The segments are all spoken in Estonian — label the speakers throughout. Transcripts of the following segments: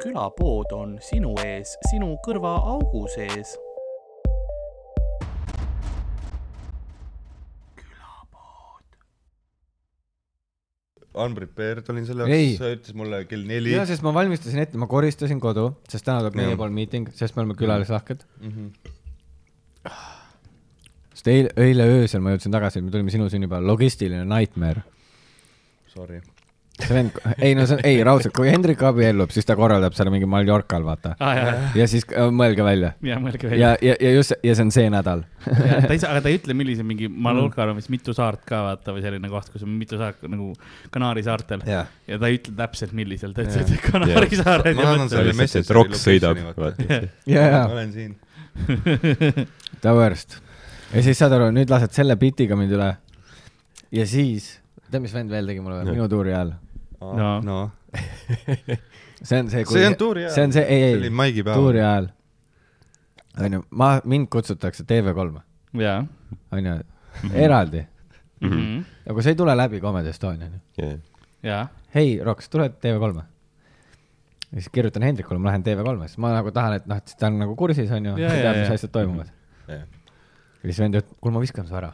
Speaker 1: külapood on sinu ees, sinu kõrvaaugu sees.
Speaker 2: Unprepared olin selle
Speaker 3: Ei.
Speaker 2: jaoks , sa ütlesid mulle kell neli
Speaker 3: ja , sest ma valmistasin ette , ma koristasin kodu , sest täna tuleb meie
Speaker 2: Jah.
Speaker 3: pool miiting , sest me oleme külalislahked .
Speaker 2: mm . -hmm.
Speaker 3: sest eile , eile öösel ma jõudsin tagasi , me tulime sinu sünnipäeval , logistiline nightmare .
Speaker 2: Sorry .
Speaker 3: see vend , ei no see , ei raudselt , kui Hendrik abiellub , siis ta korraldab seal mingi Mallorcal , vaata .
Speaker 1: aa jaa ,
Speaker 3: ja siis äh, mõelge välja .
Speaker 1: jaa , mõelge välja .
Speaker 3: ja , ja , ja just , ja see on see nädal .
Speaker 1: ta ei saa , aga ta ei ütle , millise mingi Mallorca on vist mitu saart ka vaata või selline koht , kus on mitu saart nagu Kanaari saartel ja,
Speaker 3: jah .
Speaker 1: ja ta ei ütle täpselt , millisel , ta
Speaker 3: Jah.
Speaker 1: ütles , et Kanaari
Speaker 4: Jah.
Speaker 1: saared
Speaker 2: Ma
Speaker 1: ja
Speaker 2: annan
Speaker 1: mõtlen ,
Speaker 2: selle
Speaker 4: see oli
Speaker 2: Messengeri
Speaker 4: lihtsalt , et rokk sõidab
Speaker 2: locationi, ,
Speaker 4: vaata .
Speaker 3: ja , ja
Speaker 2: ma , olen siin .
Speaker 3: the worst . ja siis saad aru , nüüd lased selle bitiga mind üle . ja siis , tead , mis vend veel tegi mulle
Speaker 4: Jah.
Speaker 3: või? minu tuuri ajal ?
Speaker 1: No.
Speaker 2: Ah, no. .
Speaker 3: see on see ,
Speaker 2: see on tuuri ajal .
Speaker 3: see on see , ei ,
Speaker 2: see
Speaker 3: ei
Speaker 2: oli , maigi päev .
Speaker 3: tuuri ajal . onju , ma , mind kutsutakse TV3-e ,
Speaker 1: jaa
Speaker 3: onju ,
Speaker 2: Mhm.
Speaker 3: eraldi .
Speaker 1: mm -hmm. ,
Speaker 3: aga kui sa ei tule läbi Comedy Estoniani ,
Speaker 1: jaa ,
Speaker 3: hei , Roks , tule TV3-e . ja siis kirjutan Hendrikule , ma lähen TV3-e , siis ma nagu tahan , et noh , et ta on nagu kursis , onju ,
Speaker 1: Ja,
Speaker 3: ta
Speaker 1: ja,
Speaker 3: teab , mis
Speaker 1: ja.
Speaker 3: asjad toimuvad .
Speaker 2: Mhm.
Speaker 3: ja siis vend ütleb , kuule , ma viskan su ära .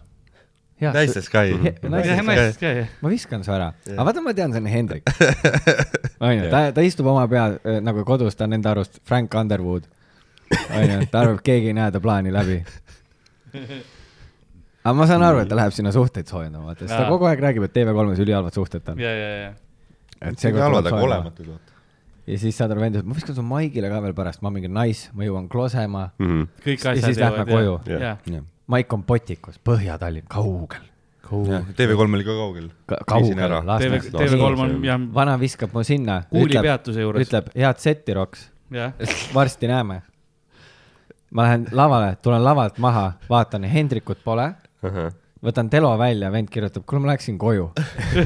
Speaker 2: Nice Sky .
Speaker 1: jah ,
Speaker 3: naisest
Speaker 1: naisest ka jah ,
Speaker 3: ma viskan su ära ,
Speaker 2: Jah.
Speaker 3: aga vaata , ma tean , see on Hendrik . onju , ta , ta istub oma pea äh, nagu kodus , ta on enda arust Frank Underwood . onju , ta arvab , keegi ei näe ta plaani läbi . aga ma saan aru , et ta läheb sinna suhteid soojendama , vaata , sest ta
Speaker 1: Jaa.
Speaker 3: kogu aeg räägib , et TV3-s ülihalvad suhted on .
Speaker 1: ja , ja , ja ,
Speaker 3: et
Speaker 2: see on
Speaker 3: seekord
Speaker 2: halvad ,
Speaker 3: tuleb
Speaker 2: aga
Speaker 3: soojendama.
Speaker 2: olematud vaata .
Speaker 3: ja siis saad aru , vend ütleb , ma viskan su Maigile ka veel pärast , ma mingi nice , ma jõuan Klosemaa .
Speaker 4: Mhm.
Speaker 1: kõik
Speaker 3: Ja
Speaker 1: asjad
Speaker 3: siis lähme koju.
Speaker 4: Jah.
Speaker 1: jaa ,
Speaker 3: Maik on Potikus , Põhja-Tallinn , kaugel . kaugel .
Speaker 2: TV3 oli ka kaugel . Viisin ära.
Speaker 3: kaugel
Speaker 1: TV ,. TV3 on jah ,
Speaker 3: vana viskab mu sinna .
Speaker 1: kuulipeatuse juures ,
Speaker 3: ütleb , head setti , Roks
Speaker 1: jah ,
Speaker 3: varsti näeme . ma lähen lavale , tulen lavalt maha , vaatan , Hendrikut pole , võtan telo välja , vend kirjutab , kuule , ma läksin koju .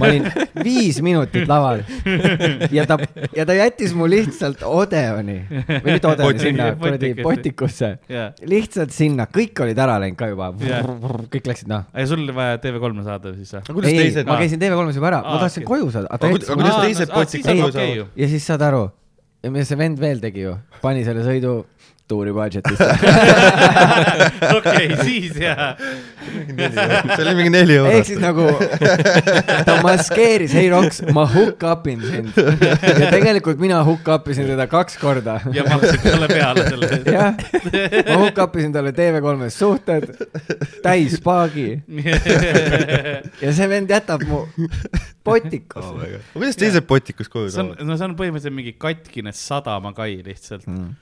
Speaker 3: ma olin viis minutit laval ja ta , ja ta jättis mu lihtsalt Odeoni või mitte Odeoni ,
Speaker 2: Potiki-
Speaker 3: sinna kuradi
Speaker 1: Potikasse.
Speaker 3: potikusse ,
Speaker 1: jaa .
Speaker 3: lihtsalt sinna , kõik olid ära läinud ka juba
Speaker 1: Jah. ,
Speaker 3: kõik läksid noh .
Speaker 1: aga sul oli vaja TV3-e saada siis või ?
Speaker 2: aga kuidas teised ?
Speaker 3: ma käisin TV3-s juba ära ,
Speaker 1: Aa,
Speaker 3: ma tahtsin
Speaker 1: okei.
Speaker 3: koju saada , aga ta
Speaker 2: Aga
Speaker 3: jättis
Speaker 2: kuid-
Speaker 3: mu
Speaker 2: kuidas
Speaker 3: lihtsalt-
Speaker 2: teised potsid
Speaker 3: saavad
Speaker 1: saavad ju
Speaker 2: aru? ?
Speaker 3: ja siis saad aru , mis see vend veel tegi ju , pani selle sõidu tuuri budget'ist
Speaker 1: okei , siis jaa ,
Speaker 2: see oli mingi neli
Speaker 3: ehk
Speaker 2: eurot .
Speaker 3: siis nagu ta maskeeris , ei Roks , ma hook up in sind . ja tegelikult mina hook up isin teda kaks korda .
Speaker 1: ja maksid talle peale selle eest .
Speaker 3: jah , ma hook up isin talle TV3-s suhted , täis paagi
Speaker 1: see
Speaker 3: ja see vend jätab mu potikus oh, .
Speaker 2: aga kuidas teised potikus koju
Speaker 1: on
Speaker 2: saavad ?,
Speaker 1: no see on põhimõtteliselt mingi katkine sadamakai lihtsalt .
Speaker 3: Mm.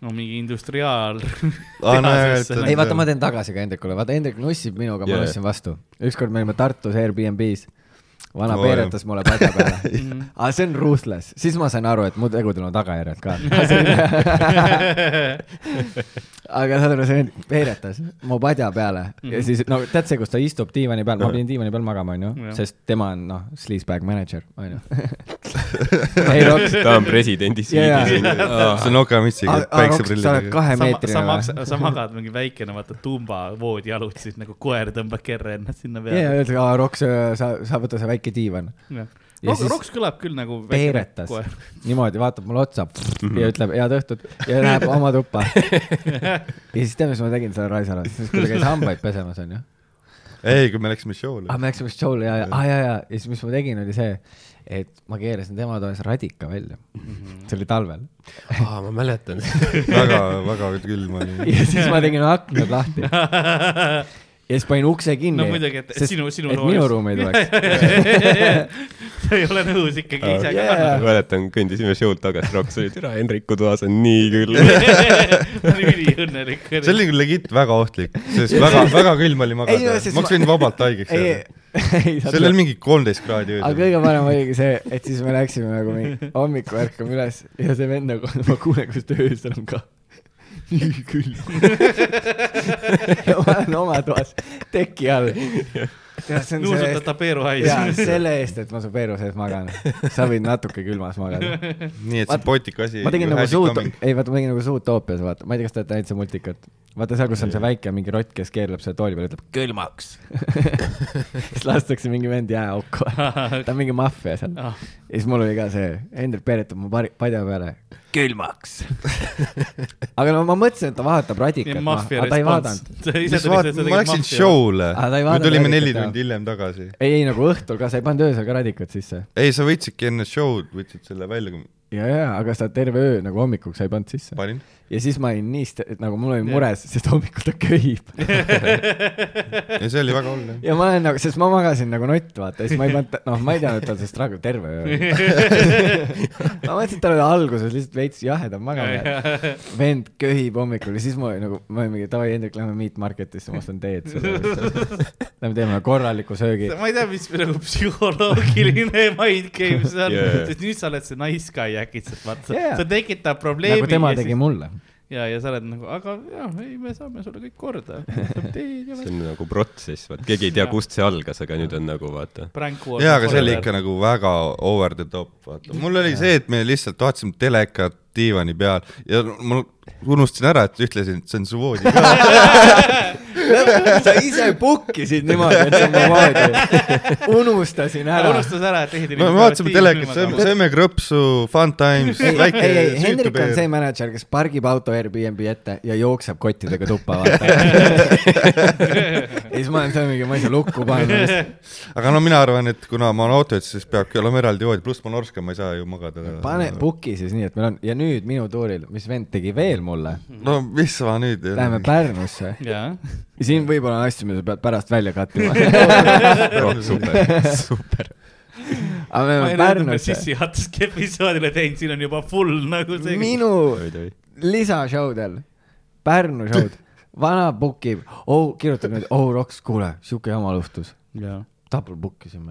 Speaker 1: no mingi industriaal .
Speaker 2: Aa, no jaa, et-
Speaker 3: ei
Speaker 1: tehasesse .
Speaker 3: vaata , ma teen tagasi ka Hendrikule , vaata Hendrik nussib minuga , ma
Speaker 4: Jajah.
Speaker 3: nussin vastu . ükskord me olime Tartus Airbnb-s , vana
Speaker 2: Oo,
Speaker 3: oh,
Speaker 2: jah.
Speaker 3: peeretas mulle padja peale . aga see on ruthless , siis ma sain aru , et mu tegudel on tagajärjed ka . aga saad aru , see vend veeretas mu padja peale ja siis no tead see , kus ta istub diivani peal , ma pidin diivani peal magama , onju
Speaker 1: Jah. ,
Speaker 3: sest tema on noh , sleazebag manager , onju . ei Roks ,
Speaker 4: ta on presidendi
Speaker 3: Jaa,
Speaker 4: siin .
Speaker 1: Ah.
Speaker 2: see on okamutsiga ,
Speaker 3: Roks , Ah, sa oled
Speaker 2: päikseprillidega .
Speaker 1: sa
Speaker 3: kahemeetrine
Speaker 1: maks- , sa magad mingi väikene , vaata tumbavoodi jalutsi , siis nagu koer tõmbab kerre ennast sinna
Speaker 3: ja , ja
Speaker 1: peale .
Speaker 3: ütleb , aa Roks , sa , sa võta see väike diivan . ja
Speaker 1: Roks ,
Speaker 3: siis-
Speaker 1: Roks kõlab küll nagu väikene
Speaker 3: peeretas
Speaker 1: koer . Mhm.
Speaker 3: niimoodi , vaatab mulle otsa ja ütleb head õhtut ja läheb oma tuppa . ja siis tead , mis ma tegin selle Raisale , siis kui ta käis hambaid pesemas , onju .
Speaker 2: ei , kui me läksime show'le
Speaker 3: ah ,. me läksime vist show'le ja , ja , ja , ja , ja siis mis ma tegin , oli see , et ma keerasin tema toas radika välja .
Speaker 1: Mhm.
Speaker 3: see oli talvel .
Speaker 5: aa , ma mäletan .
Speaker 2: väga , väga külm oli .
Speaker 3: ja siis ma tegin aknad lahti ja siis panin ukse kinni .
Speaker 1: no muidugi , et sinu , sinu
Speaker 3: et minu ruumi ei tuleks .
Speaker 1: sa ei ole nõus ikkagi ise ka
Speaker 3: Jaa.
Speaker 4: mäletan , kõndisime show'lt tagasi , Roks oli , türa , Hendriku toas on nii küll .
Speaker 1: ma olin üliõnnelik .
Speaker 2: see oli küll legit väga ohtlik , sest väga , väga külm oli
Speaker 3: Ei, no
Speaker 2: magada .
Speaker 3: siis
Speaker 2: ma oleks võinud vabalt haigeks
Speaker 3: ei
Speaker 2: jääda .,
Speaker 3: ei ,
Speaker 2: seal oli mingi kolmteist kraadi
Speaker 3: aga
Speaker 2: öösel .
Speaker 3: kõige parem oligi see , et siis me läksime nagu mingi hommikul ärkame üles ja see vend nagu , ma kuulen , kuidas ta öösel on ka . nii külm . ja ma olen oma toas teki all . tead , see on see
Speaker 1: nuusutab , ta peeru
Speaker 3: ja
Speaker 1: hais .
Speaker 3: selle eest , et ma su peeru sees magan , sa võid natuke külmas magada .
Speaker 2: nii et see
Speaker 3: Vaat-
Speaker 2: potiku asi .
Speaker 3: ma tegin nagu suud , ei vaata , ma tegin nagu Zootopias , vaata , ma ei tea , kas te olete näinud seda multikat , vaata seal , kus on see väike mingi rott , kes keerleb selle tooli peal , ütleb külmaks . siis lastakse mingi vend jääauku . ta on mingi maffia seal .
Speaker 1: Ah,
Speaker 3: ja siis mul oli ka see , Hendrik peeretab mu pari- padja peale , külmaks . aga no ma mõtlesin , et ta vaatab radikat ,
Speaker 1: maffia
Speaker 3: aga ta ei
Speaker 1: respons
Speaker 3: vaadanud ..
Speaker 2: ma läksin . show'le
Speaker 3: Aa, ta ei ,
Speaker 2: me
Speaker 3: vaadanud
Speaker 2: tulime neli
Speaker 3: Radikat,
Speaker 2: tundi hiljem tagasi .
Speaker 3: ei , ei nagu õhtul ka , sa ei pannud öösel ka radikat sisse .
Speaker 2: ei , sa võtsidki enne show'd , võtsid selle välja , kui
Speaker 3: ja , ja , aga sa terve öö nagu hommikuks sa ei pannud sisse .
Speaker 2: panin .
Speaker 3: ja siis ma olin nii , nagu mul oli mures , sest hommikul ta köhib .
Speaker 2: ja see oli väga hull , jah .
Speaker 3: ja ma olen nagu , sest ma magasin nagu nott , vaata , siis ma ei pannud , noh , ma ei teadnud , et tal see struggle terve öö oli . ma mõtlesin , et tal oli alguses lihtsalt veits jahedam magamine . vend köhib hommikul ja siis ma olin nagu , ma olin mingi davai , Hendrik , lähme Meat Marketisse , ma ostan teed sulle . Lähme teeme korraliku söögi .
Speaker 1: ma ei tea , mis nagu psühholoogiline mind game see on
Speaker 4: Yeah.
Speaker 1: yeah. , sest nüüd sa oled see nice guy äkitselt , vaata
Speaker 3: Yeah.
Speaker 1: yeah. , sa tekitab probleemi
Speaker 3: nagu tema
Speaker 1: ja,
Speaker 3: tegi
Speaker 1: siis,
Speaker 3: mulle .
Speaker 1: ja , ja sa oled nagu , aga jah , ei , me saame sulle kõik korda .
Speaker 4: see on nagu protsess , vaat keegi ei tea , kust see algas , aga nüüd on nagu vaata .
Speaker 2: jaa , aga see oli ikka . nagu väga over the top , vaata . mul oli see , et me lihtsalt vaatasime telekat diivani peal ja mul , unustasin ära , et ütlesin , et see on su voodi ka .
Speaker 3: sa ise pukkisid niimoodi , et sa mu voodi . unustasin
Speaker 1: ta
Speaker 3: ära
Speaker 1: unustas ära , et tehti .
Speaker 2: me vaatasime telekat , sööme , sööme krõpsu , fun times ,
Speaker 3: ei ,
Speaker 2: väike
Speaker 3: ei , ei , Hendrik on see
Speaker 2: süütupeer .
Speaker 3: mänedžer , kes pargib auto Airbnb ette ja jookseb kottidega tuppa , vaata . ja siis ma olen seal mingi , ma ei saa lukku panna ,
Speaker 2: aga no mina arvan , et kuna ma olen autojuht , siis peabki olema eraldi voodi , pluss ma olen orska , ma ei saa ju magada .
Speaker 3: pane puki siis nii , et meil on ja nüüd minu tuuril , mis vend tegi veel mulle ,
Speaker 2: no mis ma nüüd .
Speaker 3: läheme Pärnusse .
Speaker 1: jaa ,
Speaker 3: siin võib-olla on asju , mida sa pead pärast välja kattima .
Speaker 4: super , super .
Speaker 3: aga me
Speaker 1: ma
Speaker 3: läheme
Speaker 1: ei näinud veel
Speaker 3: Pärnusse .
Speaker 1: sissejuhatust episoodile teinud , siin on juba full nagu see .
Speaker 3: minu
Speaker 4: oi-oi .
Speaker 3: lisashowdel , Pärnu showd , vana bookib , oh , kirjutab nüüd , oh , Roks , kuule , sihuke jama juhtus .
Speaker 1: jaa ,
Speaker 3: double book isime .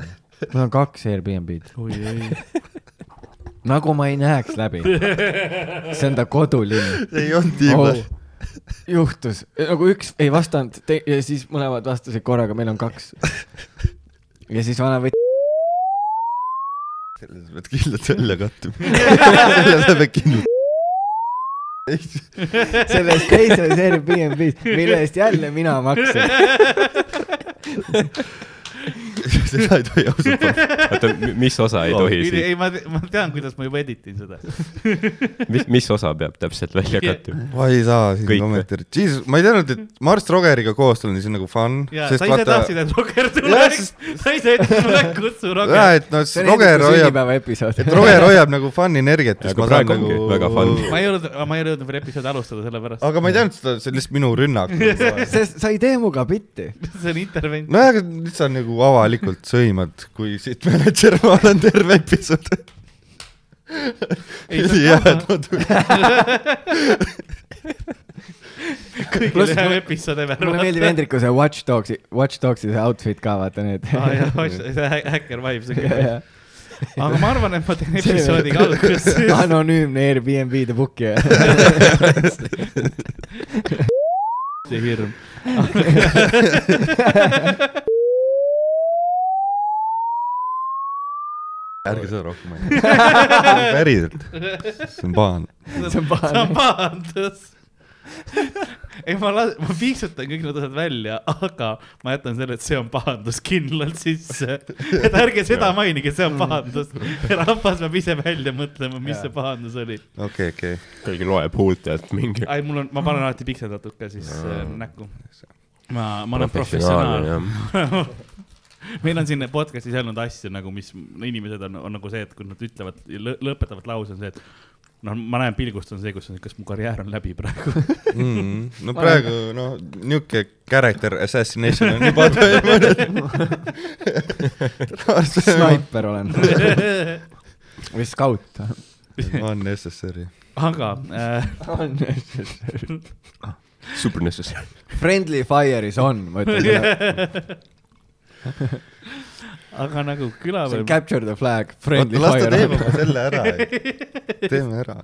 Speaker 3: mul on kaks Airbnb-d ,
Speaker 1: oi ei ,
Speaker 3: nagu ma ei näeks läbi . see on ta kodulinn .
Speaker 2: ei olnud nii
Speaker 4: Oh.
Speaker 2: hull .
Speaker 3: juhtus , nagu üks ei vastanud te- ja siis mõlemad vastasid korraga , meil on kaks . ja siis vana võttis ,
Speaker 2: selles pead kindlalt välja kattuma . selle pead kindlalt .
Speaker 3: selles teises Airbnb-s , mille eest jälle mina maksin .
Speaker 2: seda ei tohi ausalt öelda .
Speaker 4: oota , mis osa ei tohi siis ,
Speaker 1: ei , ma , ma tean , kuidas ma juba editin seda .
Speaker 4: mis , mis osa peab täpselt välja kattuma ?
Speaker 2: ma ei saa siin
Speaker 4: Kõik või?
Speaker 2: kommentaari , Jesus , ma ei teadnud , et Mars Rogeriga koos tulla , siis on nagu fun .
Speaker 1: jaa , sa ise tahtsid , et Roger tuleks , sa ise ütlesid mulle , et kutsu
Speaker 2: jaa ,
Speaker 1: Roger .
Speaker 2: et noh , Roger hoiab ,
Speaker 3: nagu sünnipäeva episood .
Speaker 2: et Roger hoiab nagu fun energiat , siis
Speaker 4: Aga
Speaker 2: ma saan
Speaker 4: praegu ongi
Speaker 2: nagu .
Speaker 4: väga fun.
Speaker 1: ma ei jõudnud , ma ei jõudnud veel episoodi alustada , sellepärast
Speaker 2: aga ma ei teadnud seda , see on lihtsalt minu rünnak .
Speaker 3: sest sa ei tee muga bitti .
Speaker 1: see on intervent .
Speaker 2: nojah , aga nüüd sa nagu avalikult sõimad , kui siit mänedžer ma olen terve episood .
Speaker 1: Ei, see on
Speaker 2: jah ,
Speaker 1: vaba.
Speaker 2: et ma tulin .
Speaker 1: kõige
Speaker 3: Pluss
Speaker 1: lühem
Speaker 3: mulle-
Speaker 1: episood ever .
Speaker 3: mulle meeldib Hendriku see Watch Dogsi , Watch Dogsi see outfit ka , vaata need .
Speaker 1: aa Ah, jaa , see hä- häkker vibe , see küll .
Speaker 3: jah .
Speaker 1: aga ma arvan , et ma teen episoodi ka alguses .
Speaker 3: anonüümne Airbnb-de bookija .
Speaker 1: see hirm .
Speaker 2: ärge seda rohkem mainige . päriselt , see on pahane .
Speaker 1: see on pahane . see on pahandus . ei , ma las- , ma piiksutan kõik need osad välja , aga ma jätan selle , et see on pahandus kindlalt sisse . et ärge seda mainige , see on pahandus . rahvas peab ise välja mõtlema , mis see pahandus oli .
Speaker 2: okei , okei .
Speaker 4: keegi loeb huultelt mingi .
Speaker 1: ai , mul on , ma panen alati pikseldatud ka siis äh, näkku . ma , ma olen professionaal . meil on siin podcast'is olnud asju nagu , mis inimesed on , on nagu see , et kui nad ütlevad , lõpetavad lause , on see , et noh , ma näen pilgust on see , kus , kas mu karjäär on läbi praegu .
Speaker 2: no praegu , noh , niisugune character assassination on juba toimunud .
Speaker 3: snaiper olen või skaut .
Speaker 2: on necessary .
Speaker 1: aga äh,
Speaker 4: super necessary .
Speaker 3: Friendly fire'is on , ma ütlen sulle .
Speaker 1: aga nagu küla
Speaker 3: see on
Speaker 1: või
Speaker 3: capture the flag , friendly
Speaker 2: las ta teeb
Speaker 3: fire .
Speaker 2: oma selle ära . teeme ära .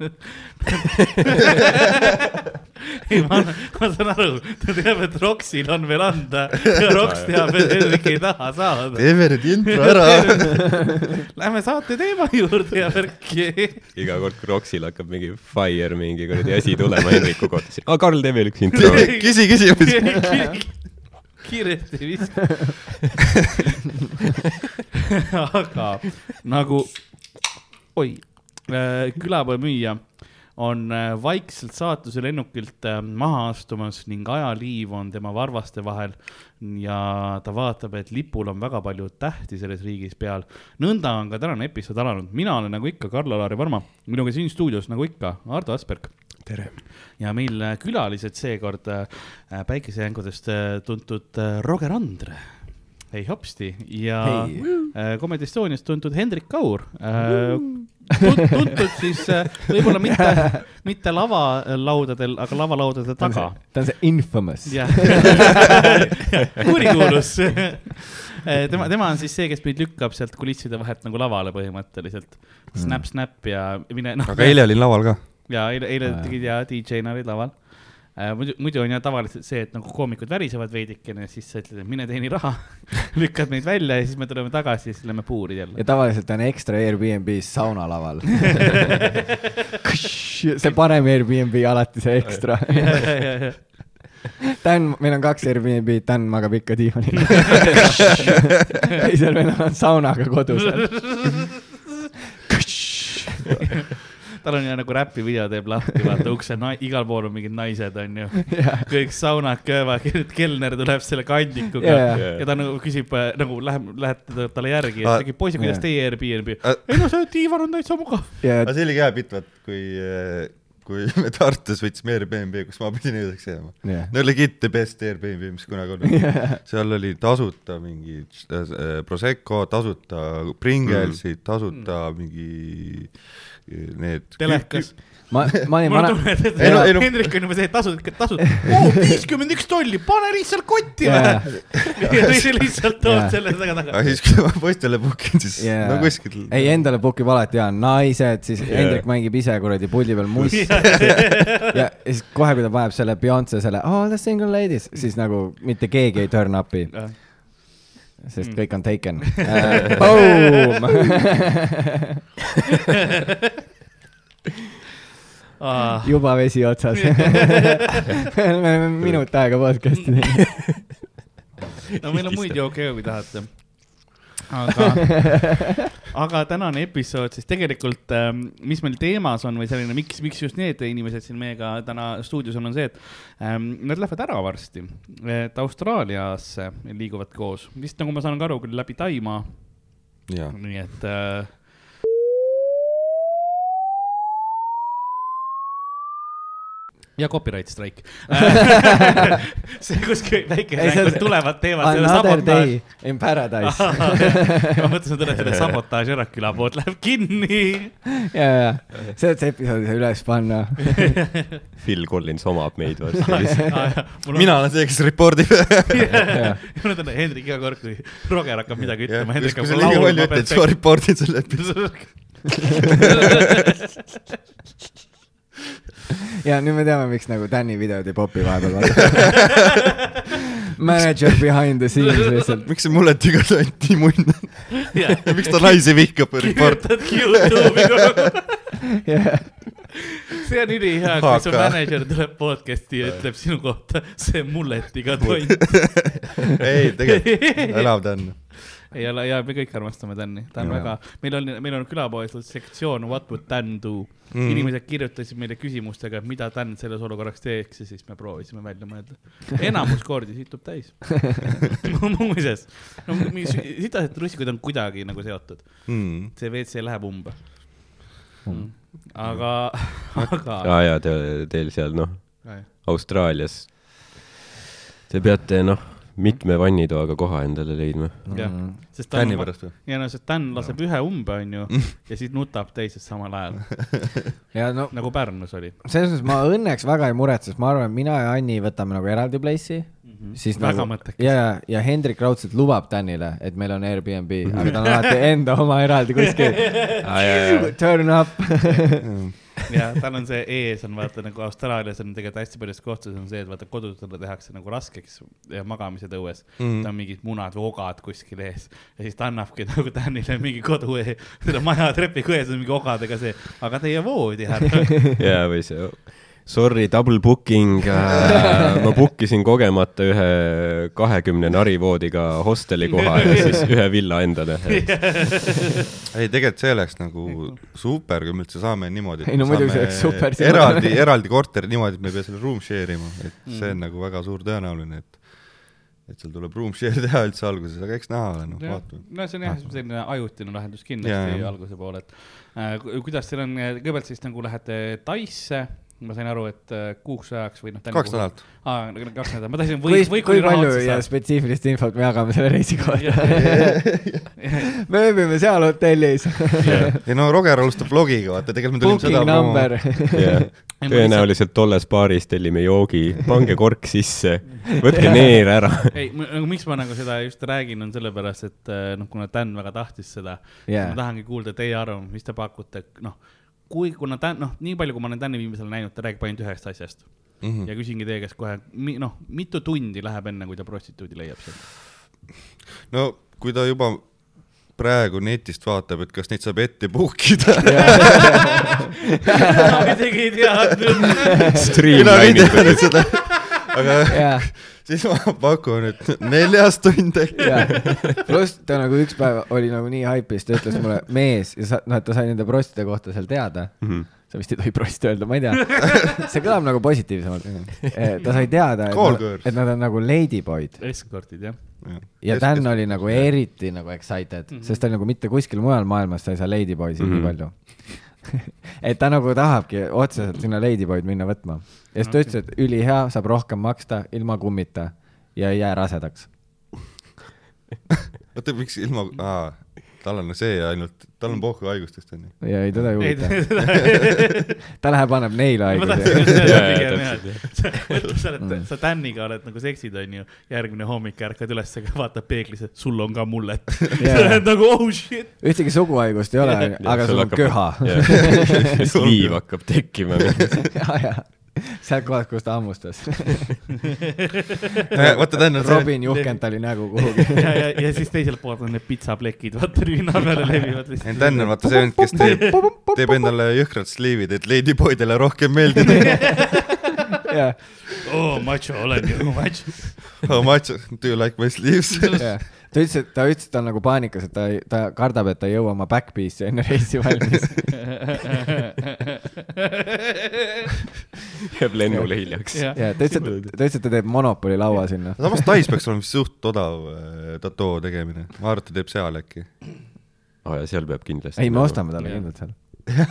Speaker 1: ei , ma , ma saan aru , ta teab , et Roxil on veel anda ja Rox teab , et Henrik ei taha saada .
Speaker 2: teeme nüüd intro ära .
Speaker 1: Lähme saate teema juurde ja värki .
Speaker 4: iga kord , kui Roxil hakkab mingi fire mingi kuradi asi tulema Henriku kohta , siis , aa , Karl , tee veel üks intro .
Speaker 2: küsi küsimusi .
Speaker 1: kiiresti viska . aga nagu , oi , külapoe müüja on äh, vaikselt saatuse lennukilt äh, maha astumas ning ajaliiv on tema varvaste vahel ja ta vaatab , et lipul on väga palju tähti selles riigis peal . nõnda on ka tänane episood alanud , mina olen nagu ikka Karl-Alari Varma , minuga siin stuudios nagu ikka Ardo Asperg
Speaker 4: tere .
Speaker 1: ja meil äh, külalised seekord äh, päikesejänkudest äh, tuntud äh, Roger Andre , hei hopsti ja
Speaker 3: Hei.
Speaker 1: hey. Comedy Estoniast tuntud Hendrik Kaur . tuntud siis äh, võib-olla mitte , mitte lavalaudadel , aga lavalaudade taga .
Speaker 3: ta on see infamous .
Speaker 1: jah , kurikuulus . Äh, tema , tema on siis see , kes meid lükkab sealt kulisside vahelt nagu lavale põhimõtteliselt .
Speaker 3: Mm.
Speaker 1: Snap , snap ja mine noh .
Speaker 2: aga eile olin laval ka .
Speaker 1: ja eile , eile
Speaker 3: Aa,
Speaker 1: tegid ja DJ-na olid laval . muidu , muidu on ja tavaliselt see , et nagu koomikud värisevad veidikene , siis sa ütled , et mine teeni raha , lükkad meid välja ja siis me tuleme tagasi ja siis lähme puuri jälle
Speaker 3: ja . tavaliselt on ekstra Airbnb-s sauna laval . see parem Airbnb alati see ekstra . Dan , meil on kaks Airbnb-d , Dan magab ikka diivanil . teisel vennal on saunaga kodus .
Speaker 1: tal on ju nagu räpivideo teeb lahti , vaata ukse , igal pool on mingid naised , onju . kõik saunad köövad , kelner tuleb selle kandikuga
Speaker 3: Jaa.
Speaker 1: yeah. ja ta nagu küsib äh, nagu läheb , läheb talle järgi ,
Speaker 2: Ah.
Speaker 1: et mingi poiss , kuidas
Speaker 3: Jaa.
Speaker 1: teie Airbnb .
Speaker 2: Ah.
Speaker 1: ei no see diivan on täitsa mugav .
Speaker 3: ja
Speaker 2: aga see oligi hea bitt , vaat kui , kui me Tartus võtsime Airbnb , kus ma pidin ööseks jääma .
Speaker 3: Jah.
Speaker 2: no legit the best Airbnb , mis kunagi olnud . seal oli tasuta mingi äh, Prosecco , tasuta
Speaker 3: Mm.
Speaker 2: Pringelsid , tasuta mingi äh, need .
Speaker 1: telekas .
Speaker 3: ma , ma olin
Speaker 1: mul on
Speaker 3: vana ,
Speaker 1: tunne , et
Speaker 2: Ei no- ei no-
Speaker 1: Hendrik on juba see , et tasud , tasud . oo , viiskümmend üks tolli , pane lihtsalt kotti
Speaker 3: Jaa.
Speaker 1: või . ja siis lihtsalt
Speaker 3: Jaa.
Speaker 1: tood selle taga
Speaker 2: aga
Speaker 1: taga .
Speaker 2: siis , kui ma poistele book in , siis
Speaker 3: Jaa.
Speaker 2: yeah. no kuskil .
Speaker 3: ei endale book ib alati ja naised , siis
Speaker 4: Jaa.
Speaker 3: Hendrik mängib ise kuradi puldi peal mussi . ja siis kohe , kui ta vajab selle Beyonce selle all the single ladies , siis nagu mitte keegi ei turn up'i , sest
Speaker 1: Mm.
Speaker 3: kõik on taken uh, . Boom Ah. juba vesi otsas . me oleme minut aega podcast'i teinud .
Speaker 1: no meil on muid jooke ka , kui tahate . aga , aga tänane episood siis tegelikult , mis meil teemas on või selline , miks , miks just need inimesed siin meiega täna stuudios on , on see , et ähm, nad lähevad ära varsti , et Austraaliasse liiguvad koos , vist nagu ma saan ka aru , küll läbi Taimaa
Speaker 2: jaa ,
Speaker 1: nii et äh... . ja copyright strike . see kuskil väike
Speaker 3: Ei, see on- ,
Speaker 1: tulevad teevad selle
Speaker 3: Another
Speaker 1: sabotaaži
Speaker 3: day . in paradise .
Speaker 1: ma mõtlesin , et selle sabotaaži ära , külapood läheb kinni .
Speaker 3: ja , ja , see , see episood ei saa üles panna .
Speaker 4: Phil Collins omab meid varsti .
Speaker 2: mina olen see , kes report ib .
Speaker 1: mul on tunne , Hendrik iga kord , kui Roger hakkab midagi ütlema , Hendrik
Speaker 2: kui sa
Speaker 1: hakkab
Speaker 2: liiga
Speaker 1: laulma ,
Speaker 2: palju ütled , siis ma report in selle .
Speaker 3: ja nüüd me teame , miks nagu Tänni videod ei popi vahepeal . Manager behind the scenes lihtsalt .
Speaker 2: miks see mulle tigas anti munn ja miks ta naisi vihkab , report .
Speaker 1: kirjutad Youtube'i kogu aeg .
Speaker 3: jah ,
Speaker 1: see on ülihea , kui su
Speaker 2: Aga-
Speaker 1: mänedžer tuleb podcast'i ja ütleb sinu kohta , see mulletiga tont .
Speaker 2: ei , tegelikult , elav ta on .
Speaker 1: ei ole hea , me kõik armastame Tänni , ta on
Speaker 2: Jaa.
Speaker 1: väga , meil on , meil on külapoes sektsioon What would Tän do mm. .
Speaker 2: Mm.
Speaker 1: inimesed kirjutasid meile küsimustega , et mida Tän selles olukorras teeks ja siis me proovisime välja mõelda . enamus kordi situb täis . muuseas , no mis sitased russikud on kuidagi nagu seotud ,
Speaker 2: mm. .
Speaker 1: see WC läheb umbe mm. . aga , aga .
Speaker 4: aa jaa , te , teil seal noh , Austraalias , te peate noh , mitme vannitoaga koha endale leidma .
Speaker 1: jah , sest ta
Speaker 2: Tänni
Speaker 1: on ,
Speaker 2: Mm. pärast või ?
Speaker 1: ja no see Dan laseb ühe umbe , onju , ja siis nutab teises samal ajal ,
Speaker 3: ja no
Speaker 1: nagu Pärnus oli .
Speaker 3: selles mõttes ma õnneks väga ei muretse , sest ma arvan , et mina ja Anni võtame nagu eraldi place'i mm .
Speaker 2: Mhm.
Speaker 3: siis
Speaker 1: Väga
Speaker 3: nagu
Speaker 1: mõttekas.
Speaker 3: ja , ja , ja Hendrik raudselt lubab Danile , et meil on Airbnb ,
Speaker 2: Mhm.
Speaker 3: aga ta on alati enda oma eraldi kuskil . Turn up .
Speaker 1: ja tal on see ees on vaata nagu Austraalias on tegelikult hästi paljudes kohtades on see , et vaata kodutule tehakes nagu raskeks ja magamised õues
Speaker 2: Mhm.
Speaker 1: mm. . ta on mingid munad või ogad kuskil ees ja siis ta annabki nagu Danile mingi kodu , selle maja trepiku ees on mingi ogadega see , aga teie voodi härra .
Speaker 4: jaa , või see sorry , double booking äh, . ma book isin kogemata ühe kahekümne narivoodiga hosteli koha ja siis ühe villa endale .
Speaker 2: ei , tegelikult see oleks nagu super , kui me üldse saame niimoodi .
Speaker 3: Ei no muidugi see oleks super, see-
Speaker 2: eraldi , eraldi korteri niimoodi , et me ei pea selle room share ima , et
Speaker 3: Mm.
Speaker 2: see on nagu väga suur tõenäoline , et , et seal tuleb room share teha üldse alguses , aga eks näha ole , noh , vaatame .
Speaker 1: no see on jah selline ajutine lahendus
Speaker 2: Jaa,
Speaker 1: kindlasti
Speaker 2: jaa.
Speaker 1: alguse poole , et äh, ku- kuidas teil on , kõigepealt siis nagu lähete Taisse , ma sain aru , et äh, kuuks ajaks või noh .
Speaker 2: kaks . nädalat .
Speaker 1: aa , kaks nädalat , ma tahtsin või ,
Speaker 3: kui ,
Speaker 1: või
Speaker 3: kui palju ja spetsiifilist infot me jagame selle reisi kohta ? me ööbime seal hotellis .
Speaker 2: ei no Roger alustab vlogiga , vaata , tegelikult me tulime
Speaker 3: Booking
Speaker 2: seda
Speaker 3: number .
Speaker 4: tõenäoliselt tolles baaris tellime joogi , pange kork sisse , võtke neer ära .
Speaker 1: ei , nagu miks ma nagu seda just räägin , on sellepärast , et äh, noh , kuna Dan väga tahtis seda yeah. ,
Speaker 3: Jaa.
Speaker 1: ma tahangi kuulda teie arvamust , mis te pakute , noh , kui , kuna Dan , noh , nii palju , kui ma olen Dani viimasel ajal näinud , ta räägib ainult ühest asjast mm .
Speaker 2: Mhm.
Speaker 1: -hmm. ja küsingi teie käest kohe , noh , mitu tundi läheb enne , kui ta prostituudi leiab sealt ?
Speaker 2: no kui ta juba praegu netist vaatab , et kas neid saab ette book ida .
Speaker 1: ma isegi ei teadnud .
Speaker 2: mina ei
Speaker 4: Streamline
Speaker 2: teadnud seda . aga
Speaker 3: jaa ,
Speaker 2: siis ma pakun , et neljas tund äkki .
Speaker 3: jaa . pluss ta nagu üks päev oli nagu nii haipis , ta ütles mulle , mees , ja sa , noh , et ta sai nende prostide kohta seal teada
Speaker 4: Mhm.
Speaker 3: sa vist ei tohi prost öelda , ma ei tea . see kõlab nagu positiivsemalt . ta sai teada ,
Speaker 2: Call
Speaker 3: et,
Speaker 2: girls.
Speaker 3: et nad on nagu ladyboy'd
Speaker 1: eskordid jah ?
Speaker 3: ja Dan oli nagu eriti nagu excited mm , -hmm. sest ta oli nagu mitte kuskil mujal maailmas sa ei saa ladyboy'sid
Speaker 2: Mhm.
Speaker 3: mm -hmm. nii palju . et ta nagu tahabki otseselt sinna ladyboy'd minna võtma . ja siis ta ütles , et ülihea , saab rohkem maksta ilma kummita ja ei jää rasedaks .
Speaker 2: oota , miks ilma , aa , tal on see ainult , tal on pohhuhaigustest onju .
Speaker 3: ja ei , teda ei
Speaker 1: ei ,
Speaker 3: huvita .
Speaker 1: ma
Speaker 3: ta läheb , annab neile haiguse
Speaker 1: tahtsin . just seda
Speaker 4: Jaa, jaa,
Speaker 1: pigem jah , et sa- mõtle , sa oled , sa Daniga oled nagu seksid , onju , järgmine hommik ärkad üles , vaatad peeglisse , sul on ka mullet . sa
Speaker 3: Jaa.
Speaker 1: oled nagu oh shit .
Speaker 3: ühtegi suguhaigust ei ole , aga sul on köha .
Speaker 4: liiv hakkab tekkima .
Speaker 3: ja , ja sealt kohast , kus ta hammustas
Speaker 2: Eh, vaata , Dan on see ,
Speaker 3: Robin juhkend oli nägu kuhugi .
Speaker 1: ja , ja , ja siis teiselt poolt on need pitsaplekid , vaata rüüna peale levivad lihtsalt .
Speaker 2: Dan on vaata see vend , kes teeb , teeb endale jõhkrad sliivid , et ladyboydele rohkem meeldida .
Speaker 3: jah ,
Speaker 1: oo , Oh, macho olen ju , macho .
Speaker 2: How much Oh, do you like my sleeves ?
Speaker 3: jah . ta ütles , et ta ütles , et ta on nagu paanikas , et ta , ta kardab , et ta ei jõua oma backpiece'i enne reisi valmis .
Speaker 4: jääb lennule hiljaks .
Speaker 3: ja ta ütles , et , ta ütles , et ta teeb Monopoli laua sinna .
Speaker 2: samas Tais peaks olema suht odav äh, tatoo tegemine , ma arvan , et ta teeb seal äkki .
Speaker 4: aa , ja seal peab kindlasti . nagu-
Speaker 3: ei , me ostame talle kindlalt seal .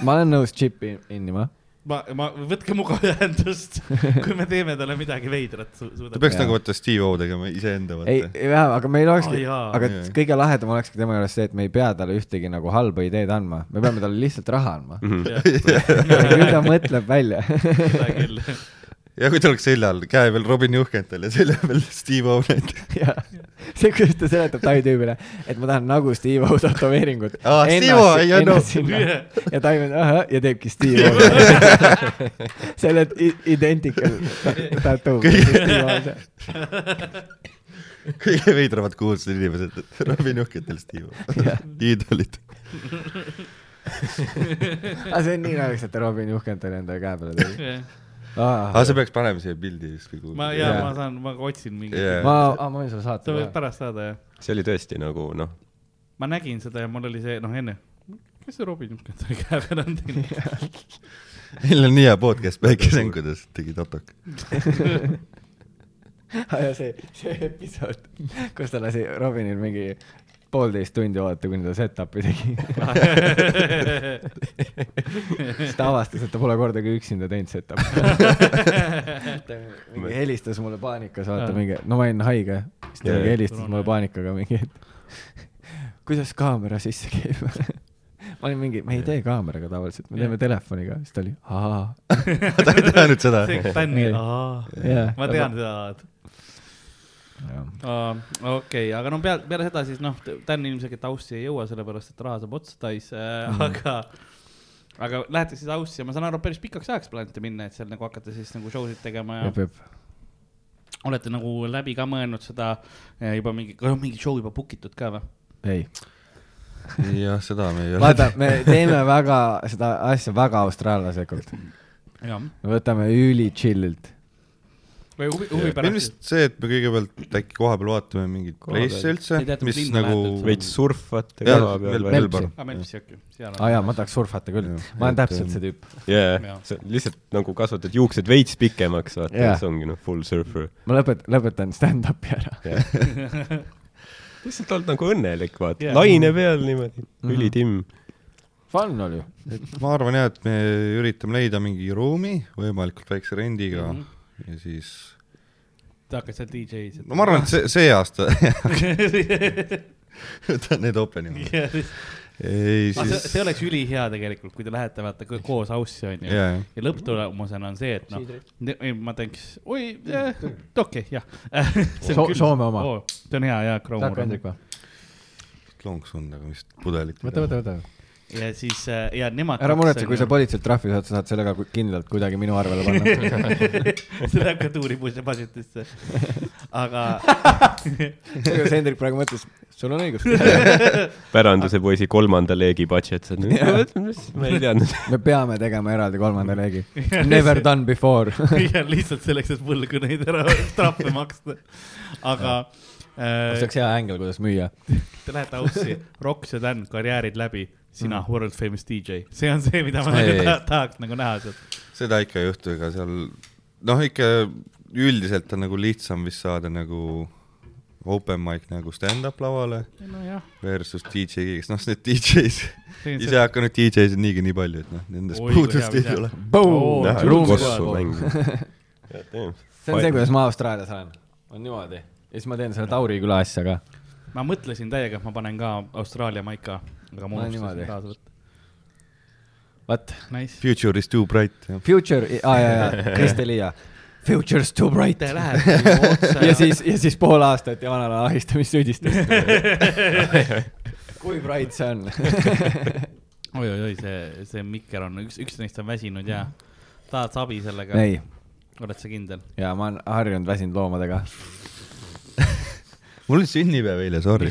Speaker 3: ma olen nõus chip'i innima .
Speaker 1: ma , ma , võtke minuga ühendust , kui me teeme talle midagi veidrat su, .
Speaker 2: ta peaks
Speaker 3: Jaa.
Speaker 2: nagu vaata Steve O tegema iseenda
Speaker 3: ei ,
Speaker 2: vaata .
Speaker 3: ei vähe , aga meil
Speaker 1: Aa,
Speaker 3: olekski ,
Speaker 1: jaa.
Speaker 3: aga
Speaker 2: Jaa.
Speaker 3: kõige lahedam olekski tema juures see , et me ei pea talle ühtegi nagu halba ideed andma , me peame talle lihtsalt raha andma .
Speaker 4: Mhm.
Speaker 3: küll ta mõtleb välja .
Speaker 1: seda küll .
Speaker 2: ja kui ta oleks seljal , käe peal Robin Juhkental ja selja peal Steve O näiteks .
Speaker 3: ja see , kuidas ta seletab Tai tüübile , et ma tahan nagu Steve O tätoveeringut .
Speaker 2: Aa, Ah, Steve O, ei, no.
Speaker 3: ja Tai on , ahah , ja teebki Steve O . selle i- identical tattoo .
Speaker 2: kõige veidramad kuulsad inimesed , et Robin Juhkental , Steve O , iidolid .
Speaker 3: aga Ah, see on nii naljakas , et Robin Juhkend oli enda käe peale teinud .
Speaker 2: aga sa peaks panema siia pildi siis , kui
Speaker 1: ma ,
Speaker 2: kuulad .
Speaker 1: ja
Speaker 3: Jaa.
Speaker 1: ma saan , ma otsin mingi
Speaker 2: Jaa.
Speaker 1: yeah. .
Speaker 3: ma , ma võin sulle
Speaker 1: sa
Speaker 3: saata
Speaker 1: võid
Speaker 3: ka .
Speaker 1: pärast saada , jah .
Speaker 4: see oli tõesti nagu noh ,
Speaker 1: ma nägin seda ja mul oli see , noh enne , kes see Robin Junkert oli käe peal on teinud .
Speaker 2: meil on nii hea podcast Päikeseengudes , tegi tatok .
Speaker 3: ja see , see episood , kus ta lasi Robinil mingi poolteist tundi oodata , kuni ta set-up'i tegi . siis ta avastas , et ta pole kordagi üksinda teinud set-up'i . ta mingi helistas mulle paanikas , vaata mingi , no ma olin haige , siis ta
Speaker 4: Jaa,
Speaker 3: mingi
Speaker 4: jaa.
Speaker 3: helistas mulle paanikaga mingi , et kuidas kaamera sisse käib . ma olin mingi , me ei tee kaameraga tavaliselt , me teeme telefoniga , siis ta oli , ahaa .
Speaker 2: ta ei teadnud seda .
Speaker 1: see fänni , aa ,
Speaker 3: jaa .
Speaker 1: ma tean seda . Uh, okei okay, , aga no peale , peale seda siis noh , Dan ilmselgelt Aussi ei jõua , sellepärast et raha saab otsa täis äh, mm. , aga , aga lähete siis Aussi ja ma saan aru , päris pikaks ajaks plaanite minna , et seal nagu hakata siis nagu show sid tegema ja olete nagu läbi ka mõelnud seda eh, juba mingi , mingi show juba book itud ka või ?
Speaker 3: ei ,
Speaker 2: jah , seda me ei ole
Speaker 3: vaata , me teeme väga seda asja väga austraallaslikult ,
Speaker 1: jah ,
Speaker 3: võtame üli chill'ilt .
Speaker 1: või huvi , huvi
Speaker 2: minu
Speaker 1: pärast
Speaker 2: meelest . see , et me kõigepealt äkki kohapeal vaatame mingit
Speaker 4: Kohapeal.
Speaker 2: place'e üldse
Speaker 1: Ei teata, , kus
Speaker 2: mis
Speaker 1: linna
Speaker 2: nagu
Speaker 1: lähedalt
Speaker 4: veits surfate
Speaker 2: jah ,
Speaker 4: koha peal või ?
Speaker 2: Melbourne .
Speaker 1: aa , Melbis Jõki , Ah, seal
Speaker 2: Ah,
Speaker 3: aa jaa , ma tahaks surfata küll , ma olen täpselt see tüüp .
Speaker 4: jaa
Speaker 1: Jaa. ,
Speaker 4: lihtsalt nagu kasvatad juuksed veits pikemaks , vaata
Speaker 3: Jaa.
Speaker 4: yeah. , see ongi noh , full surfer .
Speaker 3: ma lõpet- , lõpetan stand-up'i ära .
Speaker 4: lihtsalt oled nagu õnnelik , vaata
Speaker 1: Jaa.
Speaker 4: yeah. , laine peal niimoodi ,
Speaker 3: Mhm.
Speaker 4: ülitimm .
Speaker 3: fun oli ju .
Speaker 2: et ma arvan jah , et me üritame leida mingi ruumi võimalikult väikse rendiga
Speaker 1: Mhm.
Speaker 2: mm -hmm. ja siis ,
Speaker 1: ta hakkas seal DJ-s .
Speaker 2: no ma arvan , et see , see aasta need open'i . ei ,
Speaker 1: aga Ah, see ,
Speaker 2: siis
Speaker 1: see oleks ülihea tegelikult , kui te lähete vaata ko- koos aussi onju
Speaker 2: Jaa, jah.
Speaker 1: ja lõpptulemusena on see , et noh , ma tänks , oi , okei , jah
Speaker 3: So- . Soome oma.
Speaker 1: see on hea , hea Chrome .
Speaker 2: lonksun nagu vist pudelit .
Speaker 3: võta , võta , võta .
Speaker 1: ja siis äh, ja nemad .
Speaker 3: ära muretse , kui sa . politseilt trahvi saad , sa saad sellega ku- kindlalt kuidagi minu arvele panna .
Speaker 1: see läheb ka tuuripuisse pasitesse , aga
Speaker 3: kuidas Hendrik praegu mõtles , sul on õigus .
Speaker 4: pärandase poisi kolmanda leegi budget , sa oled , mis , ma ei teadnud .
Speaker 3: me peame tegema eraldi kolmanda leegi . Never done before .
Speaker 1: ja lihtsalt selleks , et võlgu neid ära trahve maksta , aga
Speaker 3: see
Speaker 1: äh,
Speaker 3: oleks hea ängel , kuidas müüa .
Speaker 1: te lähete aussi , Rocks ja Dan , karjäärid läbi , sina
Speaker 3: Mm.
Speaker 1: world famous DJ , see on see , mida ma
Speaker 2: Ei.
Speaker 1: nagu ta- tahaks nagu näha sealt .
Speaker 2: seda ikka ei juhtu , ega seal noh , ikka üldiselt on nagu lihtsam vist saada nagu open mic nagu stand-up lavale
Speaker 1: nojah ,
Speaker 2: versus DJ-ks , noh , need DJ-s ,
Speaker 1: Tegin
Speaker 2: ise
Speaker 1: seda-
Speaker 2: hakanud DJ-sid niigi nii palju , et noh , nendest
Speaker 1: Oi, kui
Speaker 2: puudust
Speaker 1: hea
Speaker 2: ei
Speaker 1: video.
Speaker 2: tule .
Speaker 1: Oo,
Speaker 3: Boom
Speaker 1: Näha, .
Speaker 4: kossu mängida .
Speaker 3: see on see , kuidas ma Austraalias olen . on niimoodi . ja siis ma teen selle Tauri küla asja ka .
Speaker 1: ma mõtlesin täiega , et ma panen ka Austraalia maika , aga ma
Speaker 3: Pane
Speaker 1: unustasin
Speaker 3: niimoodi.
Speaker 1: kaasa võtta .
Speaker 3: Vat ,
Speaker 1: Nice .
Speaker 2: Future is too bright , jah .
Speaker 3: Future , aa jaa , jaa , Kristi Liia . Future's too bright .
Speaker 1: Te lähete ju otse
Speaker 3: ja siis , ja siis pool aastat ja vanal ajal ahistamissüüdistust . kui bright see on ?
Speaker 1: oi-oi-oi , see , see mikker on , üks , üks neist on väsinud ja tahad sa abi sellega ?
Speaker 3: ei ,
Speaker 1: oled sa kindel ?
Speaker 3: ja ma olen harjunud väsinud loomadega .
Speaker 2: mul oli sünnipäev eile , sorry .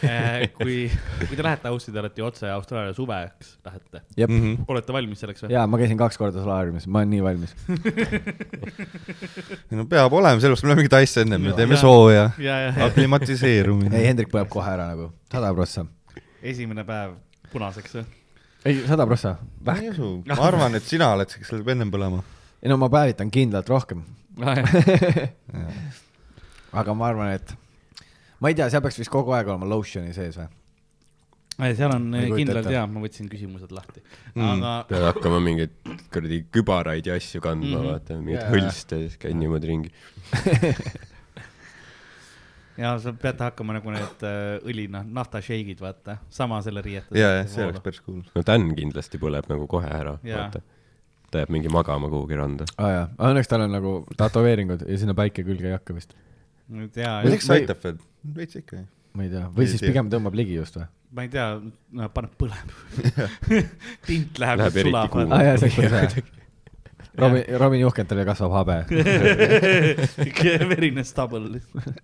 Speaker 1: Äh, kui , kui te lähete Aussi , te olete ju otse Austraalia suveks lähete .
Speaker 3: jep ,
Speaker 2: Mhm.
Speaker 1: olete valmis selleks või ?
Speaker 3: ja ma käisin kaks korda solaariumis , ma olen nii valmis .
Speaker 2: no peab olema , sellepärast me läheme mingit asja enne , me
Speaker 1: Jaa.
Speaker 2: teeme sooja ,
Speaker 1: ja , ja , ja
Speaker 3: ei ,
Speaker 2: aklimatiseerumine .
Speaker 3: Hendrik põeb kohe ära nagu , sada prossa .
Speaker 1: esimene päev punaseks või ?
Speaker 3: ei , sada prossa ,
Speaker 2: ma
Speaker 3: vähk .
Speaker 2: ei usu , ma arvan , et sina oled see , kes läheb ennem põlema .
Speaker 3: ei no ma päevitan kindlalt rohkem . aga ma arvan , et , ma ei tea , seal peaks vist kogu aeg olema lotion'i sees või ?
Speaker 1: seal on eh,
Speaker 3: Ei kujuta
Speaker 1: kindlalt
Speaker 3: ette.
Speaker 1: ja , ma võtsin küsimused lahti , aga
Speaker 4: pead hakkama mingeid kuradi kübaraid ja asju kandma mm , -hmm. vaata , mingeid
Speaker 3: Jaa.
Speaker 4: yeah. hõlste , siis käid niimoodi ringi .
Speaker 1: ja sa pead hakkama nagu need äh, õlina , naftasheigid , vaata , sama selle riietuse .
Speaker 2: ja , ja see oleks päris cool .
Speaker 4: no Dan kindlasti põleb nagu kohe ära
Speaker 1: Jaa.
Speaker 4: yeah. , vaata . ta jääb mingi magama kuhugi randa .
Speaker 3: aa jaa , õnneks tal on nagu tätoveeringud ja sinna päike külge ei hakka vist .
Speaker 1: nüüd jaa ,
Speaker 2: ma ei tea , kas
Speaker 3: Ma ei-
Speaker 2: aitab veel , veits ikka .
Speaker 3: ma ei tea , või
Speaker 2: Ei
Speaker 3: siis
Speaker 2: tea.
Speaker 3: pigem tõmbab ligi just või ?
Speaker 1: ma ei tea , no paneb põlema . tint läheb, läheb
Speaker 4: Läheb eriti
Speaker 1: sulab .
Speaker 4: kuumaks.
Speaker 3: aa jaa , see on see . Robin , Robin Juhkental ju kasvab habe .
Speaker 1: verine stabel lihtsalt .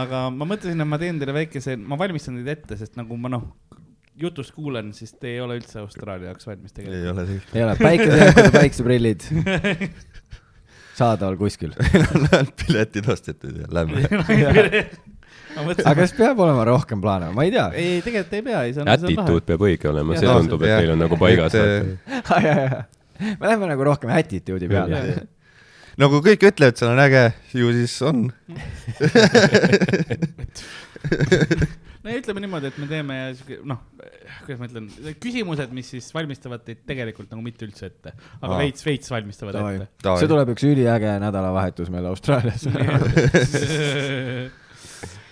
Speaker 1: aga ma mõtlesin , et ma teen teile väikese , ma valmistan teid ette , sest nagu ma noh , jutust kuulen , siis te ei ole üldse Austraalia jaoks valmis
Speaker 2: ei
Speaker 1: tegelikult .
Speaker 2: ole tegelikult .
Speaker 3: ei ole , päikesejakud ja päikseprillid saadaval kuskil .
Speaker 2: ainult piletid ostetud ja lähme .
Speaker 1: ma
Speaker 3: aga
Speaker 1: mõtlesin ,
Speaker 3: kas peab olema rohkem plaane , ma ei tea .
Speaker 1: ei , ei tegelikult ei pea , ei see on , see on lahe
Speaker 4: Attitude . peab õige olema , see
Speaker 1: Jaa.
Speaker 4: tundub , et teil on nagu paigas .
Speaker 2: äh,
Speaker 3: me läheme nagu rohkem attitude'i peale .
Speaker 2: no kui eh, nagu kõik ütlevad , seal on äge , ju siis on .
Speaker 1: no ja ütleme niimoodi , et me teeme siuke noh , kuidas ma ütlen , küsimused , mis siis valmistavad teid tegelikult nagu mitte üldse ette , aga
Speaker 2: Aa.
Speaker 1: veits , veits valmistavad ette .
Speaker 3: see tuleb üks üliäge nädalavahetus meil Austraalias .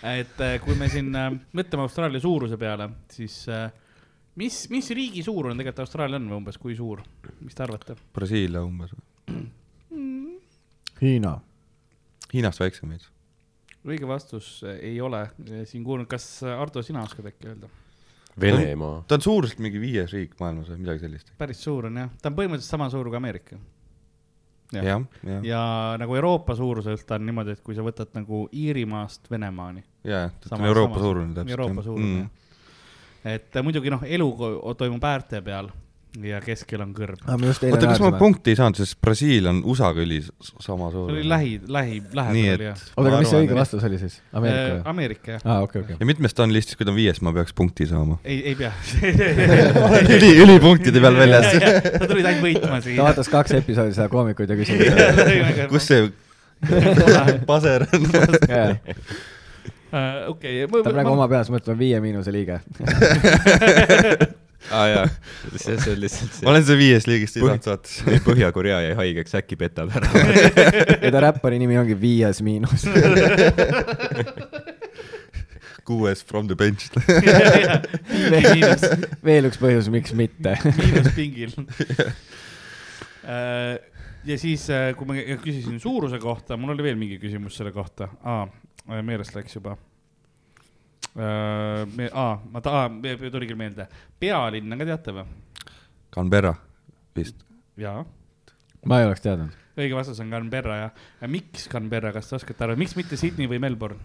Speaker 1: et äh, kui me siin äh, mõtleme Austraalia suuruse peale , siis äh, mis , mis riigi suurune tegelikult Austraalia on või umbes , kui suur , mis te arvate ?
Speaker 2: Brasiilia umbes .
Speaker 3: Hiina .
Speaker 2: Hiinast väiksemaid .
Speaker 1: õige vastus äh, ei ole äh, siin kuulnud , kas äh, Ardo , sina oskad äkki öelda ?
Speaker 4: Venemaa .
Speaker 2: ta on suuruselt mingi viies riik maailmas või midagi sellist .
Speaker 1: päris suur on jah , ta on põhimõtteliselt sama suur kui Ameerika .
Speaker 2: jah , jah ,
Speaker 1: ja nagu Euroopa suuruselt ta on niimoodi , et kui sa võtad nagu Iirimaast Venemaani .
Speaker 2: jaa , ta on Euroopa suurune täpselt .
Speaker 1: Euroopa suurune mm. , jah . et äh, muidugi noh , elu ko- toimub äärte peal ja keskel on kõrb .
Speaker 2: Ah,
Speaker 1: see
Speaker 3: me just eile
Speaker 2: oota , kas ma
Speaker 3: rääkisime .
Speaker 2: punkti ei saanud , sest Brasiil on USA-ga üli s- sama suur .
Speaker 1: oli lähi , lähi ,
Speaker 2: nii et
Speaker 1: lähedal
Speaker 2: Ah.
Speaker 1: jah ..
Speaker 3: oota , aga mis see õige ? vastus oli siis ? Ameerika või ?
Speaker 1: Ameerika jah ,.
Speaker 3: aa , okei , okei .
Speaker 2: ja mitmes ta on listis , kui ta on viies , ma peaks punkti saama
Speaker 1: ei , ei pea .
Speaker 2: olen üli , ülipunktide peal väljas .
Speaker 1: sa tulid ainult võitma
Speaker 3: ta
Speaker 1: siia .
Speaker 3: vaatas kaks episoodi seda koomikut ja küsis .
Speaker 2: kus see paser on ?
Speaker 3: ta
Speaker 1: Äh, okei .
Speaker 3: praegu oma peas mõtleb Viie Miinuse liige .
Speaker 4: aa jaa , see , see on lihtsalt see
Speaker 2: ma . olen see viies liigist
Speaker 4: Põhi-
Speaker 2: igas saates .
Speaker 4: Põhja-Korea jäi haigeks , äkki petab ära .
Speaker 3: ja ta räppari nimi ongi Viies Miinus .
Speaker 2: kuues from the bench .
Speaker 1: miinus ,
Speaker 3: veel üks põhjus , miks mitte .
Speaker 1: miinus pingil . ja siis , kui ma küsisin suuruse kohta , mul oli veel mingi küsimus selle kohta ah, , meelest läks juba . Me, aa , ma ta- , tuli küll meelde , pealinna ka teate või ?
Speaker 2: Canberra vist .
Speaker 1: jaa ,
Speaker 3: ma ei oleks teadnud .
Speaker 1: õige vastus on Canberra ja , miks Canberra , kas te oskate aru , miks mitte Sydney või Melbourne ,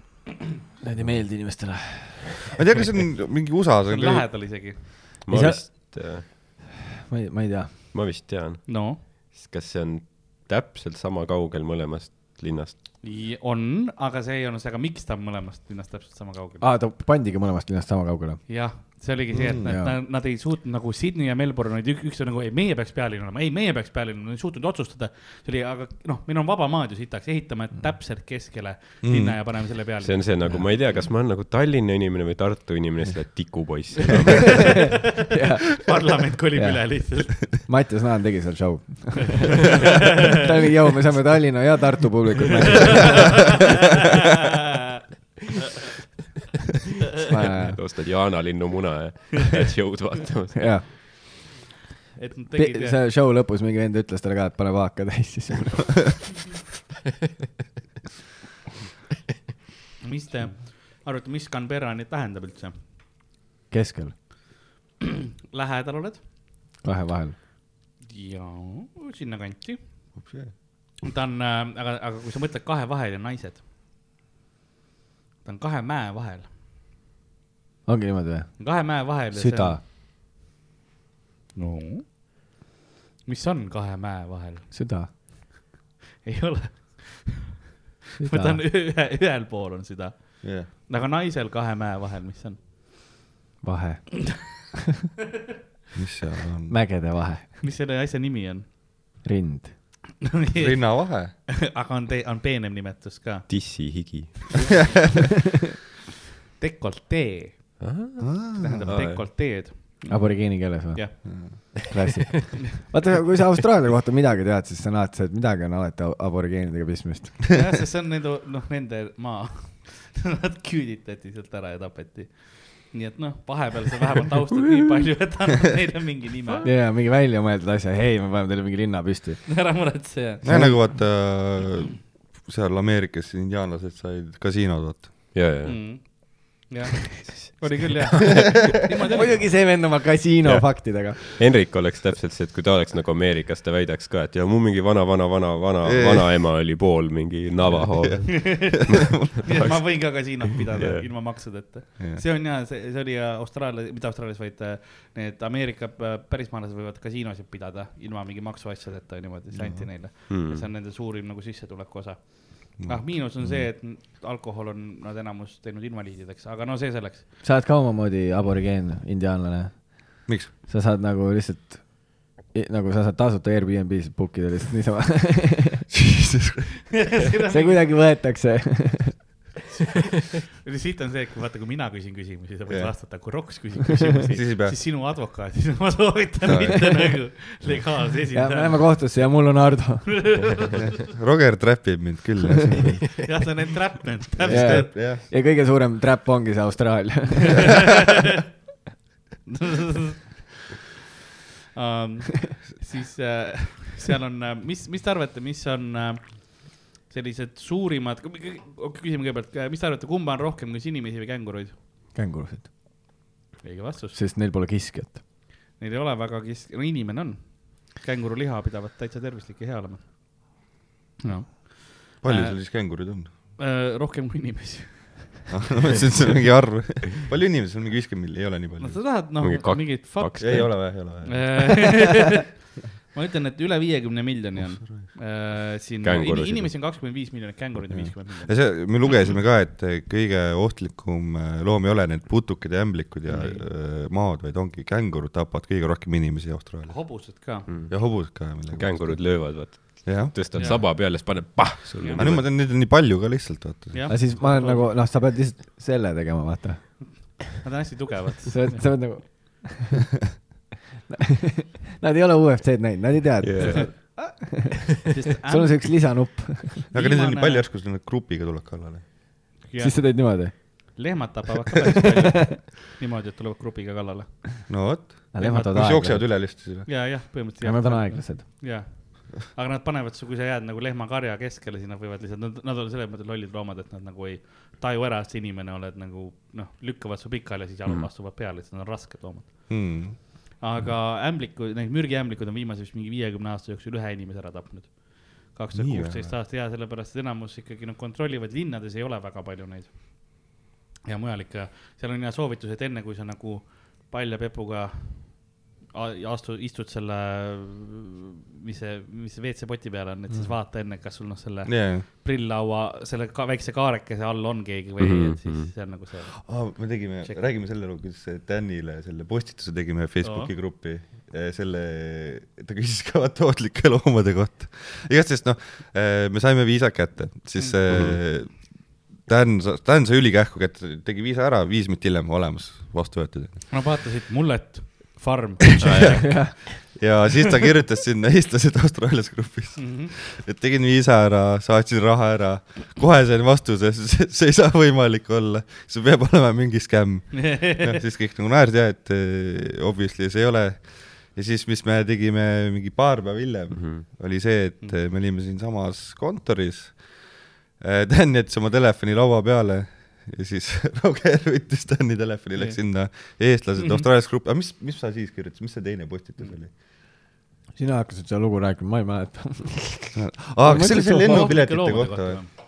Speaker 3: Need ei meeldi inimestele .
Speaker 2: ma ei tea , kas see on mingi USA-s
Speaker 1: see on
Speaker 2: ka .
Speaker 1: lähedal isegi .
Speaker 4: ma
Speaker 3: Ei, sa-
Speaker 4: vist ,
Speaker 3: ma ei , ma ei tea .
Speaker 4: ma vist tean ,
Speaker 1: no ,
Speaker 4: kas see on täpselt sama kaugel mõlemast linnast .
Speaker 1: on , aga see ei olnud see , aga miks ta on mõlemast linnast täpselt sama kaugel ?
Speaker 3: aa , ta pandigi mõlemast linnast sama kaugele .
Speaker 1: jah , see oligi see , et
Speaker 3: Mm,
Speaker 1: nad
Speaker 3: jaa.
Speaker 1: mm, , nad ei suutnud nagu Sydney ja Melbourne olid üks , üks on nagu , ei , meie peaks pealinn olema , ei , meie peaks pealinn olema , nad ei suutnud otsustada . see oli , aga noh , meil on vaba maad ju sitaks , ehitame täpselt keskele mm. linna ja paneme selle
Speaker 4: see
Speaker 1: pealinna .
Speaker 4: on see nagu , ma ei tea , kas ma olen nagu Tallinna inimene või Tartu inimene , seda tikupoiss .
Speaker 1: parlament kolib
Speaker 3: Jah.
Speaker 1: üle lihtsalt .
Speaker 3: Mattias Naan tegi seal show . ta oli , jõu , me saame Tallinna ja Tartu publikut mängida .
Speaker 4: ostad Jaana linnumuna ja lähed show'd vaatamas .
Speaker 3: jah ,
Speaker 1: et nad tegid see...
Speaker 3: see show lõpus mingi vend ütles talle ka , et pane vaaka täis siis .
Speaker 1: mis te arvate , mis Canberra nüüd tähendab üldse ?
Speaker 3: keskel ,
Speaker 1: lähedal oled ?
Speaker 3: kahe vahel .
Speaker 1: jaa , sinnakanti . ta on , aga , aga kui sa mõtled kahe vahel ja naised . ta on kahe mäe vahel ,
Speaker 3: ongi niimoodi või ?
Speaker 1: kahe mäe vahel .
Speaker 3: süda .
Speaker 1: no . mis on kahe mäe vahel ?
Speaker 3: süda .
Speaker 1: ei ole , ma tahan ühe , ühel pool on süda , aga naisel kahe mäe vahel , mis on ?
Speaker 3: vahe ,
Speaker 2: mis seal on ?
Speaker 3: mägede vahe ,
Speaker 1: mis selle asja nimi on ?
Speaker 3: rind .
Speaker 2: rinnavahe .
Speaker 1: aga on , on peenem nimetus ka ,
Speaker 4: tissihigi .
Speaker 1: dekoltee , tähendab
Speaker 4: Aa, jah.
Speaker 1: dekolteed ,
Speaker 3: aborigeeni keeles või ?
Speaker 1: Mm. jah .
Speaker 3: klassik . vaata , kui sa Austraalia kohta midagi tead , siis sa näed , et midagi on alati ab- aborigeenidega pistmist .
Speaker 1: jah , sest see on nende , noh , nende maa , nad küüditati sealt ära ja tapeti . nii et noh , vahepeal sa vähemalt austad nii palju , et annad neile mingi nime ,
Speaker 3: ja , ja mingi väljamõeldud asja , hei , me paneme teile mingi linna püsti .
Speaker 1: ära muretse ja
Speaker 2: jah , nagu vaata äh, seal Ameerikas indiaanlased said kasiinod , vaata .
Speaker 4: ja , ja .
Speaker 1: mm. . jah , oli küll jah .
Speaker 3: muidugi see vend oma kasiino faktidega .
Speaker 4: Henrik oleks täpselt see , et kui ta oleks nagu Ameerikas , ta väidaks ka , et ja mu mingi vana , vana , vana , vana ,
Speaker 2: Ei.
Speaker 4: vanaema oli pool mingi Navaho .
Speaker 1: ma võin ka kasiinot pidada
Speaker 4: Jah.
Speaker 1: yeah. ilma maksudeta
Speaker 2: Jah.
Speaker 1: yeah. . see on ja see , see oli ja Austraalia , mitte Austraalias , vaid äh, need Ameerika äh, pärismaalased võivad kasiinosid pidada ilma mingi maksuasjadeta ja niimoodi , see
Speaker 2: Mhm.
Speaker 1: anti neile mm. . see on nende suurim nagu sissetuleku osa . ah , miinus on
Speaker 2: Mhm.
Speaker 1: see , et n- alkohol on nad enamus teinud invaliidideks , aga no see selleks .
Speaker 3: sa oled ka omamoodi aborigeen , indiaanlane .
Speaker 2: miks ?
Speaker 3: sa saad nagu lihtsalt , nagu sa saad tasuta Airbnb-s book ida lihtsalt niisama . see kuidagi võetakse .
Speaker 1: siit on see , et kui vaata , kui mina küsin küsimusi , sa võid
Speaker 2: Jah.
Speaker 1: yeah. vastata , kui Roks küsib küsimusi ,
Speaker 2: Siis ei pea.
Speaker 1: siis sinu advokaadid , ma soovitan
Speaker 2: Aa,
Speaker 1: mitte nagu legaalse
Speaker 3: ja me läheme
Speaker 1: esindajana .
Speaker 3: kohtusse ja mul on Ardo .
Speaker 2: Roger trapib mind küll .
Speaker 1: jah , see on entrapment ,
Speaker 3: Jah.
Speaker 1: täpselt .
Speaker 2: jah ,
Speaker 3: ja kõige suurem trap ongi see Austraalia .
Speaker 1: um, siis äh, seal on , mis , mis te arvate , mis on äh, sellised suurimad , küsime kõigepealt , mis te arvate , kumba on rohkem , kas inimesi või känguruid ?
Speaker 3: kängurusid ,
Speaker 1: õige vastus ,
Speaker 3: sest neil pole kiskjat .
Speaker 1: neil ei ole väga kes- , no inimene on . känguruliha pidavat täitsa tervislik ja hea olema . noh ,
Speaker 2: palju
Speaker 1: Äh,
Speaker 2: seal siis kängurid on ?
Speaker 1: rohkem kui inimesi .
Speaker 2: ma mõtlesin , et see on mingi arv . palju inimesi on , mingi viiskümmend milli , ei ole nii
Speaker 1: no
Speaker 2: palju .
Speaker 1: sa tahad , noh
Speaker 4: Mingi , kak-
Speaker 1: mingit
Speaker 4: kaks-
Speaker 1: fakte .
Speaker 2: ei ole või , ei ole või ?
Speaker 1: Äh, ma ütlen , et üle viiekümne miljoni
Speaker 3: Oh,
Speaker 1: on äh, siin
Speaker 4: Kängurusid.
Speaker 1: in, inimesi on kakskümmend viis miljonit , känguruid on viiskümmend miljonit .
Speaker 2: ja see , me lugesime ka , et kõige ohtlikum äh, loom ei ole need putukad ja ämblikud ja äh, maod , vaid ongi kängurud tapavad kõige rohkem inimesi Austraalias .
Speaker 1: hobused ka mm. .
Speaker 2: ja hobused ka millegipärast .
Speaker 4: kängurud löövad , vaat ,
Speaker 2: jah ,
Speaker 4: tõstad
Speaker 1: Jaa.
Speaker 4: saba peale , siis paned pah , sul
Speaker 1: Jaa.
Speaker 2: aga nüüd ma
Speaker 4: on
Speaker 2: tean , neid on nii palju ka lihtsalt , vaata .
Speaker 1: jah
Speaker 3: aga , siis ma olen nagu , noh , sa pead lihtsalt selle tegema , vaata .
Speaker 1: nad on hästi tugevad .
Speaker 3: sa pead , sa pead nagu . Nad ei ole UFC-d näinud , nad ei tea
Speaker 4: Yeah.
Speaker 3: yeah. , sul on siukse lisanupp ,
Speaker 2: aga neid on nii palju , järsku sul need grupiga tulevad kallale .
Speaker 3: siis sa teed niimoodi .
Speaker 1: lehmad tapavad ka päris palju . niimoodi , et tulevad grupiga kallale .
Speaker 2: no vot ,
Speaker 3: Nad lehmatavad
Speaker 2: siis jooksevad
Speaker 3: aeglaselt .
Speaker 2: üle lihtsalt siis või ?
Speaker 1: ja , jah , põhimõtteliselt
Speaker 3: ja nad on . aeglased .
Speaker 1: jah , aga nad panevad su , kui sa jääd nagu lehmakarja keskele , siis nad võivad lihtsalt , nad , nad on selles mõttes lollid loomad , et nad nagu ei taju ära , et sa inimene oled nagu noh , lükkavad su pikali ja siis
Speaker 3: Mhm.
Speaker 1: jalad astuvad peale , et nad on rasked loomad .
Speaker 2: Hmm.
Speaker 1: aga ämblikud , need mürgiämblikud on viimase vist mingi viiekümne aasta jooksul ühe inimese ära tapnud . kaks tuhat
Speaker 2: Nii vähe
Speaker 1: kuusteist aastat ja sellepärast , et enamus ikkagi noh , kontrollivad linnades ei ole väga palju neid . ja mujal ikka , seal on hea soovitus , et enne kui sa nagu palja pepuga a- ja astu , istud selle , mis see , mis see WC-poti peal on , et
Speaker 2: Mhm.
Speaker 1: siis vaata enne , kas sul noh , selle
Speaker 2: jajah .
Speaker 1: prilllaua , selle ka väikse kaarekese all on keegi või
Speaker 2: Mhm,
Speaker 1: ei , et siis see on nagu see .
Speaker 2: aa , Ah, me tegime ,
Speaker 1: Check.
Speaker 2: räägime selle lugu , kuidas Danile selle postituse tegime Facebooki
Speaker 1: Aa.
Speaker 2: gruppi . selle , ta küsis ka vaata ohtlike loomade kohta . igatahes noh , me saime viisa kätte , siis eh, Dan , Dan sai ülikähku kätte , tegi viisa ära , viis minutit hiljem olemas , vastu võetud .
Speaker 1: no vaatasid mullet , farm .
Speaker 2: ja siis ta kirjutas sinna eestlased Austraalias grupis , et tegin viisa ära , saatsin raha ära , kohe sain vastuse , see ei saa võimalik olla , see peab olema mingi skämm . noh , siis kõik nagu naersid ja et eh, obviously see ei ole . ja siis , mis me tegime mingi paar päeva hiljem mm , -hmm. oli see , et eh, me olime siinsamas kontoris . Äh, Dan jättis oma telefoni laua peale ja siis Roger võttis Dani telefoni , läks sinna eestlased Austraalias gruppi , aga mis , mis sa siis kirjutasid , mis see teine postitus oli ?
Speaker 3: sina hakkasid seda lugu rääkima , ma ei mäleta .
Speaker 2: aa , kas see oli see lennupiletite kohta või ?? aa
Speaker 3: aa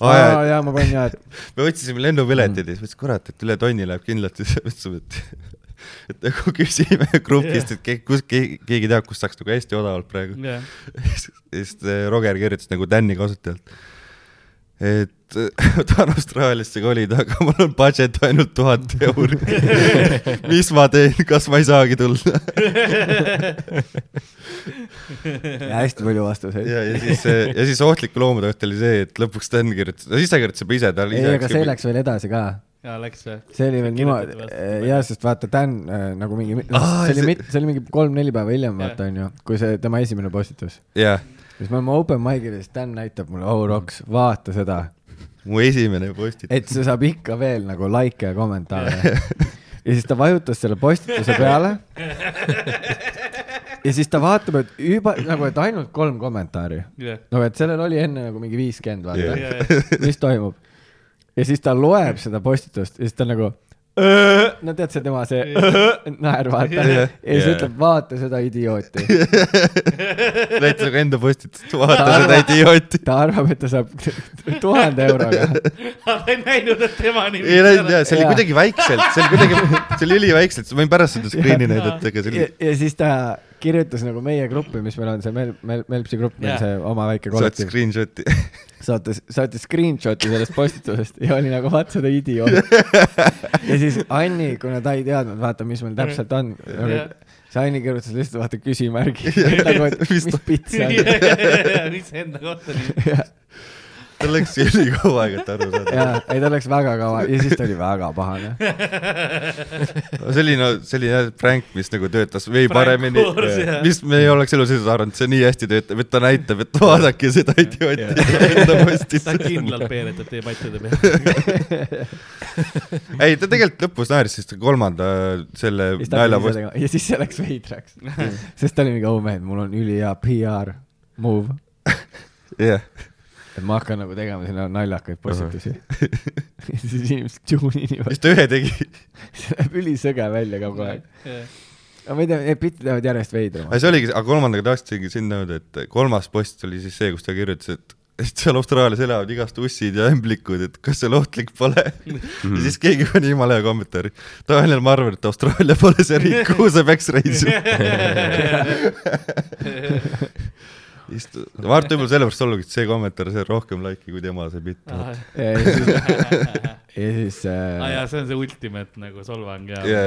Speaker 2: Ah, jaa , Mhm.
Speaker 3: jaa , ma panin jaa , et
Speaker 2: me otsisime lennupiletid ja siis mõtlesin , kurat , et üle tonni läheb kindlasti , siis mõtlesime , et et nagu küsime grupist , et ke- kus ke- keegi teab , kus saaks nagu hästi odavalt praegu .
Speaker 1: jah ,
Speaker 2: ja siis äh, Roger kirjutas nagu Tänni kasutajalt , et äh, tahan Austraaliasse kolida , aga mul on budget ainult tuhat euri . mis ma teen , kas ma ei saagi tulla ?
Speaker 3: ja hästi palju vastuseid .
Speaker 2: ja , ja siis , ja siis ohtliku loomade õht oli see , et lõpuks Tän kirjutas , siis ta kirjutas juba ise , ta
Speaker 3: ei , aga see läks veel edasi ka
Speaker 1: ja läks see .
Speaker 3: see oli veel niimoodi , jah , sest vaata , Dan äh, nagu mingi ,
Speaker 2: Aa,
Speaker 3: see oli
Speaker 2: see-
Speaker 3: mit- , see oli mingi kolm-neli päeva hiljem ,
Speaker 1: Jah.
Speaker 3: vaata onju , kui see tema esimene postitus .
Speaker 2: jah ,
Speaker 3: siis me oleme open mic'il ja siis Dan näitab mulle , oh Roks , vaata seda ,
Speaker 2: mu esimene postitus .
Speaker 3: et see saab ikka veel nagu likee ja kommentaare . ja siis ta vajutas selle postituse peale . ja siis ta vaatab , et juba nagu , et ainult kolm kommentaari .
Speaker 1: jah ,
Speaker 3: no et sellel oli enne nagu mingi viiskümmend , vaata
Speaker 1: Jah, jah.
Speaker 3: mis toimub . ja siis ta loeb seda postitust ja siis ta on nagu . no tead see tema see naer vaata ja siis
Speaker 4: Jah.
Speaker 3: ütleb , vaata seda idiooti .
Speaker 2: näita nagu enda postitust , vaata seda idiooti .
Speaker 3: ta arvab , et ta saab tuhande euroga .
Speaker 1: ma ei näinud , et tema nimi
Speaker 2: ei läinud jaa , see oli
Speaker 3: Jaa.
Speaker 2: kuidagi väikselt , see oli kuidagi , see oli üliväikselt , ma võin pärast seda screen'i näidata , aga see oli
Speaker 3: ja , ja siis ta kirjutas nagu meie gruppi , mis meil on see Mel- , Mel- , Melpsi grupp , meil
Speaker 1: Jah.
Speaker 3: see oma väike
Speaker 2: saad
Speaker 3: kollektiiv .
Speaker 2: screenshot'i .
Speaker 3: saates , saates screenshot'i sellest postitusest ja oli nagu vaata seda idioot . ja siis Anni , kuna ta ei teadnud , vaata , mis meil täpselt on ,
Speaker 2: Mhm.
Speaker 3: see Anni kirjutas lihtsalt vaata küsimärgi . nagu , et
Speaker 2: Mis
Speaker 3: mis pits see on .
Speaker 1: mis enda kohta nii .
Speaker 2: tal läks ülikaua aega , et aru saada .
Speaker 3: jaa , ei ta läks väga kaua ja siis ta oli väga pahane .
Speaker 2: see oli no , see oli jah prank , mis nagu töötas või
Speaker 1: Prank
Speaker 2: paremini
Speaker 1: wars, , jah.
Speaker 2: mis me ei oleks elu sees arvanud , see nii hästi töötab , et ta näitab , et vaadake seda idiooti enda
Speaker 1: ta
Speaker 2: postitust .
Speaker 1: kindlalt peeretab teie pattide peale .
Speaker 2: ei , ta tegelikult lõpus naeris , sest kolmanda selle nalja post- , Mhm.
Speaker 3: ja siis see läks veidraks . sest ta oli mingi , oh man , mul on ülihea PR move .
Speaker 2: jah .
Speaker 3: et ma hakkan nagu tegema sinna naljakaid postitusi ja siis inimesed tune in ivad
Speaker 2: siis . ta ühe tegi .
Speaker 3: see läheb ülisõge välja kogu aeg .
Speaker 1: jah .
Speaker 3: aga ma ei tea , need bitid lähevad järjest
Speaker 2: aga
Speaker 3: veidramaks .
Speaker 2: see oligi , aga kolmandaga tahtsingi sinna öelda , et kolmas post oli siis see , kus ta kirjutas , et et seal Austraalias elavad igast ussid ja ämblikud , et kas seal ohtlik pole mm . -hmm. ja siis keegi pani jumala hea kommentaari . Daniel , ma arvan , et Austraalia pole see riik , kuhu sa peaks reisima . Mart võib-olla sellepärast oligi , et see kommentaar sai rohkem laiki kui tema see bitt .
Speaker 3: ja siis , ja siis
Speaker 1: aa
Speaker 3: äh,
Speaker 1: jaa , see on see ultimate nagu solvang ja
Speaker 2: Jaa.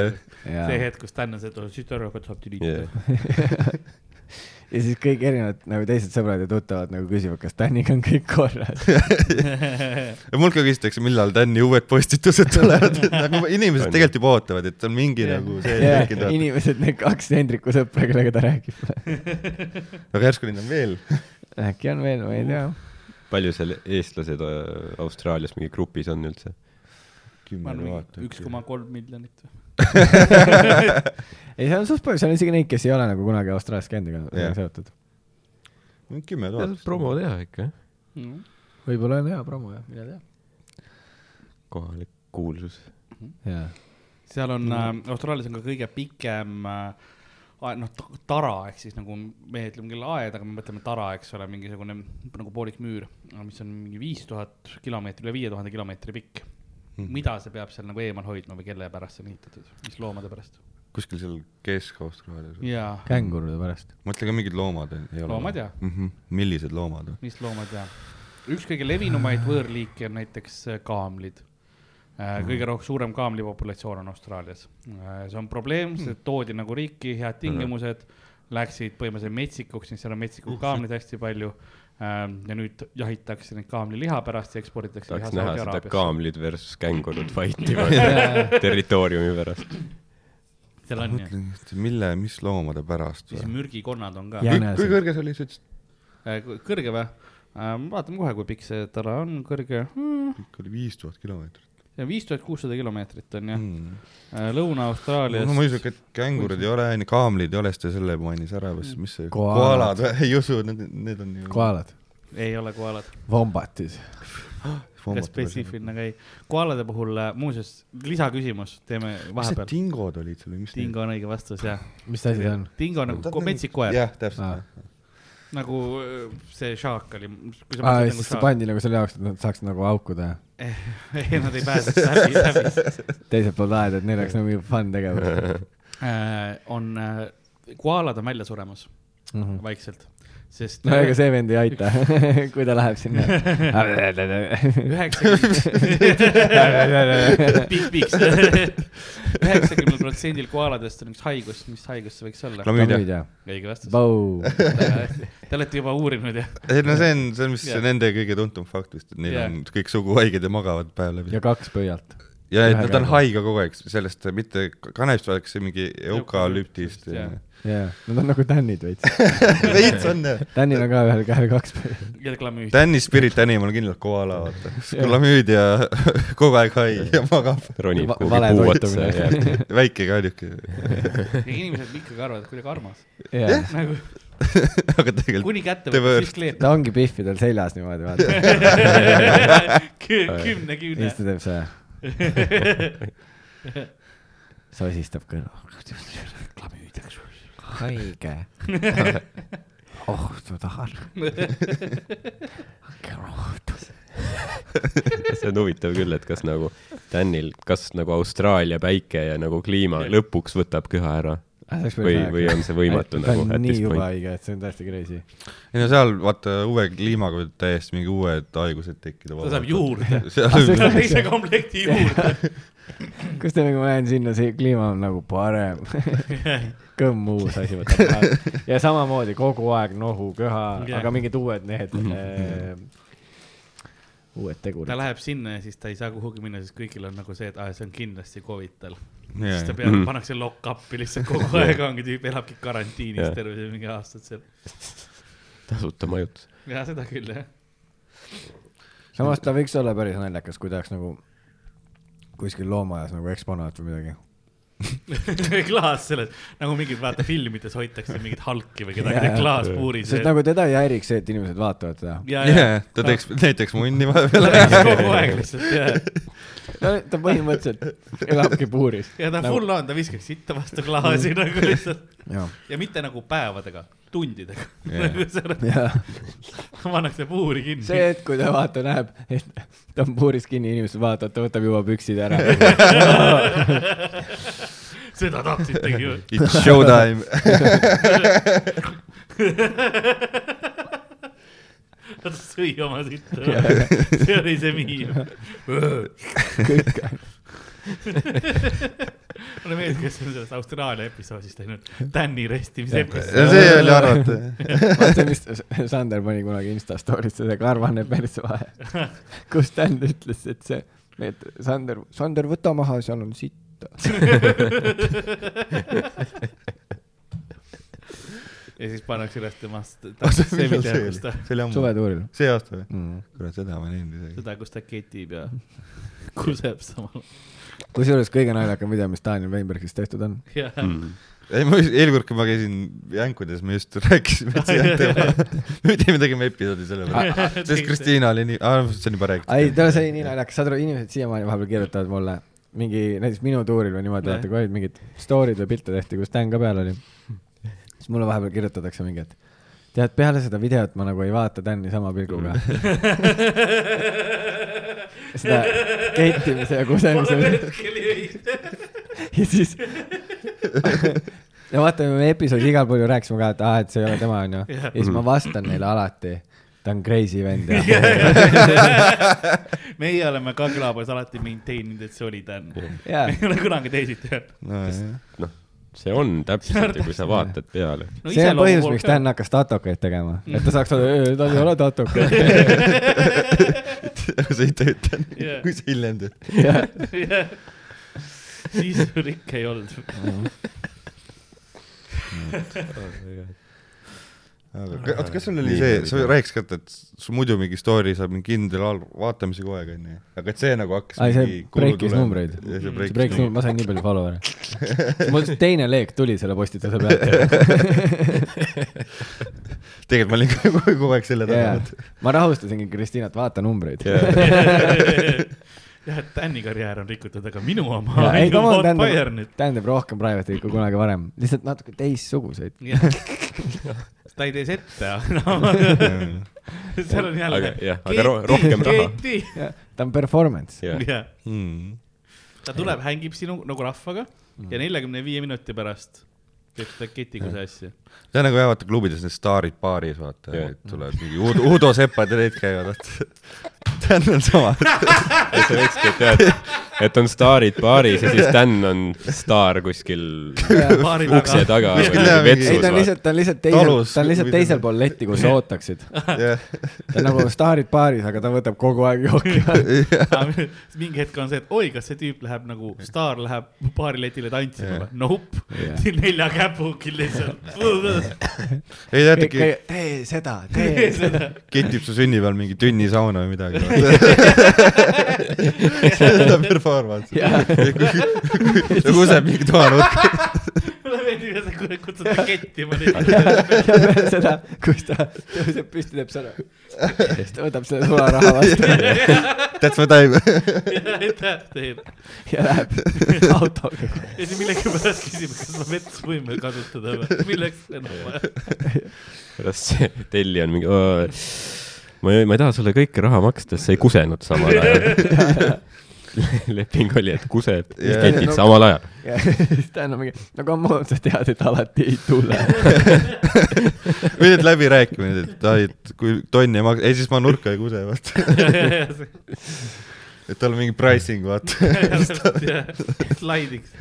Speaker 3: Jaa.
Speaker 1: see hetk , kus Dan on see , et oh, tütarrahvad saab tülitada
Speaker 4: Yeah.
Speaker 3: ja siis kõik erinevad nagu teised sõbrad ja tuttavad nagu küsivad , kas Täniga on kõik korras .
Speaker 2: ja mult ka küsitakse , millal Tänni uued postitused tulevad , nagu inimesed tegelikult juba ootavad , et on mingi
Speaker 1: Jah.
Speaker 2: nagu see
Speaker 3: Yeah,
Speaker 2: tekkinud vaata.
Speaker 3: inimesed , need kaks Hendriku sõpra , kellega ta räägib .
Speaker 2: aga järsku neid on veel .
Speaker 3: äkki on veel , ma ei tea .
Speaker 4: palju seal eestlased äh, Austraalias mingi grupis on üldse ?
Speaker 1: ma arvan , üks koma kolm miljonit .
Speaker 3: ei , seal on suht palju , seal on isegi neid , kes ei ole nagu kunagi Austraalias käinud ega
Speaker 2: Jah.
Speaker 3: yeah. seotud .
Speaker 2: kümme tuhat .
Speaker 4: promo teha ikka , jah .
Speaker 3: võib-olla on hea promo jah , mine tea .
Speaker 4: kohalik kuulsus .
Speaker 3: jaa ,
Speaker 1: seal on äh, , Austraalias on ka kõige pikem äh, aed- noh , tara ehk siis nagu meie ütleme küll aed , aga me mõtleme tara , eks ole , mingisugune nagu poolik müür , mis on mingi viis tuhat kilomeetrit , üle viie tuhande kilomeetri pikk . mida see peab seal nagu eemal hoidma või kelle pärast see on ehitatud , mis loomade pärast ?
Speaker 2: kuskil seal Kesk-Austraalias .
Speaker 1: jaa ,
Speaker 3: kängurude pärast .
Speaker 2: mõtle ka mingid loomad ei ole .
Speaker 1: Loomad, jah.
Speaker 2: mm . -hmm. millised loomad ?
Speaker 1: mis loomad ja , üks kõige
Speaker 2: Ah.
Speaker 1: levinumaid võõrliike on näiteks äh, kaamlid .
Speaker 2: Mm.
Speaker 1: kõige rohkem , suurem kaamlipopulatsioon on Austraalias . see on
Speaker 2: Mm.
Speaker 1: probleem , see toodi nagu riiki , head tingimused , läksid põhimõtteliselt metsikuks , siis seal on
Speaker 2: Mm.
Speaker 1: metsikud kaamlid hästi palju . ja nüüd jahitakse neid kaamliliha pärast ja eksporditakse liha
Speaker 4: tahaks näha seda
Speaker 1: Saudi-Araabiasse .
Speaker 4: kaamlid versus kängurud fighti vaata territooriumi pärast .
Speaker 1: seal on ju ,
Speaker 2: mõtlen , et mille , mis loomade pärast
Speaker 1: siis
Speaker 2: või ?
Speaker 1: mürgikonnad on ka Äh,
Speaker 3: Jah. . Jänesed.
Speaker 2: kui kõrge see oli , sa ütlesid ?
Speaker 1: kõrge või ? vaatame kohe , kui pikk see tara on , kõrge Hmm.
Speaker 2: kõik oli viis tuhat kilomeetrit .
Speaker 1: viis tuhat kuussada kilomeetrit on jah ,
Speaker 2: no
Speaker 1: Lõuna-Austraalias .
Speaker 2: Mm. ma ei usu , et kängurid ei ole , kaamlid ei ole , siis ta selle mainis ära , mis see ,
Speaker 3: Koalad.
Speaker 2: koalad või ? ei usu , need , need on ju .
Speaker 3: koalad ,
Speaker 1: ei ole koalad .
Speaker 3: vombatid .
Speaker 1: ka spetsiifiline , aga ei . koalade puhul äh, muuseas lisaküsimus , teeme
Speaker 2: mis need
Speaker 1: vahepeal .
Speaker 2: tingod olid seal või mis ?
Speaker 1: Dingo on õige vastus , jah .
Speaker 3: mis asi see on ?
Speaker 1: Dingo on nagu ko- metsik koer ,
Speaker 2: jah , täpselt .
Speaker 1: nagu äh, see šaak oli .
Speaker 3: aa , ja siis see pandi nagu selle jaoks , et nad saaks nagu haukuda ja
Speaker 1: ei , nad ei pääse läbi , läbi .
Speaker 3: teiselt poolt aeda , et neil oleks nagu mingi fun tegevus .
Speaker 1: Äh, on , koalad on välja suremas
Speaker 3: Mhm.
Speaker 1: vaikselt , sest .
Speaker 3: no ega see vend ei aita , kui ta läheb sinna .
Speaker 1: üheksakümmend , piiks , piiks . üheksakümnel protsendil koaladest on üks haigus , mis haigus see võiks olla ?
Speaker 2: klamüüdia .
Speaker 1: õige vastus .
Speaker 3: Vau ,
Speaker 1: Te olete juba uurinud jah ?
Speaker 2: ei no see on , see on vist
Speaker 1: Jah.
Speaker 2: yeah. nende kõige tuntum fakt vist , et neil
Speaker 1: Jah.
Speaker 2: yeah. on kõik suguhaiged ja magavad päev läbi
Speaker 3: ja . kaks pöialt .
Speaker 2: ja et
Speaker 3: ühe
Speaker 2: nad on
Speaker 3: käega.
Speaker 2: haige kogu aeg sellest , mitte kanepist , vaid kas see mingi eukalüptist
Speaker 1: Eukalüptist, jah. .
Speaker 3: jaa , nad on nagu tännid veits .
Speaker 2: veits on jah .
Speaker 3: tännil on ka ühel käel kaks pöialt .
Speaker 1: ja klamüüt .
Speaker 2: Danny Spirit Animal on kindlalt koala , vaata . klamüüdia kogu aeg hai ja magab .
Speaker 4: ronib
Speaker 3: Va-
Speaker 4: kuhugi
Speaker 3: vale
Speaker 4: puu otsa
Speaker 3: toitumine.
Speaker 4: ja jääb
Speaker 2: väike ka niuke ,
Speaker 1: inimesed ikkagi arvavad , et kuidagi armas .
Speaker 3: jaa ,
Speaker 1: nagu
Speaker 2: aga tegelikult
Speaker 1: kuni kätte
Speaker 2: The
Speaker 1: võtab ,
Speaker 2: worst.
Speaker 1: siis kleeb .
Speaker 3: ta ongi piffidel seljas niimoodi , vaata .
Speaker 1: kümne
Speaker 3: ja
Speaker 1: küüne
Speaker 3: siis . ta teeb see , sosistab kõrva .
Speaker 1: klamüüt , eks ju .
Speaker 3: haige . oh , ma tahan .
Speaker 4: see on huvitav küll , et kas nagu Tänil , kas nagu Austraalia päike ja nagu kliima lõpuks võtab köha ära
Speaker 3: Ah,
Speaker 4: või , või on see võimatu
Speaker 3: ta
Speaker 4: nagu
Speaker 3: on
Speaker 4: at
Speaker 3: nii
Speaker 4: this
Speaker 3: juba
Speaker 4: point ?
Speaker 3: haige , et see on täiesti crazy .
Speaker 2: ei no seal vaata uue kliimaga võib täiesti mingi uued haigused tekkida .
Speaker 1: ta saab . juurde .
Speaker 3: Ah,
Speaker 2: seal
Speaker 1: ta on teise komplekti juurde .
Speaker 3: kas te nagu , ma lähen sinna , see kliima on nagu parem . kõmm uus asi võtab ära . ja samamoodi kogu aeg nohu , köha
Speaker 1: Jah.
Speaker 3: yeah. , aga mingid uued need
Speaker 4: Mhm.
Speaker 3: äh, , uued
Speaker 1: ta
Speaker 3: tegurid .
Speaker 1: läheb sinna ja siis ta ei saa kuhugi minna , sest kõigil on nagu see , et aa , see on kindlasti Covid tal .
Speaker 2: Jaa,
Speaker 1: siis ta
Speaker 2: jaa.
Speaker 1: peab , pannakse lock-up'i lihtsalt kogu aeg ongi , tüüp elabki karantiinis
Speaker 4: Jah.
Speaker 1: terve see mingi aastad seal .
Speaker 4: tasuta majutus .
Speaker 1: ja seda küll jah .
Speaker 3: samas ta võiks olla päris naljakas , kui ta oleks nagu kuskil loomaaias nagu eksponaat või midagi .
Speaker 1: klaas selles , nagu mingid vaata filmides hoitakse mingit halki või kedagi yeah.
Speaker 3: Jaa.
Speaker 1: klaaspuuri
Speaker 3: sest nagu teda ei häiriks see , et inimesed vaatavad seda .
Speaker 1: ja , ja
Speaker 2: jaa , Ah. ta teeks , näiteks munni vahepeal
Speaker 1: ta . läks kogu aeg lihtsalt ja ,
Speaker 3: ta ta põhimõtteliselt elabki puuris .
Speaker 1: ja ta full on , ta viskaks sitta vastu klaasi nagu lihtsalt ja mitte nagu päevadega , tundidega yeah. . nagu selle ,
Speaker 3: jah ,
Speaker 1: pannakse puuri kinni .
Speaker 3: see hetk , kui ta vaata näeb , et ta on puuris kinni , inimesed vaatavad , ta võtab juba püksid ära .
Speaker 1: seda tahtsitegi ju .
Speaker 2: It's showtime .
Speaker 1: ta sõi oma sitta ära , see oli see miim .
Speaker 3: kõik ,
Speaker 1: mulle meeldib , kes on sellest Austraalia episoodist läinud , Tänni restimise
Speaker 2: ja
Speaker 1: episood .
Speaker 2: see oli arvata .
Speaker 3: vaata , mis Sander pani kunagi Insta story'st seda karvane perse vahe , kus Dan ütles , et see , et Sander , Sander , võta maha , seal on sitt .
Speaker 1: ja siis pannakse üles temast , see
Speaker 2: see
Speaker 1: video , kus ta ,
Speaker 2: oli ammu ,
Speaker 3: suvetuuril .
Speaker 2: see aasta või ? kurat , seda ma ei näinud isegi .
Speaker 1: seda , kus ta ketib ja kuseb samal
Speaker 3: kusjuures kõige naljakam video , mis Daniel Weinbergist tehtud on .
Speaker 1: ajal .
Speaker 2: Hmm. ei , ma just- eelkord , kui ma käisin jänkudes , me just rääkisime , et see on teema . me tegime , tegime episoodi selle peale , sest Kristiina oli nii , see on juba
Speaker 3: ei ,
Speaker 2: räägitud .
Speaker 3: tal see oli nii naljakas , saad aru , inimesed siiamaani vahepeal kirjutavad mulle mingi , näiteks minu tuuril või niimoodi ,
Speaker 1: Jah.
Speaker 3: vaata , kui olid mingid story'd või pilte tehti , kus Dan ka peal oli . siis mulle vahepeal kirjutatakse mingi , et tead , peale seda videot ma nagu ei vaata Dani sama pilguga .
Speaker 1: Mm.
Speaker 3: seda kettimise ja kusemise ja siis ja vaata , me episoodis igal pool ju rääkisime ka , et aa , et see ei ole tema , onju . ja siis
Speaker 1: Mhm.
Speaker 3: ma vastan neile alati , ta on crazy vend ja
Speaker 1: meie oleme Kaglabas alati maintain'inud , et see oli Dan . me
Speaker 3: jaa
Speaker 1: ei ole kunagi teisiti öelnud .
Speaker 4: noh , see on täpselt ju , kui sa vaatad peale .
Speaker 1: No
Speaker 3: see on
Speaker 1: iseloomu
Speaker 3: põhjus ,
Speaker 1: poolt
Speaker 3: miks
Speaker 1: ka.
Speaker 3: Dan hakkas tatokaid tegema , et ta saaks öelda , ta ei ole tatoka .
Speaker 2: sa ei tööta
Speaker 1: Jaa. ,
Speaker 2: kui sa hiljem teed .
Speaker 1: Jah. siis sul ikka ei olnud .
Speaker 2: aga ka- oota , kas sul oli see , sa rääkisid ka , et sul muidu mingi story saab mingi kindel al- vaatamise kogu aeg , onju . aga et see nagu hakkas .
Speaker 3: Ai, see breikis numbreid.
Speaker 1: Mm.
Speaker 2: see
Speaker 3: see
Speaker 2: breikis
Speaker 3: break ,
Speaker 2: numbreid .
Speaker 3: ma sain nii palju follower'e . mul teine leek tuli selle postituse pealt .
Speaker 2: tegelikult ma olin ka kogu kogu aeg selle taga
Speaker 3: jaa ., ma rahustasingi Kristiinat , vaata numbreid .
Speaker 1: jah , et Tänni karjäär on rikutud , aga minu oma
Speaker 3: ei ,
Speaker 1: on
Speaker 3: come on ,
Speaker 1: on
Speaker 3: Dan
Speaker 1: fire
Speaker 3: teeb
Speaker 1: nüüd .,
Speaker 3: Dan teeb rohkem private'i kui kunagi varem , lihtsalt natuke teistsuguseid .
Speaker 1: ta ei tee sette no. . seal on jälle .
Speaker 4: Aga jah, aga ro- rohkem raha. .
Speaker 3: ta on performance .
Speaker 4: jah ,
Speaker 1: jah ,
Speaker 2: Hmm.
Speaker 1: ta tuleb , hängib sinu nagu rahvaga ja neljakümne viie minuti pärast teeb seda ketikuse asja .
Speaker 2: see on nagu jah , vaata klubides need staarid baaris , vaata
Speaker 4: Jah. ,
Speaker 2: tuleb mingi Udo , Udo Sepad ja need käivad , vaata . Dan on sama .
Speaker 4: et sa võikski , et jah , et on staarid baaris ja siis Dan on staar kuskil ukse taga või
Speaker 2: Kuskil jah,
Speaker 4: mingi
Speaker 2: mingi-
Speaker 3: ei ,
Speaker 4: vetsus
Speaker 3: ta on
Speaker 4: vaata .
Speaker 3: lihtsalt , ta on lihtsalt teisel ,
Speaker 2: Talus.
Speaker 3: ta on lihtsalt teisel pool letti , kus sa ootaksid . ta on nagu staarid baaris , aga ta võtab kogu aeg jooki .
Speaker 1: mingi hetk on see , et oi , kas see tüüp läheb nagu , staar läheb baariletile tantsima või ? Nope ,
Speaker 3: Jah.
Speaker 1: nelja käpugi lihtsalt .
Speaker 2: ei ta äkki
Speaker 3: tee seda , tee seda .
Speaker 2: ketib su sünnipäeval mingi tünnisauna või midagi . see on ta performance . ja kuseb mingi toanurka .
Speaker 1: mulle meeldib , et sa kutsud ta kettima lihtsalt .
Speaker 3: ja peale seda , kus ta tõuseb püsti , teeb sõna . siis ta võtab selle sularaha vastu
Speaker 2: That's my time .
Speaker 1: aitäh teile .
Speaker 3: ja läheb autoga .
Speaker 1: ja siis millegipärast küsime , kas me vett võime kasutada või , milleks enam vaja .
Speaker 4: pärast see tellija on mingi , ma ei , ma ei taha sulle kõike raha maksta , sest sa ei kusenud samal ajal . leping oli , et kuseb ,
Speaker 2: Jaa.
Speaker 4: ketid samal ajal .
Speaker 3: ja siis ta on mingi , no come on , sa tead , et alati ei tule .
Speaker 2: või need läbirääkimised , et ai , et kui tonni ei maksa , ei siis ma nurka ei kuse , vaata . et tal on mingi pricing , vaata .
Speaker 1: slaidiks .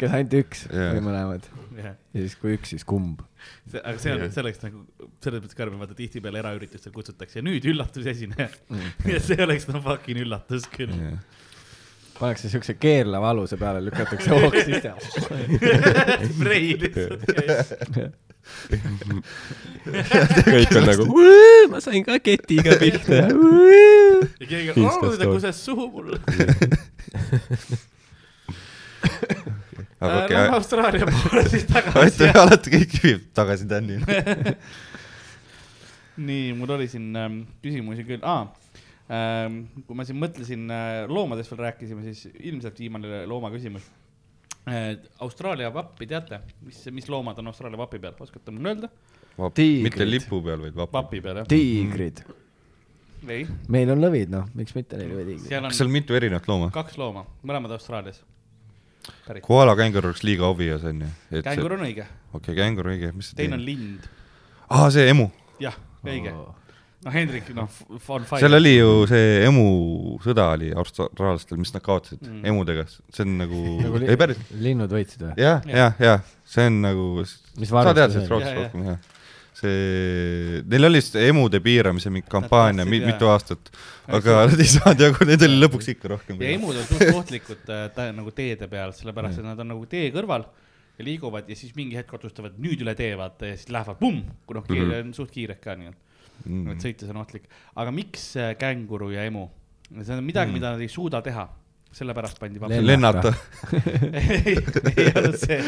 Speaker 3: kas ainult üks
Speaker 2: Jaa.
Speaker 3: või mõlemad ? ja siis , kui üks , siis kumb ?
Speaker 1: see , aga see on selleks nagu , selles mõttes karm , vaata tihtipeale eraüritustel kutsutakse ja nüüd üllatusesineja .
Speaker 3: Mm.
Speaker 1: ja see oleks no fucking üllatus küll .
Speaker 3: pannakse siukse keerlava aluse peale , lükatakse hoog sisse .
Speaker 1: Frei lihtsalt käis .
Speaker 4: kõik on nagu , ma sain ka ketiga pihta .
Speaker 1: ja keegi , oo , ta
Speaker 4: Instastory.
Speaker 1: kuses suhu mulle .
Speaker 2: aga okei
Speaker 1: Äh, Lähme Austraalia poole siis tagasi
Speaker 2: okay, . alati kõik viib tagasi Tänini .
Speaker 1: nii , mul oli siin ähm, küsimusi küll ah, , ähm, kui ma siin mõtlesin äh, , loomadest veel rääkisime , siis ilmselt viimane looma küsimus äh, . Austraalia vappi teate , mis , mis loomad on Austraalia vapi peal , oskate mulle öelda ?
Speaker 2: mitte lipu peal , vaid vapa .
Speaker 1: vapi peal jah ?
Speaker 3: tiigrid .
Speaker 1: ei ,
Speaker 3: meil on lõvid , noh , miks mitte neil või tiigrid .
Speaker 1: seal on
Speaker 2: kas seal on mitu erinevat looma ?
Speaker 1: kaks looma , mõlemad Austraalias . pärit ,
Speaker 2: koala känguru oleks liiga obvious onju .
Speaker 1: kängur on õige ,
Speaker 2: okei , kängur õige , mis see
Speaker 1: teine on ? lind ,
Speaker 2: aa , see emu .
Speaker 1: jah , õige . no Hendrik , noh , on fine .
Speaker 2: seal oli ju see emu sõda oli austraallastel , mis nad kaotasid
Speaker 1: Mm.
Speaker 2: mm. emudega , see on nagu
Speaker 3: Nagu , li-
Speaker 2: ei päris ,
Speaker 3: linnud võitsid või ?
Speaker 2: jah ,
Speaker 1: Jah.
Speaker 2: jah , jah , see on nagu ,
Speaker 3: Mis
Speaker 2: sa tead
Speaker 3: varustus
Speaker 2: sellest
Speaker 1: oli?
Speaker 2: rootslast
Speaker 1: Jah, jah.
Speaker 2: rohkem , jah . see , neil oli see emude piiramise mingi kampaania
Speaker 1: tahtsid,
Speaker 2: mi,
Speaker 1: jah.
Speaker 2: mitu aastat , aga nad ei saanud jagu , neid oli lõpuks ikka rohkem .
Speaker 1: ja emud on suht ohtlikud äh, tä- nagu teede peal , sellepärast et nad on nagu tee kõrval ja liiguvad ja siis mingi hetk otsustavad nüüd üle tee vaata ja siis lähevad pumm , kui noh , keel
Speaker 3: Mhm.
Speaker 1: on suht kiired ka nii-öelda ,
Speaker 2: Mm.
Speaker 1: et sõites on ohtlik . aga miks äh, känguru ja emu ? see on
Speaker 3: Mhm.
Speaker 1: midagi , mida nad ei suuda teha , sellepärast pandi vaba .
Speaker 2: lennata .
Speaker 1: ei ei olnud see ,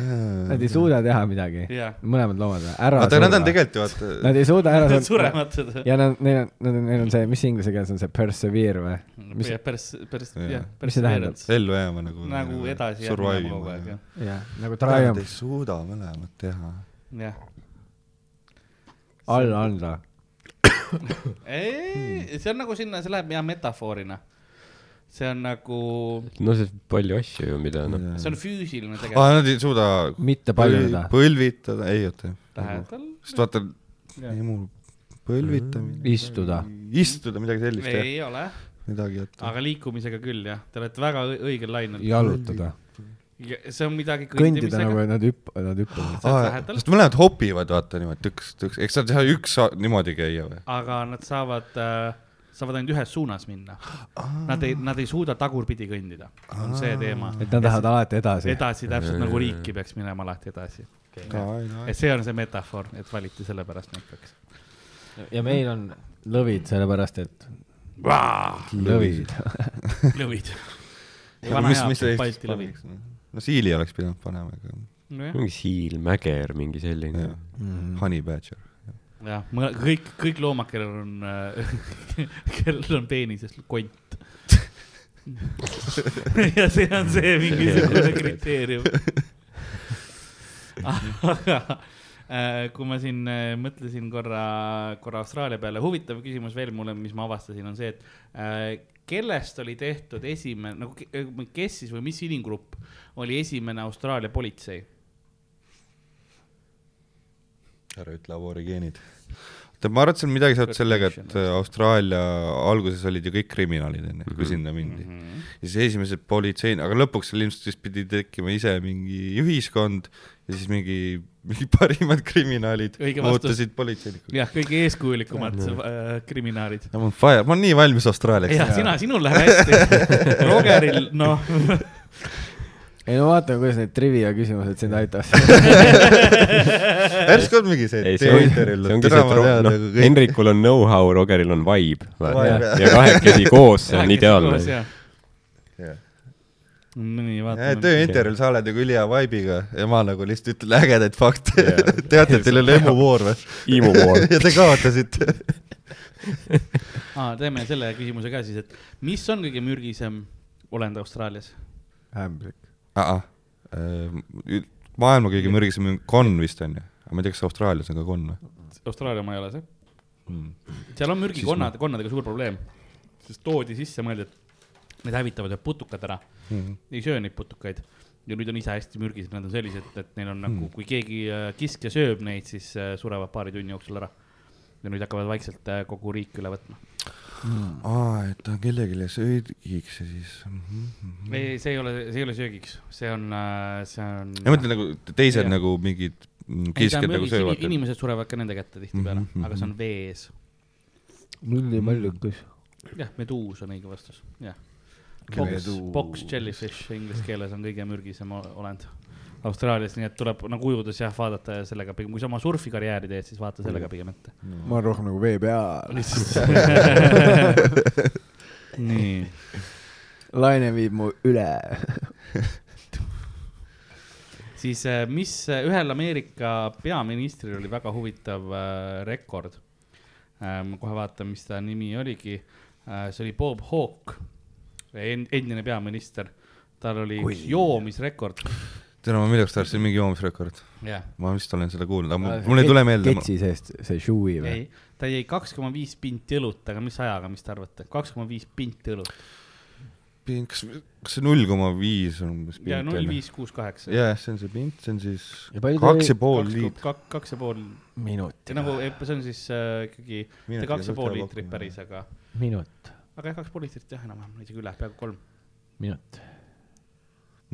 Speaker 3: Nad ei suuda teha midagi .
Speaker 1: jah .
Speaker 3: mõlemad loomad või ? ära
Speaker 2: oota , nad on . tegelikult ju vaata ,
Speaker 3: Nad ei suuda ära
Speaker 1: Nad . surevad seda .
Speaker 3: ja nad , neil on , nad on , neil on see , mis inglise keeles on see persevere või ? mis ,
Speaker 1: päris , päris ,
Speaker 2: Jah.
Speaker 1: jah .
Speaker 3: Mis see tähendab? ?
Speaker 2: ellu jääma nagu .
Speaker 1: nagu edasi jääb
Speaker 2: survive
Speaker 1: minema kogu
Speaker 2: ima
Speaker 1: aeg ,
Speaker 2: ja .
Speaker 1: jah .
Speaker 3: jah , nagu
Speaker 2: Nad ei
Speaker 3: triumph ,
Speaker 2: suuda mõlemat teha .
Speaker 1: jah .
Speaker 3: alla anda .
Speaker 1: ei , see on nagu sinna , see läheb hea metafoorina . see on nagu ,
Speaker 4: no see palju asju ju , mida noh ,
Speaker 1: see on füüsiline
Speaker 2: aa
Speaker 1: tegevus ,
Speaker 2: Ah, nad ei suuda
Speaker 3: mitte paljunda .
Speaker 2: põlvitada , ei oota ,
Speaker 1: lähedal .
Speaker 2: sest vaata ,
Speaker 1: Jah.
Speaker 2: emu põlvitamine ,
Speaker 3: istuda .
Speaker 2: istuda midagi sellist , jah ,
Speaker 1: ei ole ,
Speaker 2: midagi , et
Speaker 1: aga liikumisega küll jah , te olete väga õi- õigel lainel .
Speaker 3: jalutada .
Speaker 1: see on midagi
Speaker 3: kõndida
Speaker 1: kõndimisega
Speaker 3: nagu , et nad hüpp- , nad hüppavad .
Speaker 1: saad
Speaker 2: Aa,
Speaker 1: lähedal.
Speaker 2: sest mõlemad hopivad , vaata niimoodi tõks , tõks , eks nad saa üks saa- niimoodi käia või ?
Speaker 1: aga nad saavad äh, , saavad ainult ühes suunas minna . Nad ei , nad ei suuda tagurpidi kõndida , on see teema .
Speaker 3: et nad lähevad alati edasi .
Speaker 1: edasi täpselt nagu riiki peaks minema alati edasi . et see on see metafoor , et valiti sellepärast näiteks .
Speaker 3: ja meil on lõvid , sellepärast et lõvid .
Speaker 1: lõvid .
Speaker 2: mis , mis see Eestis pannakse ? no siili oleks pidanud panema , aga
Speaker 1: nojah ,
Speaker 4: mingi siilmäger , mingi selline
Speaker 2: jah. . honey badger .
Speaker 1: jah , kõik , kõik loomad , kellel on äh, , kellel on peenises kont . ja see on see mingisugune kriteerium . aga äh, kui ma siin äh, mõtlesin korra , korra Austraalia peale , huvitav küsimus veel mulle , mis ma avastasin , on see , et äh, kellest oli tehtud esimene , nagu ke- kes siis või mis inimgrupp oli esimene Austraalia politsei ?
Speaker 2: ära ütle aborigeenid . oota , ma arvan , et see on midagi sealt sellega , et äh, Austraalia alguses olid ju kõik kriminaalid onju ,
Speaker 1: Mhm,
Speaker 2: kui sinna mindi mm . -hmm. ja siis esimesed politsei , aga lõpuks seal ilmselt siis pidi tekkima ise mingi ühiskond ja siis mingi , mingi parimad kriminaalid
Speaker 1: Õige vastus.
Speaker 2: muutusid politseinikuks .
Speaker 1: jah , kõige eeskujulikumad äh, kriminaalid .
Speaker 2: ma olen fire , ma olen nii valmis Austraaliaks .
Speaker 1: jah , sina , sinul läheb hästi . Rogeril , noh ,
Speaker 3: ei no vaatame , kuidas need trivia küsimused sind aitavad .
Speaker 2: järsku on mingi see
Speaker 4: ei , see on , see
Speaker 2: teoteril ,
Speaker 4: ongi see ,
Speaker 2: täna
Speaker 4: et
Speaker 2: ma
Speaker 4: ro-
Speaker 2: tean
Speaker 4: noh
Speaker 2: nagu , kõik .
Speaker 4: Henrikul on know-how , Rogeril on vibe .
Speaker 2: Vibe,
Speaker 4: ja kahekesi koos , see on ideaalne .
Speaker 1: nii , vaatame .
Speaker 2: tööintervjuul sa oled nagu ülihea vibe'iga ja ma nagu lihtsalt ütlen ägedaid fakte . teate , et teil oli emuvoor või ?
Speaker 4: Imu pool .
Speaker 2: ja te kaotasite .
Speaker 1: aa , teeme selle küsimuse ka siis , et mis on kõige mürgisem olend Austraalias ?
Speaker 3: ämblik .
Speaker 2: Ah, maailma kõige mürgisem on konn vist onju , aga ma ei tea , kas Austraalias on ka konn või ?
Speaker 1: Austraalia oma ei ole see .
Speaker 2: Hmm.
Speaker 1: seal on mürgikonnad , konnadega suur probleem , sest toodi sisse , mõeldi , et need hävitavad need putukad ära
Speaker 2: Hmm.
Speaker 1: mm. , ei söö neid putukaid ja nüüd on ise hästi mürgised , nad on sellised , et neil on
Speaker 2: Hmm.
Speaker 1: nagu , kui keegi äh, kiskja sööb neid , siis äh, surevad paari tunni jooksul ära . ja nüüd hakkavad vaikselt äh, kogu riik üle võtma .
Speaker 2: aa , et ta on kellelegi söögiks ja siis . mhm. Hmm.
Speaker 1: ei , see ei ole , see ei ole söögiks , see on , see on .
Speaker 2: ma mõtlen nagu teised
Speaker 1: Jah.
Speaker 2: ja. nagu mingid mm, kiskjad nagu söövad .
Speaker 1: inimesed surevad ka nende kätte tihtipeale mm , -hmm. aga see on vees .
Speaker 3: mulli mõllukus .
Speaker 1: jah , meduus on õige vastus , jah . Box ,
Speaker 2: Meduus.
Speaker 1: box jellyfish inglise keeles on kõige mürgisem o- olend Austraalias , nii et tuleb nagu ujudes jah vaadata ja sellega pigem , kui sa oma surfikarjääri teed , siis vaata sellega pigem ette .
Speaker 3: ma olen rohkem nagu vee peal .
Speaker 1: nii ,
Speaker 3: laine viib mu üle .
Speaker 1: siis äh, mis äh, ühel Ameerika peaministril oli väga huvitav äh, rekord äh, . ma kohe vaatan , mis ta nimi oligi äh, . see oli Bob Hawke en , endine peaminister . tal oli üks joomisrekord .
Speaker 2: täna ma millegipärast arvasin mingi joomisrekord .
Speaker 1: jah ,
Speaker 2: ma vist olen seda kuulnud , aga mul- mul ei tule meelde .
Speaker 3: ketsi seest see Shui või ?
Speaker 1: ei , ta jäi kaks koma viis pinti õlut , aga mis ajaga , mis te arvate , kaks koma viis pinti õlut
Speaker 2: kas , kas see null koma viis on umbes
Speaker 1: ja
Speaker 2: pint
Speaker 1: null
Speaker 2: veel ?
Speaker 1: viis kuus kaheksa .
Speaker 2: jah , see on see pint , see on siis
Speaker 3: Ja palju ta oli?
Speaker 2: kaks ja pool liit- .
Speaker 1: kaks , kaks ja pool ,
Speaker 3: minut ,
Speaker 1: nagu see on siis äh, ikkagi mitte kaks ja pool liitrit päris , aga ,
Speaker 3: minut ,
Speaker 1: aga jah , kaks pool liitrit jah , enam-vähem , isegi üle , peaaegu kolm .
Speaker 3: minut ,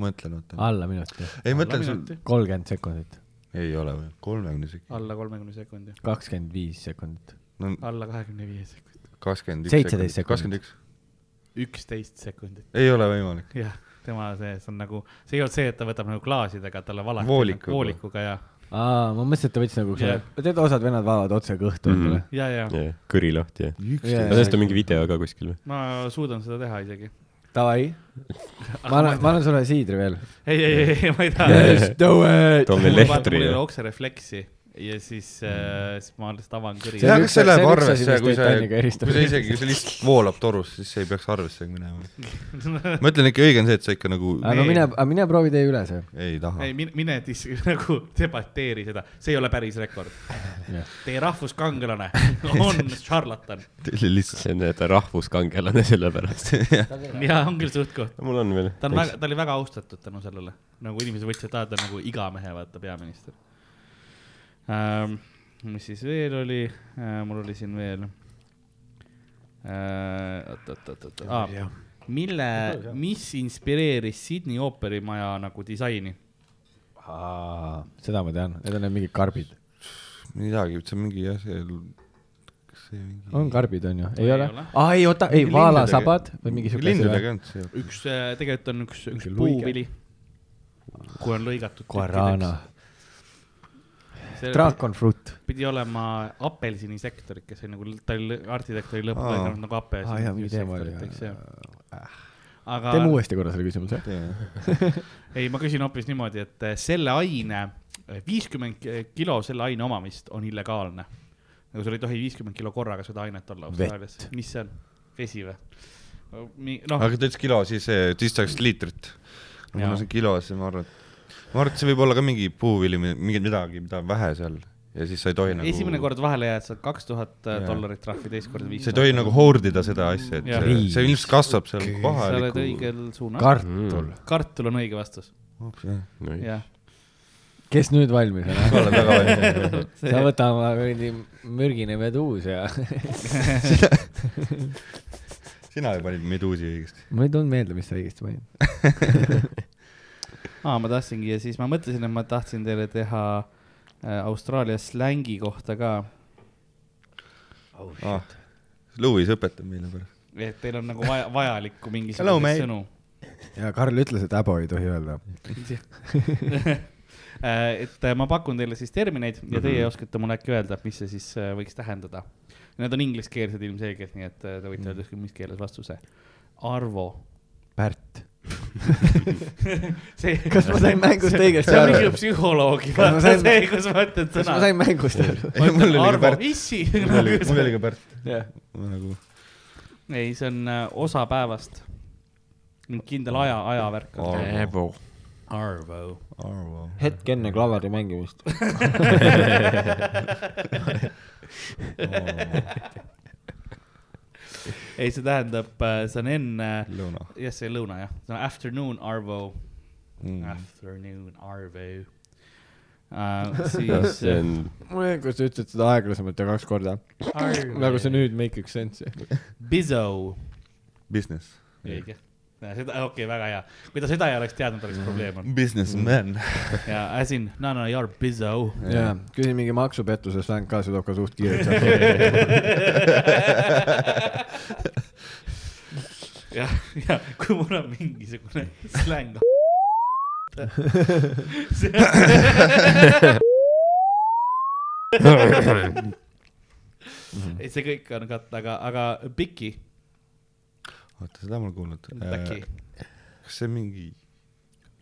Speaker 2: mõtlen , oota .
Speaker 3: alla minuti ,
Speaker 2: ei , mõtlen sul ,
Speaker 3: kolmkümmend sekundit ,
Speaker 2: ei ole või , kolmekümne sekund ,
Speaker 1: alla kolmekümne sekundi ,
Speaker 3: kakskümmend viis sekundit ,
Speaker 2: no
Speaker 1: alla kahekümne viie sekundi ,
Speaker 2: kakskümmend üks .
Speaker 3: 17 sekundit.
Speaker 2: kakskümmend üks ,
Speaker 1: üksteist sekundit ,
Speaker 2: ei ole võimalik .
Speaker 1: jah , tema sees on nagu , see ei olnud see , et ta võtab nagu klaasidega talle valati ,
Speaker 2: Voolikuga.
Speaker 1: voolikuga ja ,
Speaker 3: aa , ma mõtlesin , et ta võttis nagu
Speaker 1: Jah.
Speaker 3: yeah. , tead , osad vennad vaevavad otse kõhtu mm -hmm.
Speaker 1: ja , ja
Speaker 4: jah , kõri lahti jah .
Speaker 3: Jaa,
Speaker 4: aga sellest on mingi video ka kuskil või ?
Speaker 1: ma suudan seda teha isegi .
Speaker 3: endale . Davai , ma annan , ma annan sulle siidri veel .
Speaker 1: ei , ei , ei , ei , ma ei taha .
Speaker 3: do it .
Speaker 4: toome lehtri
Speaker 1: mul ei ole
Speaker 4: ja
Speaker 1: okserefleksi ja siis äh, , siis ma alles tavan kõri .
Speaker 3: See on
Speaker 2: jah ,
Speaker 3: üks-
Speaker 2: kas see
Speaker 3: see
Speaker 2: läheb
Speaker 3: on üks asi,
Speaker 2: arvesse ,
Speaker 3: mis
Speaker 2: kui
Speaker 3: Titaniga
Speaker 2: see ,
Speaker 3: eristab.
Speaker 2: kui see isegi , kui see lihtsalt voolab torus , siis see ei peaks arvesse minema . ma ütlen ikka , õige on see , et sa ikka nagu
Speaker 3: aga no
Speaker 1: Ei.
Speaker 3: mine , aga mine proovi tee üle see .
Speaker 2: ei taha
Speaker 1: ei ,. mine , mine dis- , nagu debateeri seda , see ei ole päris rekord . Teie rahvuskangelane on šarlatan
Speaker 2: teil lihtsalt
Speaker 4: see on ta rahvuskangelane sellepärast .
Speaker 1: ja on küll suht-koht .
Speaker 4: mul on veel .
Speaker 1: ta on väga , ta oli väga austatud tänu sellele , nagu inimesed võtsid ta , ta on nagu iga mehe vaata peaminister ähm, . mis siis veel oli äh, , mul oli siin veel äh, . oot , oot , oot , oot , aa , mille , mis inspireeris Sydney ooperimaja nagu disaini ?
Speaker 3: seda ma tean , need on need mingid karbid .
Speaker 2: midagi , see on mingi jah , see , kas see mingi .
Speaker 3: on karbid , on ju ?
Speaker 1: Ei
Speaker 3: ei ole
Speaker 1: ole. ?
Speaker 3: aa , ei oota , ei ,
Speaker 2: Lindudega-
Speaker 3: vaalasabad või mingi siuke .
Speaker 2: lindudega . on see .
Speaker 1: üks , tegelikult on üks , üks
Speaker 3: Mingi luige.
Speaker 1: puuvili , kui on lõigatud .
Speaker 3: Guarana ,. draakon fruit .
Speaker 1: pidi olema apelsinisektorid , kes oli nagu , ta oli , arhitekt oli
Speaker 2: Aa.
Speaker 1: lõppenud nagu
Speaker 3: aa jaa , mingi teema oli .
Speaker 1: apelsinisektoriteks ja . aga
Speaker 3: teeme uuesti korra selle küsimuse .
Speaker 1: ei , ma küsin hoopis niimoodi , et eh, selle aine , viiskümmend kilo selle aine omamist on illegaalne . nagu sul ei tohi viiskümmend kilo korraga seda ainet olla Austraalias . mis see on , vesi või ? noh ,
Speaker 2: aga ta ütles kilo , siis see , siis ta oleks liitrit . kuna
Speaker 1: Jaa.
Speaker 2: see on kilo , siis ma arvan , et ma arvan , et see võib olla ka mingi puuvili , mingi midagi , mida on vähe seal ja siis sa ei tohi nagu .
Speaker 1: esimene . kord vahele jääd , saad kaks tuhat eh,
Speaker 2: Jaa.
Speaker 1: dollarit trahvi , teist korda viis .
Speaker 2: sa ei tohi nagu hoordida seda asja , et
Speaker 1: Jaa.
Speaker 2: see, see ilmselt kasvab seal
Speaker 1: sa oled
Speaker 2: kohaliku .
Speaker 1: õigel suunal .
Speaker 3: kartul .
Speaker 2: Mm.
Speaker 1: kartul on õige vastus , jah .
Speaker 3: kes nüüd valmis on ?
Speaker 2: sa oled väga valmis .
Speaker 3: sa võta oma kuradi mürgine meduus ja .
Speaker 2: sina ju panid meduusi õigesti .
Speaker 3: ma ei tulnud meelde , mis sa õigesti panid .
Speaker 1: aa , ma tahtsingi ja siis ma mõtlesin , et ma tahtsin teile teha äh, Austraalia slängi kohta ka , Oh,
Speaker 2: Ah, Louis õpetab meile pärast .
Speaker 1: et teil on nagu vaja , vajalikku
Speaker 2: Hello,
Speaker 1: mingisuguseid
Speaker 2: mate.
Speaker 1: sõnu .
Speaker 3: ja Karl ütles , et äbo ei tohi öelda .
Speaker 1: et äh, ma pakun teile siis termineid ja teie
Speaker 3: Mhm.
Speaker 1: oskate mulle äkki öelda , mis see siis äh, võiks tähendada . Need on ingliskeelsed ilmselgelt , nii et äh, te
Speaker 3: Mhm.
Speaker 1: võite öelda ükskõik mis keeles vastuse . arvo .
Speaker 3: Pärt .
Speaker 1: see ,
Speaker 3: kas ma sain mängust õigesti
Speaker 1: see on mingi
Speaker 3: aru ?
Speaker 1: psühholoogi ,
Speaker 3: Kas ma
Speaker 1: vaata
Speaker 3: sain-
Speaker 1: see , kus ma ütlen
Speaker 3: kas ma
Speaker 1: sõna .
Speaker 3: sain mängust aru ?
Speaker 2: Mul
Speaker 1: ma
Speaker 2: oli
Speaker 1: ütlen
Speaker 2: ka
Speaker 1: arvo nagu-
Speaker 2: Pärt. ,
Speaker 1: issi .
Speaker 2: mul oli , mul oli ka Pärt .
Speaker 3: jah ,
Speaker 2: ma nagu ,
Speaker 1: ei , see on äh, osa päevast . kindel aja , ajavärk on see .
Speaker 4: Evo .
Speaker 1: Arvo .
Speaker 2: arvo .
Speaker 3: hetk enne klavari mängimist .
Speaker 1: ei , see tähendab , see on äh, enne ,
Speaker 2: lõuna .
Speaker 1: jah , see on lõuna jah , see on afternoon Arvo mm. , afternoon Arvo uh, . siis
Speaker 4: see on ,
Speaker 3: mul jäi , kui sa ütlesid seda aeglasemalt ja kaks korda .
Speaker 1: Arvo.
Speaker 3: nagu see nüüd make iks sense'i .
Speaker 1: Bizzo .
Speaker 2: Business .
Speaker 1: õige , seda , okei okay, , väga hea , kui ta seda ei oleks teadnud , oleks probleem olnud
Speaker 2: Businessman .
Speaker 1: Mm. ja as in , no no you are Bizzo .
Speaker 3: jaa , küsi mingi maksupettuse släng ka , see toob ka suht kiirelt saama .
Speaker 1: jah , ja kui mul on mingisugune släng . ei , see kõik on katta , aga , aga Piki ,
Speaker 2: oota , seda ma olen kuulnud .
Speaker 1: Päki ,
Speaker 2: kas see on mingi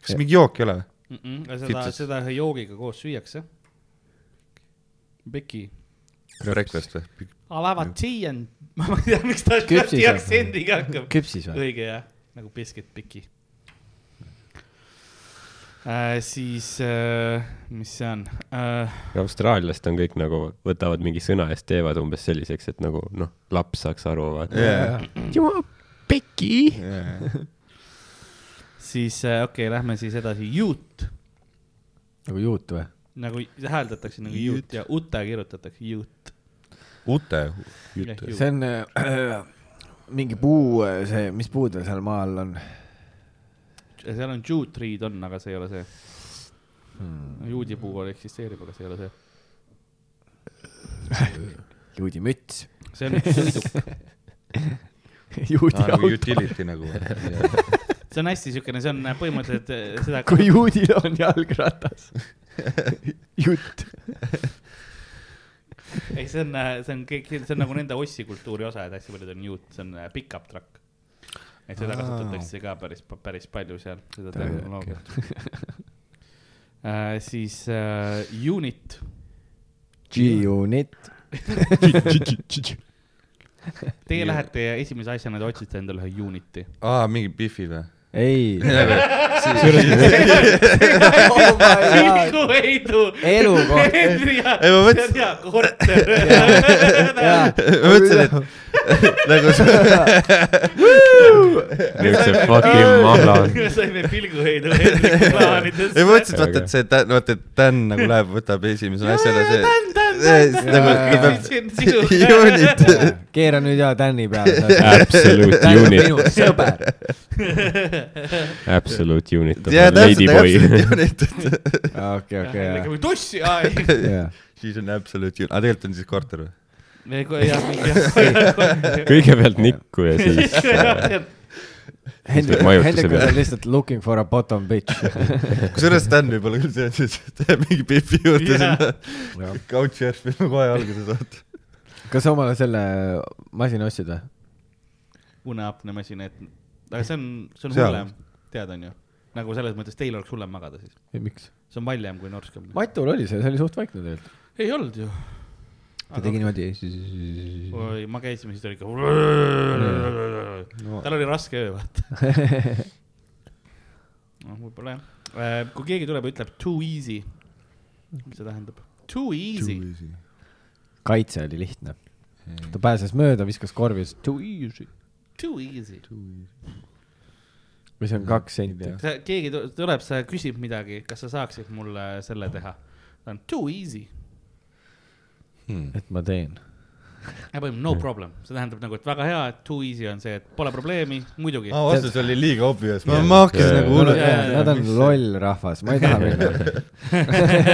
Speaker 2: kas mingi jook ei ole või ?
Speaker 1: seda ,
Speaker 2: Fitses.
Speaker 1: seda ühe joogiga koos süüakse . Beki .
Speaker 2: Breakfast või ?
Speaker 1: Alavatšiien . ma ei tea , miks ta
Speaker 6: Küpsis
Speaker 1: Läti
Speaker 6: või?
Speaker 1: aktsendiga hakkab .
Speaker 6: küpsis või ?
Speaker 1: õige jah , nagu biscuit piki äh, . siis äh, , mis see on äh, ?
Speaker 4: Austraaliast on kõik nagu , võtavad mingi sõna ja siis teevad umbes selliseks , et nagu noh , laps saaks aru , vaata . jumal , peki .
Speaker 1: siis äh, okei okay, , lähme siis edasi , juut .
Speaker 6: nagu juut või ?
Speaker 1: nagu see hääldatakse nagu juut ja ute kirjutatakse juut .
Speaker 2: Ute .
Speaker 3: see on äh, mingi puu , see , mis puudel seal maa all on ?
Speaker 1: seal on juut triid on , aga see ei ole see hmm. . juudipuu
Speaker 3: Mm.
Speaker 1: oli- eksisteerib , aga see ei ole see .
Speaker 3: juudi müts .
Speaker 1: see on üks sõiduk ,
Speaker 3: juudi
Speaker 2: aa , nagu
Speaker 3: auto .
Speaker 2: utility nagu .
Speaker 1: see on hästi siukene , see on põhimõtteliselt äh, seda .
Speaker 3: kui juudil on jalgratas . jutt .
Speaker 1: ei , see on , see on kõik , see on nagu nende ossikultuuri osa , et hästi paljud on juut , see on äh, pickup truck . et seda kasutatakse ka päris , päris palju seal , seda tehnoloogiat . Äh, siis äh, unit ,
Speaker 3: G-unit .
Speaker 1: teie lähete ja esimese asjana te otsite endale ühe unit'i .
Speaker 2: aa , Ah, mingi Biffi või ?
Speaker 6: ei ,
Speaker 1: Vilgu Heidu .
Speaker 6: elukoht .
Speaker 2: Ei, ma mõtlesin- .
Speaker 1: jaa , korter .
Speaker 2: ma mõtlesin , et nagu see
Speaker 4: niisuguse fucking mahla .
Speaker 1: me saime Vilgu Heidu Hendrik plaanidest .
Speaker 2: ei ma mõtlesin , et vaata , et see Dan , vaata , et Dan nagu läheb , võtab esimese asjana see . nagu ta peab juunit .
Speaker 6: keera nüüd ja Tänni peale .
Speaker 4: Absolute
Speaker 6: Tän on minu
Speaker 4: unit ,
Speaker 6: sõber .
Speaker 4: absolute unit .
Speaker 2: jaa , täpselt ,
Speaker 4: Ladyboy
Speaker 2: täpselt . juunit , et
Speaker 6: okei , okei ,
Speaker 1: kui tossi , aa ei .
Speaker 6: jah .
Speaker 2: siis on absolute juunit , aga tegelikult on siis korter või ?
Speaker 1: me kohe jah , mingi .
Speaker 4: kõigepealt nikku ja siis
Speaker 6: Hendrik , Hendrik on
Speaker 4: majutuse peale.
Speaker 6: seal lihtsalt looking for a bottom bitch .
Speaker 2: kusjuures Dan võib-olla küll see , et siis teeb mingi Biffi juurde
Speaker 1: Jaa.
Speaker 2: sinna . Couchsurf võib kohe alguses vaata .
Speaker 6: kas sa omale selle masina ostsid või ?
Speaker 1: uneapne masin , et , aga see on , see on
Speaker 2: Seal.
Speaker 1: hullem , tead , onju . nagu selles mõttes teil oleks hullem magada siis ,
Speaker 6: miks ?
Speaker 1: see on valjem kui norskamine .
Speaker 6: Matul oli see , see oli suht vaikne tegelikult .
Speaker 1: ei olnud ju .
Speaker 6: ta tegi niimoodi .
Speaker 1: oi , ma käisin , siis ta oli ikka . tal oli raske öö , vaata . noh , võib-olla jah . kui keegi tuleb ja ütleb too easy , mis see tähendab ? Too easy ,
Speaker 6: kaitse oli lihtne . ta pääses mööda , viskas korvi , ütles too easy .
Speaker 1: too easy .
Speaker 6: või see on kaks senti .
Speaker 1: sa , keegi tu- tuleb , sa küsib midagi , kas sa saaksid mulle selle teha ? ta on too easy ,
Speaker 6: et ma teen .
Speaker 1: põhimõtteliselt no problem , see tähendab nagu , et väga hea , et too easy on see , et pole probleemi , muidugi .
Speaker 2: aa , vastus oli liiga obvious . ma , ma hakkasin
Speaker 4: Jaa.
Speaker 2: nagu
Speaker 1: Mul
Speaker 2: hullult
Speaker 1: on- jaa, jaa,
Speaker 6: Nad on loll rahvas , ma ei taha minna .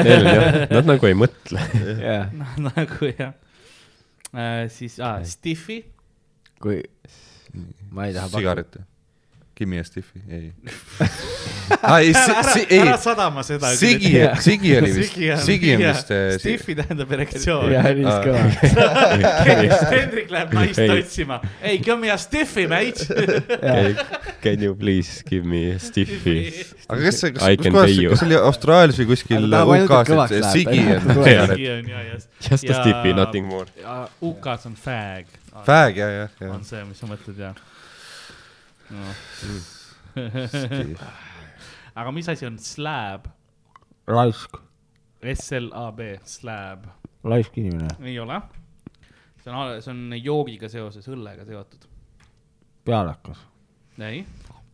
Speaker 4: Nel, jah. Nad nagu ei mõtle .
Speaker 1: noh , nagu jah äh, . siis ah, , Stiffi ,
Speaker 6: kui , ma ei taha .
Speaker 2: sigaret . Gimme a stiffi , ei ah, . ei , ei ,
Speaker 1: ära sadama seda .
Speaker 2: Sigi , Sigi oli vist , Sigi on vist .
Speaker 1: Stiffi tähendab erektsioon .
Speaker 3: ja nii
Speaker 2: Aa.
Speaker 3: kõva .
Speaker 1: Hendrik läheb naist
Speaker 4: Ei.
Speaker 1: otsima . ei , come here Stiffi , mate .
Speaker 4: Can you please give me stiffi ?
Speaker 2: aga kas see , kas
Speaker 4: I ,
Speaker 2: kus
Speaker 4: can
Speaker 2: kohas
Speaker 4: pay , you.
Speaker 2: kas see oli Austraalias või kuskil
Speaker 6: Aga ta vajutad
Speaker 2: UK-s , et
Speaker 6: kõvaks
Speaker 2: see
Speaker 6: läheb,
Speaker 2: Sigi
Speaker 6: ta
Speaker 2: on
Speaker 6: vajutad
Speaker 2: sigaret .
Speaker 1: Sigi on ja , ja .
Speaker 4: Just a stiffi , nothing more .
Speaker 1: more . UK-s on fag .
Speaker 2: Fag , jah , jah ,
Speaker 1: on
Speaker 2: jah .
Speaker 1: see , mis sa mõtled ja no. . aga mis asi on slab ?
Speaker 6: laisk ,
Speaker 1: S L A B , slab .
Speaker 6: laisk inimene ,
Speaker 1: ei ole . see on , see on joogiga seoses , õllega seotud .
Speaker 6: pealakas ,
Speaker 1: ei ,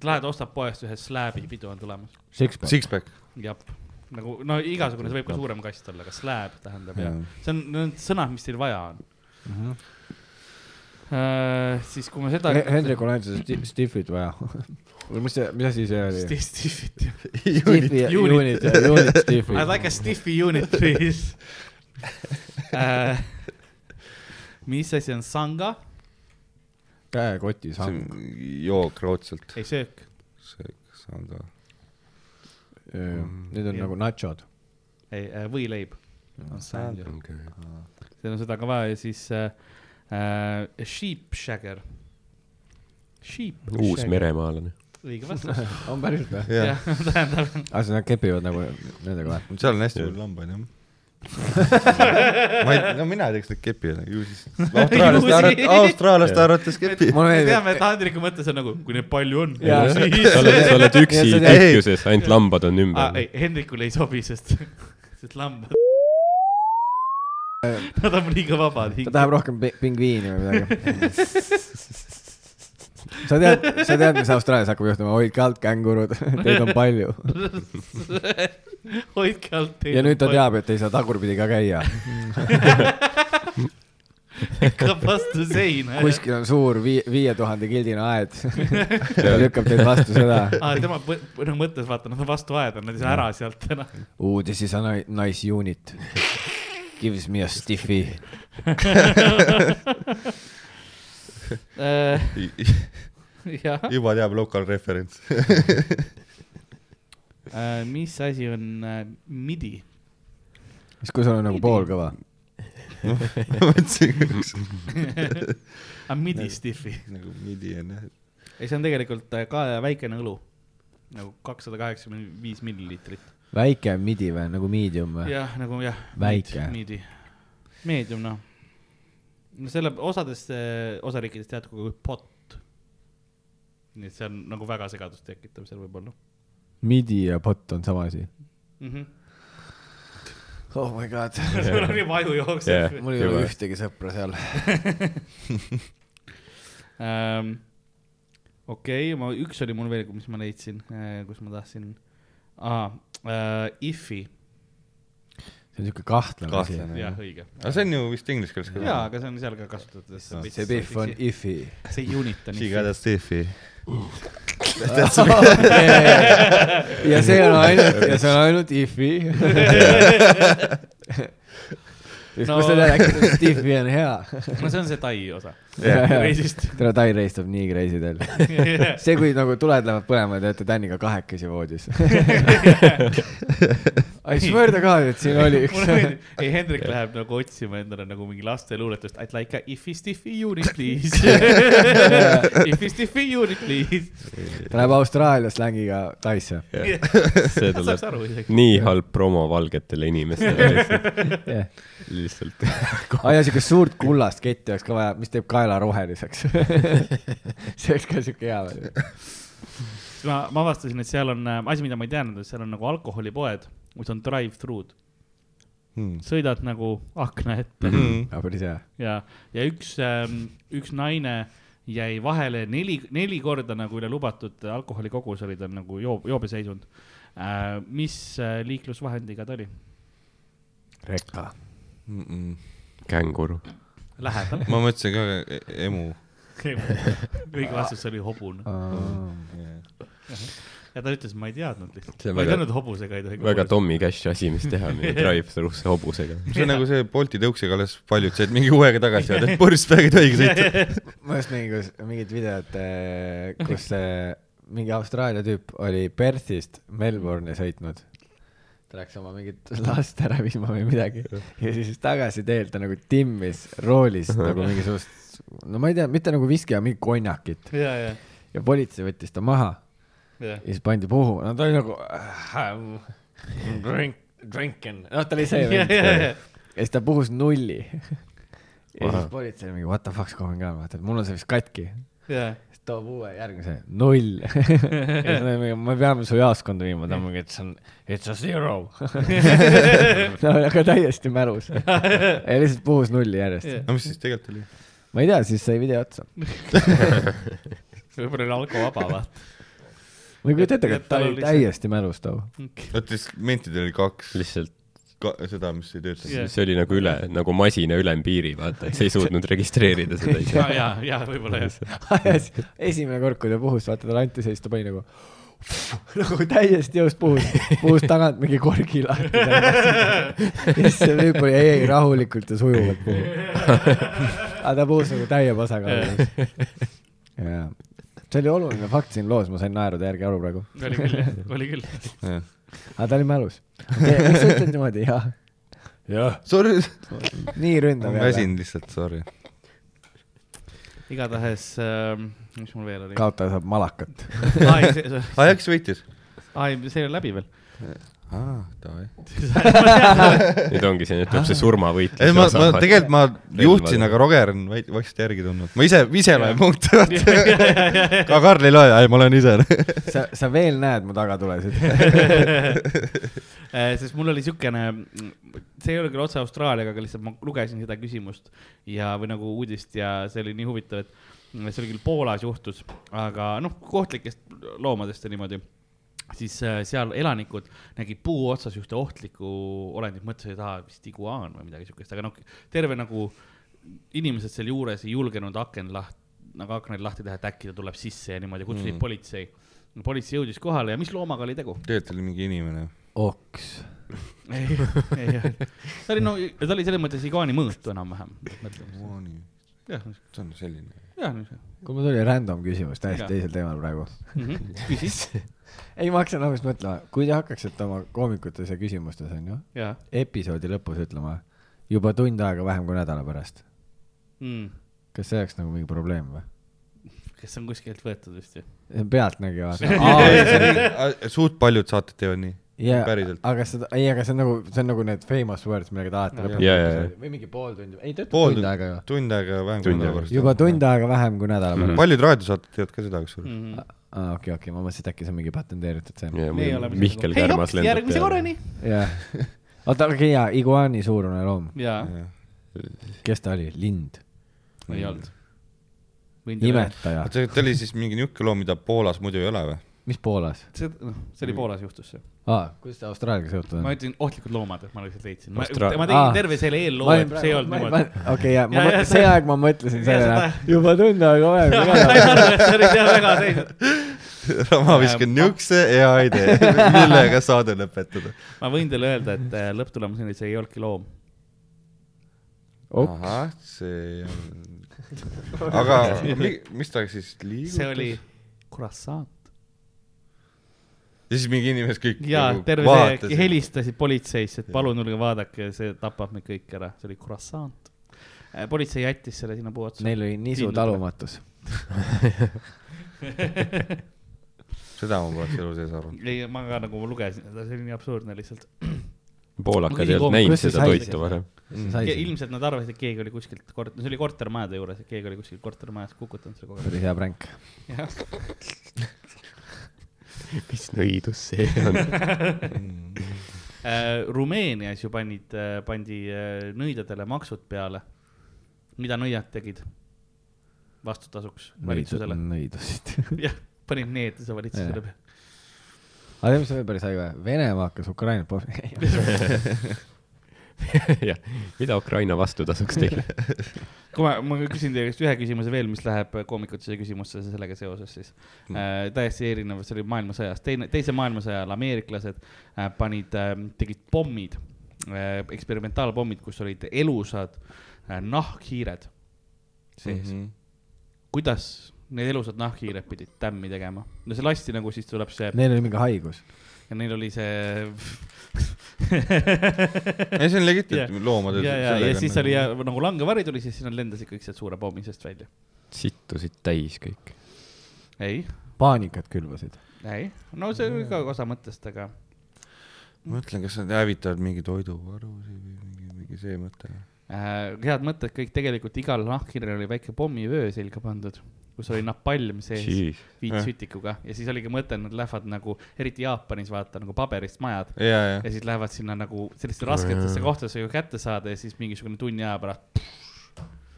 Speaker 1: lähed ostad poest ühe slab'i , pidu on tulemas .
Speaker 6: six-pack .
Speaker 2: Sixpack .
Speaker 1: jah , nagu no igasugune , see võib ka suurem kast olla , aga slab tähendab jah , see on need sõnad , mis teil vaja on . Uh, siis kui me seda
Speaker 6: He- Hendrikul on ainult seda Stiffit vaja . või mis see , mis asi see oli ?
Speaker 1: Stiffit ,
Speaker 6: Stiffi ,
Speaker 1: Unit.
Speaker 6: Unit , Unit Stiffi
Speaker 1: I . like a stiffy unit please uh, . mis asi on sanga ?
Speaker 6: käekoti
Speaker 2: see on
Speaker 6: sang .
Speaker 2: jook raudselt .
Speaker 1: ei söök ,
Speaker 2: see , see on ka .
Speaker 6: Need on
Speaker 1: Jah.
Speaker 6: nagu nachod .
Speaker 1: ei äh, võileib on sang ju , seal on seda ka vaja ja siis uh, uh, sheep shagger . Sheep .
Speaker 4: uus meremaalane .
Speaker 1: õige vastus .
Speaker 3: on päriselt või ?
Speaker 2: jah ,
Speaker 1: jah , tähendab ,
Speaker 3: aa , siis nad kepivad nagu nendega või ?
Speaker 2: seal on hästi palju lambaid jah ma ei , no mina ei tea , kas nad kepivad , ju siis austraallaste arvates , austraallaste arvates kepivad .
Speaker 3: mulle
Speaker 1: me
Speaker 3: meeldib ,
Speaker 1: teame , et Andriku mõttes on nagu , kui neid palju on .
Speaker 3: Jaa.
Speaker 4: sa oled , sa oled üksi
Speaker 3: Nii et sa
Speaker 2: tead-
Speaker 4: tühjuses , ainult lambad on
Speaker 1: Ah,
Speaker 4: ümber
Speaker 1: ei , Hendrikule ei sobi , sest , sest lambad . Nad on liiga vabad .
Speaker 3: ta tahab rohkem pi- pingviini või midagi sa tead , sa tead , mis Austraalias hakkab juhtuma , hoidke alt , kängurud , teid on palju .
Speaker 1: hoidke alt .
Speaker 3: ja nüüd ta . teab , et ei saa tagurpidi ka käia .
Speaker 1: hakkab vastu seina .
Speaker 3: kuskil on suur vii- , viie tuhande kildine aed . ta lükkab teid vastu seda .
Speaker 1: aa , tema põ- noh, mõttes vaata , nad on vastu aeda , nad ei saa ära sealt enam .
Speaker 3: Ooh , this is a ni- nice unit . Gives me a stiffy .
Speaker 1: Äh, jah ,
Speaker 2: juba teab local reference .
Speaker 1: mis asi on äh, midi ?
Speaker 3: siis kui sul on nagu poolkõva .
Speaker 2: mõtlesin , kas
Speaker 1: aga Ah,
Speaker 3: Äh.
Speaker 1: midi stiffi .
Speaker 2: nagu midi on jah .
Speaker 1: ei , see on tegelikult äh, ka väikene õlu . nagu kakssada kaheksakümmend viis milliliitrit .
Speaker 3: väike midi või nagu medium või ?
Speaker 1: jah , nagu jah .
Speaker 3: Väike.
Speaker 1: midi , meedium noh . no selle osades , osariikides tead kui pott . nii et see on nagu väga segadust tekitav seal võib-olla
Speaker 3: midi ja pott on sama asi .
Speaker 1: mm . -hmm.
Speaker 3: oh my god ,
Speaker 1: sul on juba aju jookseb
Speaker 4: Jah.
Speaker 3: mul ei
Speaker 4: Juba.
Speaker 3: ole ühtegi sõpra seal .
Speaker 1: yeah. . Ähm, okei , ma , üks oli mul veel , mis ma leidsin , kus ma tahtsin ah, , uh, if'i ,
Speaker 3: see on siuke kahtlane asi .
Speaker 2: Kahtlane.
Speaker 1: jah , õige .
Speaker 2: aga see on ju vist inglise keeles ka .
Speaker 1: jaa , aga see on seal ka kasutatud .
Speaker 3: Ah, see pihv on . if'i .
Speaker 1: see unit on
Speaker 2: She got a stiffy .
Speaker 3: ja see on ainult , ja see on ainult if'i . siis
Speaker 1: No.
Speaker 3: ma selle rääkisin , et stiffy on hea .
Speaker 1: no see on see tai osa
Speaker 3: Jah, jah.
Speaker 1: reisist .
Speaker 3: tere , Tai reis tuleb nii crazy teil . see , kui nagu tuled lähevad põlema ja te olete Täniga kahekesi voodis . I swear to god , et siin oli üks
Speaker 1: mulle . meeldib , ei Hendrik läheb nagu otsima endale nagu mingi lasteluuletust , I'd like a ify-stiffy unit please . Ify-stiffy unit please .
Speaker 3: ta läheb Austraalia slängiga Taisse .
Speaker 4: see
Speaker 1: ta saaks
Speaker 4: tuleb
Speaker 1: aru isegi .
Speaker 4: nii halb promo valgetele inimestele lihtsalt-
Speaker 3: aa
Speaker 4: lihtsalt .
Speaker 3: ja siukest suurt kullast ketti oleks ka vaja , mis teeb kaela roheliseks . see oleks ka siuke hea veel .
Speaker 1: siis ma , ma avastasin , et seal on äh, asi , mida ma ei teadnud , et seal on nagu alkoholipoed , kus on drive-thru'd ,
Speaker 2: Hmm.
Speaker 1: sõidad nagu akna
Speaker 4: Mhm.
Speaker 1: ette
Speaker 2: Mhm.
Speaker 3: aga päris hea .
Speaker 1: ja , ja üks ähm, , üks naine jäi vahele neli , neli korda nagu üle lubatud alkoholikogus oli tal nagu joob , joobeseisund äh, . mis äh, liiklusvahendiga ta oli ?
Speaker 3: rekka .
Speaker 4: känguru .
Speaker 1: lähedal .
Speaker 2: ma mõtlesin ka e- emu .
Speaker 1: õige vastus oli hobune ja ta ütles , ma ei teadnud lihtsalt
Speaker 4: See . on
Speaker 1: ma ei
Speaker 4: väga-
Speaker 1: teadnud hobusega ei tohi .
Speaker 4: väga . Tommy Cash asi , mis teha mingi drive-thru'sse hobusega .
Speaker 2: see on nagu see Bolti tõuksega alles paljud said mingi uuega tagasi jääda , et purjus peaga ei tohigi sõita .
Speaker 3: ma just nägin , kus mingit videot , kus äh, mingi Austraalia tüüp oli Perthist Melbourne'i sõitnud . ta läks oma mingit last ära viima või midagi ja siis tagasi teel ta nagu timmis roolis nagu mingisugust , no ma ei tea , mitte nagu viski , aga mingi konjakit
Speaker 1: ja , ja ,
Speaker 3: ja politsei võttis ta maha
Speaker 1: ja .
Speaker 3: ja siis pandi puhuma , no ta oli nagu äh, drink , drinking , noh , ta oli see
Speaker 1: ja , ja ,
Speaker 3: vend
Speaker 1: ja ,
Speaker 3: ja siis ta puhus nulli . ja siis politsei oli mingi what the fuck's going on , vaata , et mul on see vist katki .
Speaker 1: ja ,
Speaker 3: siis toob uue järgmise , null . ja siis nad on mingi , me peame su jaoskonda viima , ta on mingi , it's on , it's a zero . ta oli aga täiesti mälus . ja lihtsalt puhus nulli järjest .
Speaker 2: no mis siis tegelikult oli ?
Speaker 3: ma ei tea , siis sai video otsa .
Speaker 1: võib-olla oli alkovaba vaata .
Speaker 3: ma ei kujuta ette ,
Speaker 1: Ja
Speaker 3: aga ta
Speaker 1: tal
Speaker 3: oli
Speaker 1: oli see-
Speaker 3: täiesti mälus too .
Speaker 2: vot siis mentidel oli kaks
Speaker 4: lihtsalt
Speaker 2: ka, seda , mis ei töötanud .
Speaker 1: Jah.
Speaker 4: see oli nagu üle , nagu masina ülempiiri , vaata , et sa ei suutnud registreerida seda ise
Speaker 1: ja , ja , ja võib-olla jah .
Speaker 3: esimene kord , kui ta puhus , vaata talle anti see , siis ta pani nagu nagu täiesti jõust puhus , puhus tagant mingi korgi lahti . ja siis see tüüp oli ei , ei rahulikult ja sujuvalt puhub . aga ta puhus nagu täie pasaga . jaa , see oli oluline fakt siin loos , ma sain naerude järgi aru praegu .
Speaker 1: oli küll jah , oli küll .
Speaker 3: aga ta oli mälus . miks sa ütled niimoodi , jah ? jah .
Speaker 2: Sorry ,
Speaker 3: nii
Speaker 2: ma
Speaker 3: ründav jälle .
Speaker 2: väsin lihtsalt , sorry .
Speaker 1: igatahes ähm, , mis mul veel oli ?
Speaker 3: kaotaja saab malakat .
Speaker 1: ai , see ,
Speaker 2: aa , äkki võitis ?
Speaker 1: ai , see ei ole läbi veel .
Speaker 2: aa , davai .
Speaker 4: nüüd ongi see , nüüd tuleb
Speaker 3: Ah.
Speaker 4: see surmavõitlus .
Speaker 2: ei , ma , ma tegelikult ma juhtsin , aga Roger on vaid- vaikselt järgi tulnud . ma ise , ise loen punkte , aga Karl ei loe , ei ma loen ise .
Speaker 3: sa , sa veel näed mu tagatulesid .
Speaker 1: Eh, sest mul oli siukene , see ei ole küll otse Austraaliaga , aga lihtsalt ma lugesin seda küsimust ja , või nagu uudist ja see oli nii huvitav , et see oli küll Poolas juhtus , aga noh , kohtlikest loomadest ja niimoodi siis eh, seal elanikud nägid puu otsas ühte ohtlikku olendit , mõtlesid , et aa , vist iguaan või midagi siukest , aga noh , terve nagu inimesed sealjuures ei julgenud aken laht- , nagu aknaid lahti teha , et äkki ta tuleb sisse ja niimoodi , kutsusid mm. politsei . politsei jõudis kohale ja mis loomaga oli tegu ?
Speaker 2: tegelikult oli mingi inimene .
Speaker 6: oks .
Speaker 1: ei , ei , ei , ta oli no , ta oli selles mõttes iguaani mõõtu enam-vähem , mõtleme . jah ,
Speaker 2: see on selline .
Speaker 1: jah ,
Speaker 3: kui mul tuli random küsimus täiesti
Speaker 1: Jah.
Speaker 3: teisel teemal praegu .
Speaker 1: Mhm. küsis ,
Speaker 3: ei maksa nagu just mõtlema , kui te hakkaksite oma koomikutes ja küsimustes onju ,
Speaker 1: jah .
Speaker 3: episoodi lõpus ütlema juba tund aega vähem kui nädala pärast ,
Speaker 1: Mm.
Speaker 3: kas see oleks nagu mingi probleem või ?
Speaker 1: kes on kuskilt võetud vist ju .
Speaker 3: pealtnägija
Speaker 2: suht paljud saated teevad nii .
Speaker 3: ja ,
Speaker 2: Päriselt.
Speaker 3: aga seda , ei , aga see on nagu , see on nagu need famous words , millega te alati lõpuks
Speaker 4: Jaa, jaa, jaa.
Speaker 3: või mingi pool tundi , ei ta ütleb
Speaker 2: Pool
Speaker 3: tund aega ju .
Speaker 2: tund aega vähem kui
Speaker 4: Tund
Speaker 2: nädala
Speaker 4: aega.
Speaker 2: pärast .
Speaker 3: juba tund aega vähem kui nädala pärast .
Speaker 2: paljud raadiosaated teevad ka seda , kusjuures .
Speaker 1: Mm. Mhm. Ah.
Speaker 3: aa , okei , okei , ma mõtlesin , et äkki see on mingi patenteeritud see .
Speaker 4: Mihkel Kärmas lendab .
Speaker 1: järgmise . korrani .
Speaker 3: jah . oota , okei , jaa , iguaani suurune loom ,
Speaker 1: jaa ,
Speaker 3: kes ta oli , lind ,
Speaker 1: ei olnud .
Speaker 3: imetaja ,
Speaker 2: oota , see oli siis mingi niisugune loom , mida Poolas muidu ei ole või ?
Speaker 3: mis Poolas ?
Speaker 1: see , noh , see oli Poolas juhtus see .
Speaker 3: aa , kuidas ta Austraaliaga seotud on
Speaker 1: ma ? ütlesin ohtlikud loomad , et ma lihtsalt leidsin . ma
Speaker 4: Austra-
Speaker 1: ma tegin terve selle eelloo , et see ei olnud niimoodi .
Speaker 3: okei , jaa , ma
Speaker 1: Jaa, jaa, ,
Speaker 3: see
Speaker 1: sa-
Speaker 3: aeg ma mõtlesin
Speaker 1: Jaa,
Speaker 3: selle
Speaker 1: seda-
Speaker 3: ära , juba tund aega vähem kui nädala pärast .
Speaker 1: see oli seal väga seisnud .
Speaker 2: ma
Speaker 1: Äh,
Speaker 2: viskan niisuguse hea idee , millega saade lõpetada .
Speaker 1: ma võin teile öelda , et äh, lõpptulemus oli , see ei olnudki loom .
Speaker 3: Oks.
Speaker 2: ahah , see on , aga mi- mis ta siis liigutas ?
Speaker 1: see oli croissant .
Speaker 2: ja siis mingi inimene kõik
Speaker 1: ja
Speaker 2: nagu
Speaker 1: terve
Speaker 2: vaatasid.
Speaker 1: see , helistasid politseisse , et palun tulge vaadake , see tapab meid kõik ära , see oli croissant . politsei jättis selle sinna puu otsa .
Speaker 3: Neil oli nisu
Speaker 1: Kindlalt.
Speaker 3: talumatus .
Speaker 2: seda ma poleks elu sees arvanud .
Speaker 1: ei , ma ka nagu lugesin seda , see oli nii absurdne lihtsalt .
Speaker 4: poolakad ei olnud näinud
Speaker 3: Kuidas see
Speaker 4: seda
Speaker 3: sai
Speaker 4: toitu
Speaker 3: siis?
Speaker 4: varem .
Speaker 3: Mm. see
Speaker 1: ilmselt nad arvasid , et keegi oli kuskilt kort- , no see oli kortermajade juures , et keegi oli kuskil kortermajas kukutanud selle kogu
Speaker 3: oli hea pränk .
Speaker 1: aeg .
Speaker 4: mis nõidus see on ?
Speaker 1: Äh, Rumeenias ju panid , pandi äh, nõidadele maksud peale . mida nõiad tegid vastutasuks valitsusele ?
Speaker 3: nõidusid .
Speaker 1: jah , panid need siis valitsusele
Speaker 3: Jah.
Speaker 1: peale .
Speaker 3: aga tead , mis veel päris haige , Venemaa hakkas Ukrainat pommi- .
Speaker 4: jah , mida Ukraina vastu tasuks teha ?
Speaker 1: kui ma , ma küsin teie käest ühe küsimuse veel , mis läheb koomikutuse küsimusse sellega seoses siis
Speaker 2: Hmm.
Speaker 1: äh, . täiesti erinev , see oli maailmasõjas , teine , teise maailmasõja ajal ameeriklased äh, panid äh, , tegid pommid äh, , eksperimentaalpommid , kus olid elusad äh, nahkhiired sees
Speaker 2: Mhm.
Speaker 3: Mhm.
Speaker 1: mm . -hmm. kuidas need elusad nahkhiired pidid tämmi tegema ? no see lasti nagu siis tuleb see
Speaker 3: Neil oli mingi haigus .
Speaker 1: ja neil oli see
Speaker 2: ei , see on
Speaker 1: Jah.
Speaker 2: legitiimne , loomad .
Speaker 1: ja , ja , ja siis oli ja, nagu langevari tuli , siis nad lendasid kõik sealt suure pommi seest välja .
Speaker 4: sittusid täis kõik .
Speaker 1: ei ,
Speaker 3: paanikat külvasid .
Speaker 1: ei , no see oli ka osa mõttest , aga
Speaker 2: mõtlen , kas nad hävitavad mingi toiduvarusid või mingi , mingi see mõte .
Speaker 1: äh, head mõtted kõik tegelikult igal nahkhirjal oli väike pommivöö selga pandud , kus oli napalm sees
Speaker 4: Jeez.
Speaker 1: viitsütikuga ja siis oligi mõte , et nad lähevad nagu , eriti Jaapanis vaata nagu paberist majad
Speaker 2: ja ,
Speaker 1: ja
Speaker 2: ja .
Speaker 1: siis lähevad sinna nagu sellistesse rasketesse kohtadesse ju kätte saada ja siis mingisugune tunni aja pärast .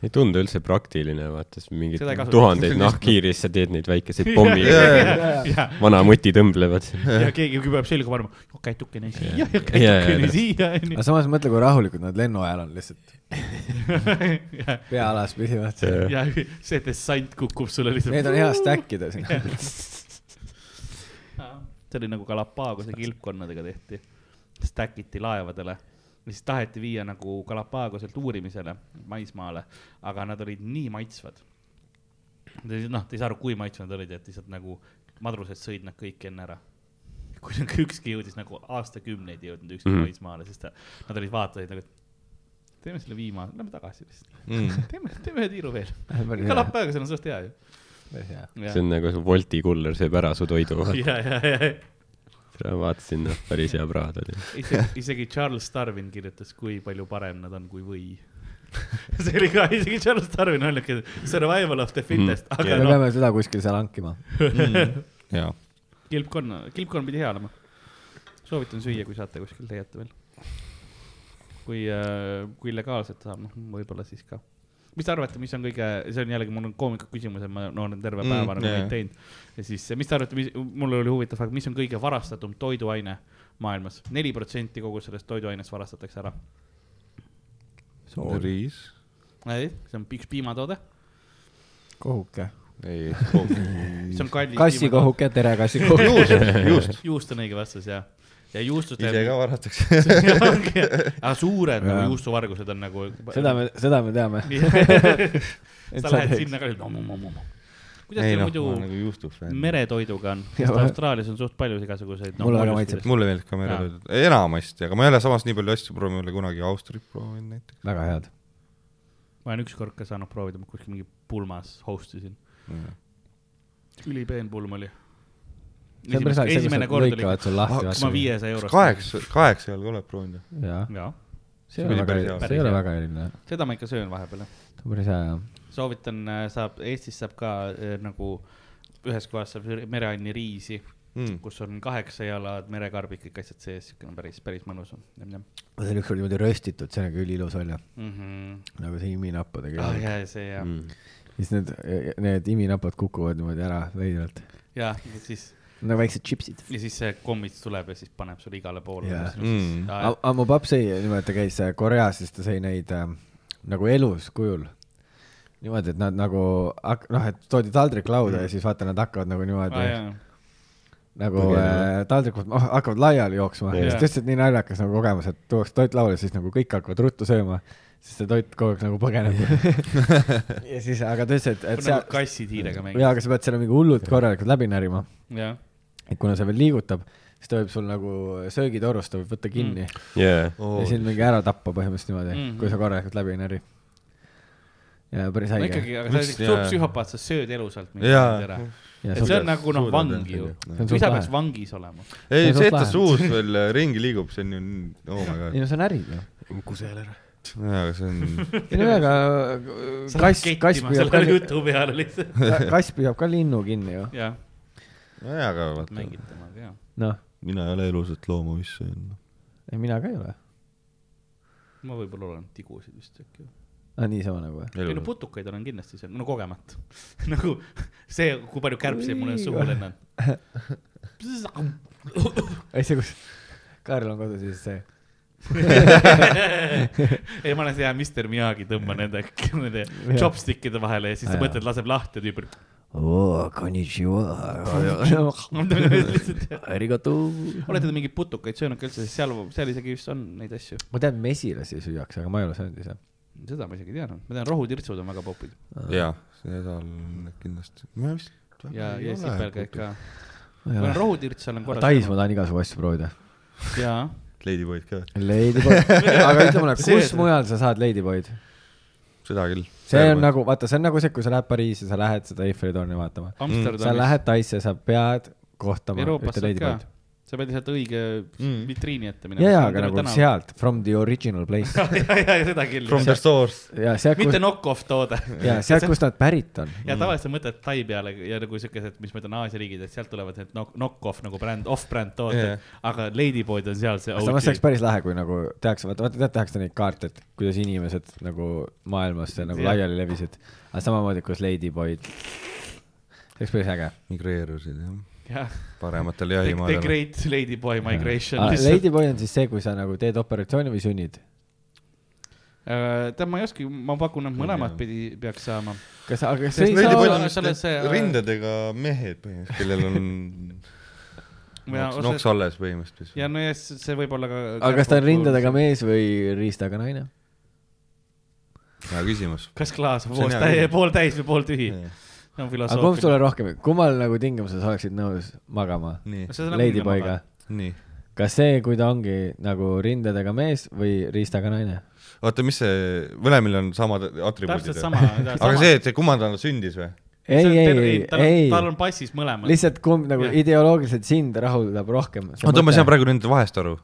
Speaker 4: ei tundu üldse praktiline , vaata , siis mingid
Speaker 1: Seda ei kasutata.
Speaker 4: tuhandeid nahkhiiris sa teed neid väikeseid pommi
Speaker 1: ja ,
Speaker 4: vanamuti tõmblevad siin .
Speaker 1: ja keegi juba peab selga panema , kätukene siia ja
Speaker 4: Jaa, jaa,
Speaker 1: kätukene
Speaker 4: just.
Speaker 1: siia onju
Speaker 3: aga . samas mõtle , kui rahulikud nad lennu ajal on lihtsalt . pea alas püsivad .
Speaker 1: ja see dessant kukub sulle
Speaker 3: Need
Speaker 1: lihtsalt .
Speaker 3: on hea stäkkida siin .
Speaker 1: see oli nagu Galapagose kilpkonnadega tehti , stackiti laevadele , mis taheti viia nagu Galapagoselt uurimisele maismaale , aga nad olid nii maitsvad . noh , te ei saa aru , kui maitsvad nad olid , et lihtsalt nagu madrused sõid nad kõik enne ära . kui nagu ükski jõudis nagu aastakümneid ei jõudnud ükski mm -hmm. maismaale , sest ta, nad olid , vaatasid nagu , et teeme selle viimase , lähme tagasi lihtsalt .
Speaker 2: mm. .
Speaker 1: teeme , teeme ühe tiiru veel .
Speaker 6: päris
Speaker 1: kõlab
Speaker 6: hea ,
Speaker 1: praegu , see on suht hea ju .
Speaker 6: päris hea .
Speaker 4: see on nagu su Wolti kuller sööb ära su toidu .
Speaker 1: ja , ja , ja ,
Speaker 4: vaatasin , noh , päris hea praad oli .
Speaker 1: isegi , isegi Charles Darwin kirjutas , kui palju parem nad on kui või . see oli ka , isegi Charles Darwin on niuke survival of the fittest mm, , aga
Speaker 6: me
Speaker 1: yeah,
Speaker 6: peame seda kuskil seal hankima .
Speaker 2: jaa ,
Speaker 1: noh , kilpkonn , kilpkonn pidi hea olema . soovitan süüa , kui saate kuskil leiate veel . kui äh, , kui legaalselt saab , noh , võib-olla siis ka . mis te arvate , mis on kõige , see on jällegi , mul on koomiku küsimus , et ma no, olen terve
Speaker 2: Mm,
Speaker 1: päeva mm, nagu
Speaker 2: jaa.
Speaker 1: neid teinud . ja siis , mis te arvate , mis , mul oli huvitav , mis on kõige varastatum toiduaine maailmas ? neli protsenti kogu sellest toiduainest varastatakse ära
Speaker 2: riis .
Speaker 1: ei , see on üks piimatoode ,
Speaker 3: kohuke .
Speaker 2: ei ,
Speaker 1: see on kallis .
Speaker 6: kassikohuke , tere kassikohuke .
Speaker 1: juust . juust on õige vastus ja , ja juustud .
Speaker 2: ise ka varatakse .
Speaker 1: aga
Speaker 3: Jaa.
Speaker 1: suured nagu juustuvargused on nagu .
Speaker 3: seda . me , seda me teame . et
Speaker 1: sa
Speaker 3: sa
Speaker 1: lähed
Speaker 3: teeks.
Speaker 1: sinna ka , kuidas
Speaker 2: ei
Speaker 1: teil
Speaker 2: noh , ma
Speaker 1: muidu
Speaker 2: olen nagu juustufänn .
Speaker 1: meretoiduga on ,
Speaker 3: Jaa,
Speaker 1: sest
Speaker 3: ma-
Speaker 1: Austraalias on suht palju igasuguseid . noh,
Speaker 6: Mulle väga maitseb.
Speaker 2: mulle meeldib ka meretoidud , enamasti , aga ma ei ole samas nii palju asju proovinud , ma ei ole kunagi Austrit proovinud näiteks .
Speaker 6: väga head .
Speaker 1: ma olen ükskord ka saanud proovida , ma kuskil mingi pulmas host isin , ülipeen pulm oli . esimene kord oli ,
Speaker 6: lõikavad sul lahti
Speaker 2: Ah,
Speaker 1: kas ma
Speaker 6: vaata .
Speaker 1: viiesaja eurost .
Speaker 2: kaheksa , kaheksa ei ole ka oled proovinud või ?
Speaker 6: jaa ,
Speaker 1: jaa ,
Speaker 6: see
Speaker 2: See
Speaker 6: ei ole
Speaker 2: oli
Speaker 6: väga
Speaker 2: päris , hea.
Speaker 6: see ei ole väga eriline .
Speaker 1: seda ma ikka söön vahepeal jah
Speaker 6: see on päris hea jah .
Speaker 1: soovitan , saab , Eestis saab ka äh, nagu ühes kohas saab mereanni riisi ,
Speaker 3: Hmm.
Speaker 2: Mm.
Speaker 1: kus on kaheksa jalad merekarb kõik asjad sees , siukene päris , päris mõnus on .
Speaker 6: see oli ükskord niimoodi röstitud , see nägi üliilus välja , nagu see iminappudega
Speaker 1: Mhm. ah
Speaker 6: ah, .
Speaker 1: jaa , see jaa ,
Speaker 3: Hmm. siis need , need iminapad kukuvad niimoodi ära veidralt .
Speaker 1: jaa , siis
Speaker 3: nagu väiksed tšipsid .
Speaker 1: ja siis see kommits tuleb ja siis paneb sulle igale poole
Speaker 3: Jaa. Hmm.
Speaker 2: Mm.
Speaker 1: yeah. .
Speaker 3: aga mu paps sõi , niimoodi ta käis äh, Koreas , siis ta sõi neid äh, nagu elus kujul . niimoodi , et nad nagu , noh , et toodi taldrik lauda ja siis vaata , nad hakkavad nagu niimoodi ah, nagu
Speaker 4: Põgenema.
Speaker 3: äh, taldrikud ma- hakkavad laiali jooksma
Speaker 1: Jaa.
Speaker 3: yeah. , siis tõesti nii naljakas nagu kogemus , et tuuakse toit lauale , siis nagu kõik hakkavad ruttu sööma , siis see toit kogu aeg nagu põgeneb . ja siis , aga tõesti , et , et
Speaker 1: nagu
Speaker 3: seal ,
Speaker 1: kassid hiirega
Speaker 3: jaa ,
Speaker 1: mängida ,
Speaker 3: aga sa pead selle mingi hullult korralikult läbi närima ,
Speaker 1: jah .
Speaker 3: et kuna see veel liigutab , siis ta võib sul nagu söögitorust ta võib võtta kinni mm.
Speaker 4: jaa .
Speaker 3: ja sind mingi ära tappa põhimõtteliselt niimoodi mm ,
Speaker 1: Mhm.
Speaker 3: -hmm. kui sa korralikult läbi ei näri . ja päris
Speaker 1: no
Speaker 3: haige .
Speaker 1: ikkagi , aga sa oled
Speaker 2: Miks-
Speaker 1: ikka suur
Speaker 2: jaa.
Speaker 1: psühhopaat , sa sööd elusalt mingi
Speaker 2: Jaa.
Speaker 1: asjad ära . et see on nagu noh , vang ju .
Speaker 3: See on
Speaker 1: isa
Speaker 3: suht
Speaker 1: peaks
Speaker 3: lahe.
Speaker 1: vangis olema .
Speaker 2: ei ,
Speaker 3: See on
Speaker 2: see , et ta
Speaker 3: suht
Speaker 2: suus veel äh, ringi liigub , see on ju , oh my god
Speaker 3: ei . no sa närid ju .
Speaker 4: kusel ära .
Speaker 2: jaa , aga see on ,
Speaker 3: ei no aga
Speaker 1: sa lähed
Speaker 3: kass , kass
Speaker 1: kettima
Speaker 3: püüab ka
Speaker 1: selle , jutu peale lihtsalt .
Speaker 3: kass püüab ka linnu kinni ju ,
Speaker 1: jah ,
Speaker 2: nojah , aga vaata ,
Speaker 1: mängid temaga jah .
Speaker 3: noh
Speaker 2: mina ei ole elusat looma , mis see on .
Speaker 3: ei , mina ka ei ole .
Speaker 1: ma võib-olla olen tigusid vist äkki .
Speaker 3: aa , niisama nagu või ?
Speaker 1: ei no putukaid olen kindlasti seal , no kogemata . nagu see , kui palju kärbseid mul on suhu lennanud .
Speaker 3: ei , see , kus Kaarel on kodus ja siis see .
Speaker 1: ei , ma olen see hea Mr Miyagi , tõmba nende , nende
Speaker 3: Jah.
Speaker 1: chopstick'ide vahele ja siis sa mõtled , laseb lahti ja tüüp
Speaker 6: oo , konnichiwa .
Speaker 1: lihtsalt .
Speaker 6: arigato .
Speaker 1: olete te mingeid putukaid söönud ka üldse , sest seal , seal isegi vist on neid asju .
Speaker 3: ma tean , mesilasi süüakse , aga ma ei ole söönud ise .
Speaker 1: seda ma isegi ei teadnud , ma tean , rohutirtsud on väga popid
Speaker 2: jaa , seda on kindlasti , ma vist .
Speaker 1: ja , ja sipelgaid ka . ma olen rohutirts , seal on korras .
Speaker 3: Tais ma tahan igasugu asju proovida .
Speaker 1: jaa ,
Speaker 2: Ladyboy'd ka ,
Speaker 3: Ladyboy , aga ütle mulle ,
Speaker 1: See-
Speaker 3: kus mujal sa saad Ladyboy'd ?
Speaker 2: seda küll .
Speaker 3: see on . nagu , vaata , see on nagu see , kui sa lähed Pariisi , sa lähed seda Eiffeli torni vaatama . Mm, sa
Speaker 1: Amsterdamis .
Speaker 3: lähed Taisse , sa pead kohtama
Speaker 1: Euroopas
Speaker 3: ühte
Speaker 1: saad ka
Speaker 3: Ladyboy'd .,
Speaker 1: sa pead lihtsalt õige
Speaker 2: Mm.
Speaker 1: vitriini ette minema .
Speaker 3: ja , ja , aga nagu . sealt , from the original place .
Speaker 1: ja , ja , ja seda küll .
Speaker 2: From the source .
Speaker 3: ja sealt ,
Speaker 1: mitte
Speaker 3: kus ,
Speaker 1: knock-off toode .
Speaker 3: ja sealt , kust nad pärit on .
Speaker 2: Mm.
Speaker 1: ja tavaliselt sa mõtled Tai peale ja nagu siukesed , mis ma ütlen , Aasia riigid , et sealt tulevad need knock- , knock-off nagu bränd , off-bränd tooted
Speaker 2: Jah.
Speaker 1: yeah. , aga Ladyboyd on seal see
Speaker 3: samas oleks
Speaker 1: OG .
Speaker 3: päris lahe , kui nagu tehakse , vaata , vaata , tead , tehakse neid kaarte , et kuidas inimesed nagu maailmas nagu
Speaker 1: Jah.
Speaker 3: laiali levisid . aga samamoodi , kus Ladyboy'd . see oleks päris äge .
Speaker 2: migreerusid jah ,
Speaker 1: jah ,
Speaker 2: parematel
Speaker 1: the
Speaker 2: jahimaadel .
Speaker 1: great Ladyboy migration lihtsalt .
Speaker 3: Ladyboy Ah, on siis see , kui sa nagu teed operatsiooni või sünnid .
Speaker 1: Äh, tead , ma ei oska , ma pakun , et mõlemat pidi peaks saama .
Speaker 3: kas , aga kas see ei saa
Speaker 2: Ladyboy'd
Speaker 3: olla
Speaker 1: olla
Speaker 2: on vist
Speaker 1: selles,
Speaker 2: need
Speaker 1: äh,
Speaker 2: rindadega mehed põhimõtteliselt , kellel on noks- noks alles põhimõtteliselt .
Speaker 1: ja no ja s- see võib olla ka .
Speaker 3: aga kas ta on rindadega ? mees või riistaga naine ?
Speaker 2: hea küsimus .
Speaker 1: kas klaas on
Speaker 2: See on hea
Speaker 1: pooltäis
Speaker 2: küsimus. ,
Speaker 1: pooltäis või pooltühi ?
Speaker 2: nii .
Speaker 1: no
Speaker 3: aga kumb
Speaker 1: filosoofia .
Speaker 3: sulle rohkem , kummal nagu tingimuses oleksid nõus magama ?
Speaker 1: See on nagu
Speaker 3: Ladyboy'ga
Speaker 1: mugava. ?
Speaker 2: nii .
Speaker 3: kas see , kui ta ongi nagu rindadega mees või riistaga naine ?
Speaker 2: oota , mis see , mõlemil on samad atribuudid
Speaker 1: täpselt ? sama .
Speaker 2: aga see , et see kummal tal sündis või ?
Speaker 3: ei , ei , ei ,
Speaker 1: tal
Speaker 3: ei ,
Speaker 1: on passis mõlemad .
Speaker 3: lihtsalt kumb nagu
Speaker 1: Jah.
Speaker 3: ideoloogiliselt sind rahuldab rohkem .
Speaker 2: oota , ma ei saa . praegu nende vahest aru .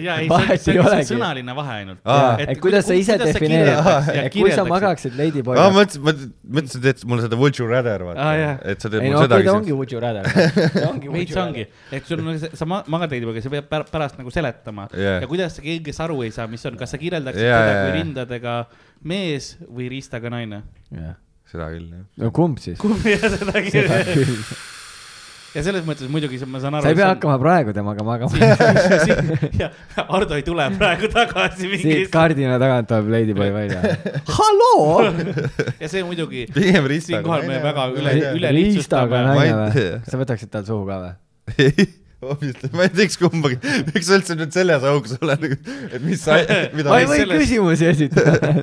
Speaker 1: ja ei ,
Speaker 3: Vahet
Speaker 1: see on , see
Speaker 3: ei
Speaker 1: on
Speaker 3: olegi.
Speaker 1: lihtsalt sõnaline vahe ainult
Speaker 2: Aa. .
Speaker 3: et kuidas sa ise defineerid , et kui sa . magaksid
Speaker 2: aa ,
Speaker 3: Ladyboy'ga .
Speaker 2: mõtlesin , mõtlesin , et teed mulle seda Would you rather , vaata
Speaker 1: Aa, Ah, jah.
Speaker 2: et sa teed
Speaker 3: ei
Speaker 2: mulle
Speaker 3: no
Speaker 2: seda
Speaker 3: okei , ta ongi Would you rather .
Speaker 1: veits ongi , et sul on , sa ma- magad veidi , sa pead pär- pärast nagu seletama
Speaker 2: Jah.
Speaker 1: ja kuidas sa keegi aru ei saa , mis on , kas sa kirjeldaksid
Speaker 2: Jaa,
Speaker 1: teda
Speaker 2: jaa,
Speaker 1: kui
Speaker 2: jaa.
Speaker 1: rindadega mees või riistaga naine ?
Speaker 2: seda küll , jah .
Speaker 3: no kumb siis ?
Speaker 1: kumb ja seda kirjeldab . ja selles mõttes muidugi see- ma saan aru .
Speaker 3: sa ei pea hakkama praegu temaga magama .
Speaker 1: hakkama . Ardo ei tule praegu tagasi mingi
Speaker 3: siit . kardina tagant tuleb Ladyboy välja .
Speaker 6: halloo ,
Speaker 1: ja see muidugi
Speaker 2: pigem riistaga .
Speaker 1: siinkohal me väga üle
Speaker 2: Ma ei tea. ,
Speaker 1: üle
Speaker 3: riistaga
Speaker 1: lihtsustame .
Speaker 3: naine
Speaker 2: Ma ei
Speaker 3: või
Speaker 2: tea. ?
Speaker 3: sa võtaksid tal suhu ka või ?
Speaker 2: ei , hoopis , ma ei teeks kumbagi , miks sa üldse nüüd selles augus oled , et mis sa , mida
Speaker 3: ma
Speaker 1: Ma ei
Speaker 3: ei või
Speaker 1: selles-
Speaker 3: küsimusi esitada .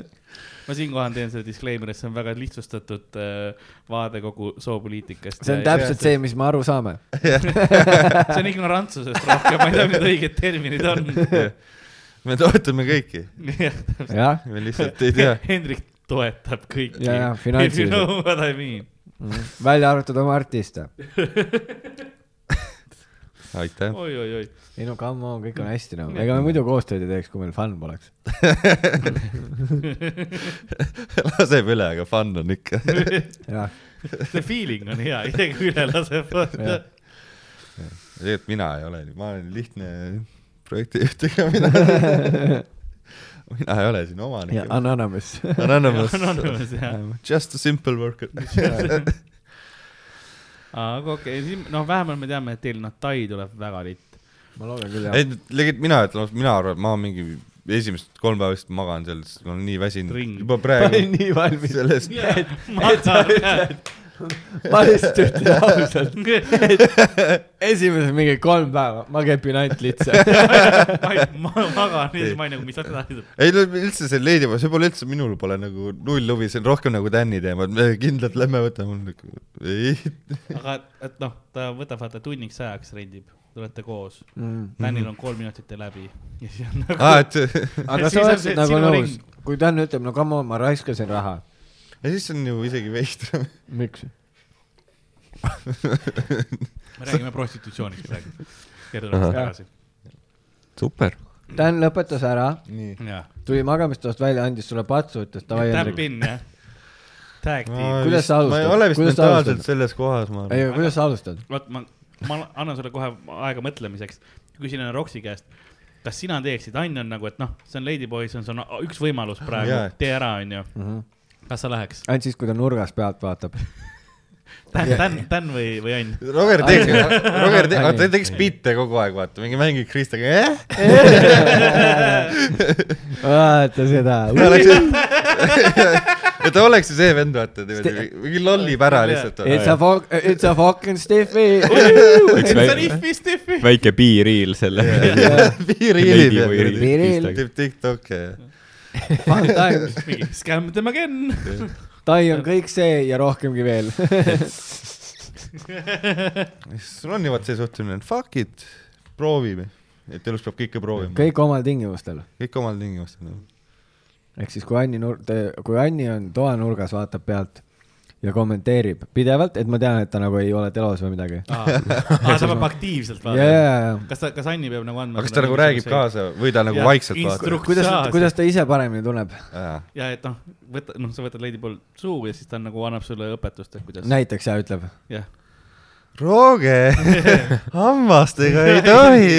Speaker 1: ma siinkohal teen selle disclaimer'i , see on väga lihtsustatud äh, vaade kogu soopoliitikast .
Speaker 3: see on täpselt see , mis me aru saame .
Speaker 1: see on ignorantsusest rohkem , ma ei tea , mis õiged terminid on .
Speaker 2: me toetame kõiki ,
Speaker 3: jah ,
Speaker 2: me lihtsalt ei tea .
Speaker 1: Hendrik toetab kõiki .
Speaker 3: Jaa, jaa,
Speaker 1: If you
Speaker 3: finantsiliselt.
Speaker 1: know what I mean .
Speaker 3: Mhm. välja arvatud oma artiste .
Speaker 2: aitäh .
Speaker 1: oi-oi-oi ,
Speaker 3: ei no come on , kõik on hästi nagu , ega me muidu koostööd ei teeks , kui meil fun poleks .
Speaker 2: laseb üle , aga fun on ikka .
Speaker 3: jah ,
Speaker 1: see feeling on hea , isegi üle laseb .
Speaker 3: Jah.
Speaker 2: tegelikult mina ei ole , ma olen lihtne projektijuht , ega mina , mina ei ole siin
Speaker 3: ja
Speaker 2: omanik .
Speaker 3: Anonymous .
Speaker 2: Anonymous .
Speaker 1: Anonymous, jah.
Speaker 2: Just a simple worker .
Speaker 1: aga okei okay. , noh , vähemalt me teame , et teil Natai tuleb väga litt .
Speaker 3: ma loodan küll jah
Speaker 2: ei , tegelikult mina ütlen , mina arvan , et ma mingi esimesed kolm päeva vist magan seal , sest ma olen nii väsinud
Speaker 1: Ring. .
Speaker 2: juba
Speaker 3: ma olin
Speaker 2: praegu .
Speaker 3: nii valmis ,
Speaker 2: sellest
Speaker 3: ma lihtsalt ütlen ausalt , esimesed mingi kolm päeva , ma kepin ainult litsa .
Speaker 1: ma magan ja siis ma ei nagu , mis sa tahad öelda .
Speaker 2: ei no üldse see Ladyboy , see pole üldse , minul pole nagu null huvi , see on rohkem nagu Tänni teema , et me kindlalt lähme võtame , mul nagu ei .
Speaker 1: aga , et noh , ta võtab vaata tunniks ajaks rendib , te olete koos mm. . Tänil on kolm minutit ja läbi . ja siis on nagu
Speaker 2: aa , Ah, et
Speaker 3: aga sa
Speaker 1: Siis on see
Speaker 3: oleksid nagu
Speaker 1: sinu
Speaker 3: nõus
Speaker 1: ring. ,
Speaker 3: kui Dan ütleb , no come on , ma raiskasin raha .
Speaker 2: ja siis on ju isegi veidram .
Speaker 3: miks ?
Speaker 1: me räägime prostitutsioonist praegu . Gerdu läks tagasi .
Speaker 4: super .
Speaker 3: Dan lõpetas ära ,
Speaker 2: nii .
Speaker 1: jah ,
Speaker 3: tuli magamistoast välja , andis sulle patsu , ütles davai ,
Speaker 1: tap
Speaker 3: Hendrik .
Speaker 1: in jah . Tag team .
Speaker 3: Kuidas sa
Speaker 2: ma ei
Speaker 3: alustad?
Speaker 2: ole vist
Speaker 3: Kuidas sa
Speaker 2: mentaalselt
Speaker 3: alustad?
Speaker 2: selles kohas , ma
Speaker 3: ei
Speaker 2: arvan .,
Speaker 3: aga kuidas sa alustad ?
Speaker 1: vot ma , ma annan sulle kohe aega mõtlemiseks . küsin enne Roksi käest , kas sina teeksid , Ann on nagu , et noh , see on Ladyboy , see on , see on üks võimalus praegu
Speaker 2: Jaa, , et-
Speaker 1: tee ära , onju . kas sa läheks ?
Speaker 3: ainult siis , kui ta nurgast pealt vaatab .
Speaker 1: Dan , Dan , Dan või , või Ann ?
Speaker 2: Roger teeks , Roger te-
Speaker 3: Ai,
Speaker 2: vaata, ta
Speaker 3: nii.
Speaker 2: teeks biite kogu aeg , vaata , mingi mängib Kristaga , jah .
Speaker 3: vaata seda .
Speaker 2: ta oleks , ta oleks ju see vend , vaata , niimoodi , mingi lollib ära
Speaker 3: It's a
Speaker 2: lihtsalt .
Speaker 3: fuck , it's a fucking stiffy .
Speaker 4: üks
Speaker 1: see on
Speaker 4: väike ,
Speaker 1: Iffi Stiffi .
Speaker 4: väike B-reel selle .
Speaker 2: piiriilib ja
Speaker 3: Piiriilib.
Speaker 2: teeb TikTok'e ja .
Speaker 3: Fun times .
Speaker 1: mingi scam them again .
Speaker 3: Tai on kõik see ja rohkemgi veel .
Speaker 2: sul on ju vaat see suhtumine , et fuck it , proovime , et elus peab kõike proovima kõik... ,
Speaker 3: kõik omal tingimustel .
Speaker 2: kõik omal tingimustel .
Speaker 3: ehk siis , kui Anni nur- , kui Anni on toanurgas , vaatab pealt ja kommenteerib pidevalt , et ma tean , et ta nagu ei ole telos või midagi .
Speaker 1: aa , aa , ta peab aktiivselt
Speaker 3: ja , ja , ja ,
Speaker 1: vaatama . kas ta , kas Anni peab nagu andma ?
Speaker 2: aga kas ta nagu räägib ? kaasa või ta nagu
Speaker 1: Jah,
Speaker 2: ja, vaikselt
Speaker 1: instruk-
Speaker 2: vaatab ?
Speaker 3: kuidas
Speaker 1: Saa- ,
Speaker 3: kuidas ta ise paremini tunneb ?
Speaker 1: ja et noh , võta , noh , sa võtad Lady Ball suhu ja siis ta nagu annab sulle õpetust , et kuidas .
Speaker 3: näiteks ja ütleb .
Speaker 1: jah .
Speaker 2: Rooge , hammastega ei tohi .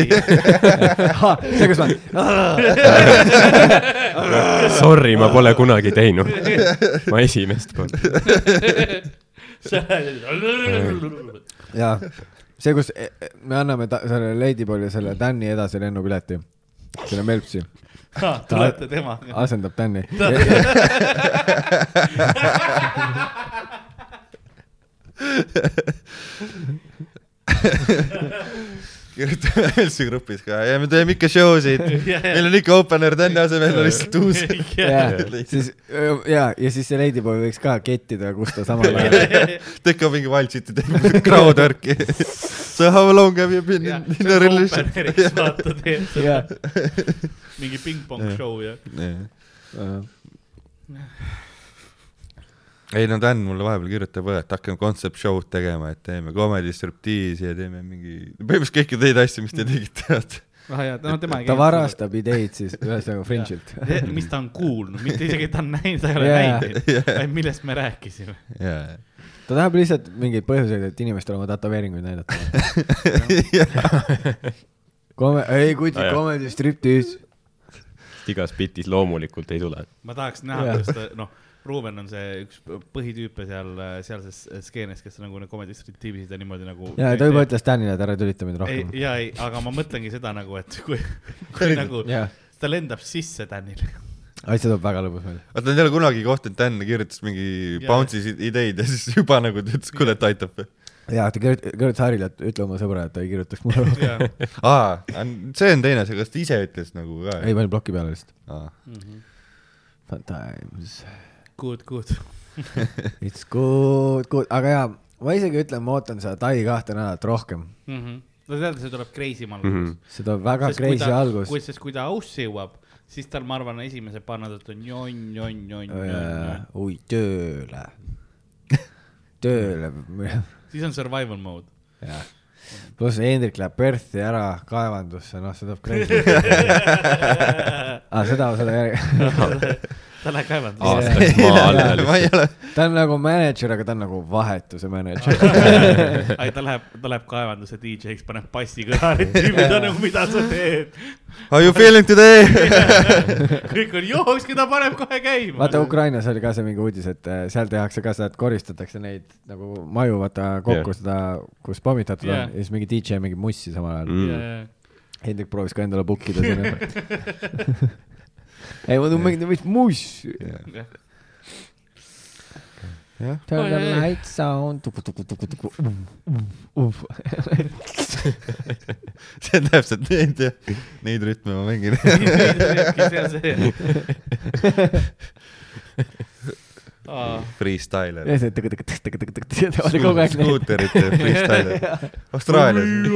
Speaker 3: see , kus ma , ah,
Speaker 4: Sorry , ma pole kunagi teinud . ma esimest korda .
Speaker 3: jaa , see , kus eh, eh, me anname ta, selle Ladyboy'le selle Tänni edasi lennupileti , selle Melpsi ,
Speaker 1: Ah, tulete temaga .
Speaker 3: asendab Tänni .
Speaker 2: kirjutame Velsi grupis ka ja me teeme ikka show sid , meil on ikka open air tänne asemel on lihtsalt uus .
Speaker 3: jaa , siis öö, jaa , ja siis see ladyboy võiks ka kettida , kus ta samal ajal
Speaker 2: tehke mingi valtsiti , tehke crowd work'i . So how long have you been in, in a relationship ?
Speaker 3: jaa .
Speaker 1: mingi pingpong show ja .
Speaker 2: Äh. ei no Dan mulle vahepeal kirjutab , et hakkame concept show'd tegema , et teeme comedy striptiisi ja teeme mingi , põhimõtteliselt kõiki teid asju , mis te tegite , vaata .
Speaker 1: ah jaa , no tema ei
Speaker 3: ta . varastab ideid siis ühesõnaga Fringe'ilt .
Speaker 1: mis ta on kuulnud , mitte isegi ta on näinud , ta ei ole
Speaker 3: Jaa.
Speaker 1: näinud , vaid millest me rääkisime .
Speaker 2: jaa ,
Speaker 3: ta tahab lihtsalt mingeid põhjuseid , et inimestele oma tätoveeringuid näidata . Kome- , ei kujuta
Speaker 4: Ah, jah.
Speaker 3: comedy striptiis .
Speaker 4: igas bitis loomulikult ei tule .
Speaker 1: ma tahaks näha ,
Speaker 3: Jaa.
Speaker 1: kuidas ta , noh , Ruuben on see üks põhitüüpe seal , sealses skeenes , kes nagu need Comedy Street tiimisid ja niimoodi nagu .
Speaker 3: jaa , ta juba ütles Danile , et ära tülita mind
Speaker 1: ei
Speaker 3: rohkem .,
Speaker 1: jaa , ei , aga ma mõtlengi seda nagu , et kui , kui nagu
Speaker 3: jaa ,
Speaker 1: ta lendab sisse Tänile .
Speaker 3: ai , see tuleb väga lõbus välja .
Speaker 2: vaata nad ei ole kunagi kohtunud , Dan kirjutas mingi
Speaker 1: Jaa.
Speaker 2: bounce'i si- ideid ja siis juba nagu ta ütles , kuule , et aitab .
Speaker 3: jaa , ta kirjut- , kirjutas Harile , et ütle oma sõbrale , et ta ei kirjutaks mulle rohkem .
Speaker 2: aa , see on teine asi , kas ta ise ütles nagu ka ?
Speaker 3: ei , panin ploki peale lihtsalt .
Speaker 2: aa ,
Speaker 3: Fun times .
Speaker 1: Good , good .
Speaker 3: It's good , good , aga jaa , ma isegi ütlen , ma ootan seda Tai kahte nädalat rohkem .
Speaker 1: Mhm. no tead , see tuleb crazy ma
Speaker 3: Mhm.
Speaker 1: alguses .
Speaker 3: see tuleb väga
Speaker 1: Sest kui
Speaker 3: crazy
Speaker 1: ta-
Speaker 3: algus .
Speaker 1: kui , sest kui ta ausse jõuab , siis tal , ma arvan , esimesed paar nädalat on jonn , jonn , jonn , jonn .
Speaker 3: oi , tööle . tööle .
Speaker 1: siis on survival mode .
Speaker 3: pluss Hendrik läheb Perthi ära kaevandusse , noh , see tuleb crazy . aa , seda , seda järgi .
Speaker 1: ta läheb kaevandama .
Speaker 4: aastaks maa alla
Speaker 2: ma
Speaker 4: lihtsalt .
Speaker 2: ei ole ,
Speaker 3: ta on nagu mänedžer , aga ta on nagu vahetuse mänedžer .
Speaker 1: ai , ta läheb , ta läheb kaevanduse DJ-ks , paneb bassi kõlari , tüübid on nagu , mida sa teed .
Speaker 2: how you feeling today ?
Speaker 1: kõik on jooks , keda paneb kohe käima .
Speaker 3: vaata Ukrainas oli ka see mingi uudis , et äh, seal tehakse ka seda , et koristatakse neid nagu maju , vaata kokku
Speaker 4: Jah.
Speaker 3: yeah. seda , kus pommitatud yeah.
Speaker 1: Jah.
Speaker 3: on ja siis mingi DJ mingi mussi samal ajal mm. .
Speaker 1: Ukraina .
Speaker 3: Hendrik proovis ka endale book ida sinna . ei , ma tunnen mingit , mis muss .
Speaker 2: Jah.
Speaker 3: Turn the
Speaker 1: Oi, oi, oi.
Speaker 3: lights on .
Speaker 2: see on täpselt neid , neid rütme ma mängin .
Speaker 4: Mm.
Speaker 2: Freestyler .
Speaker 3: kogu aeg neid .
Speaker 2: skuuterite freestyler . Austraalias .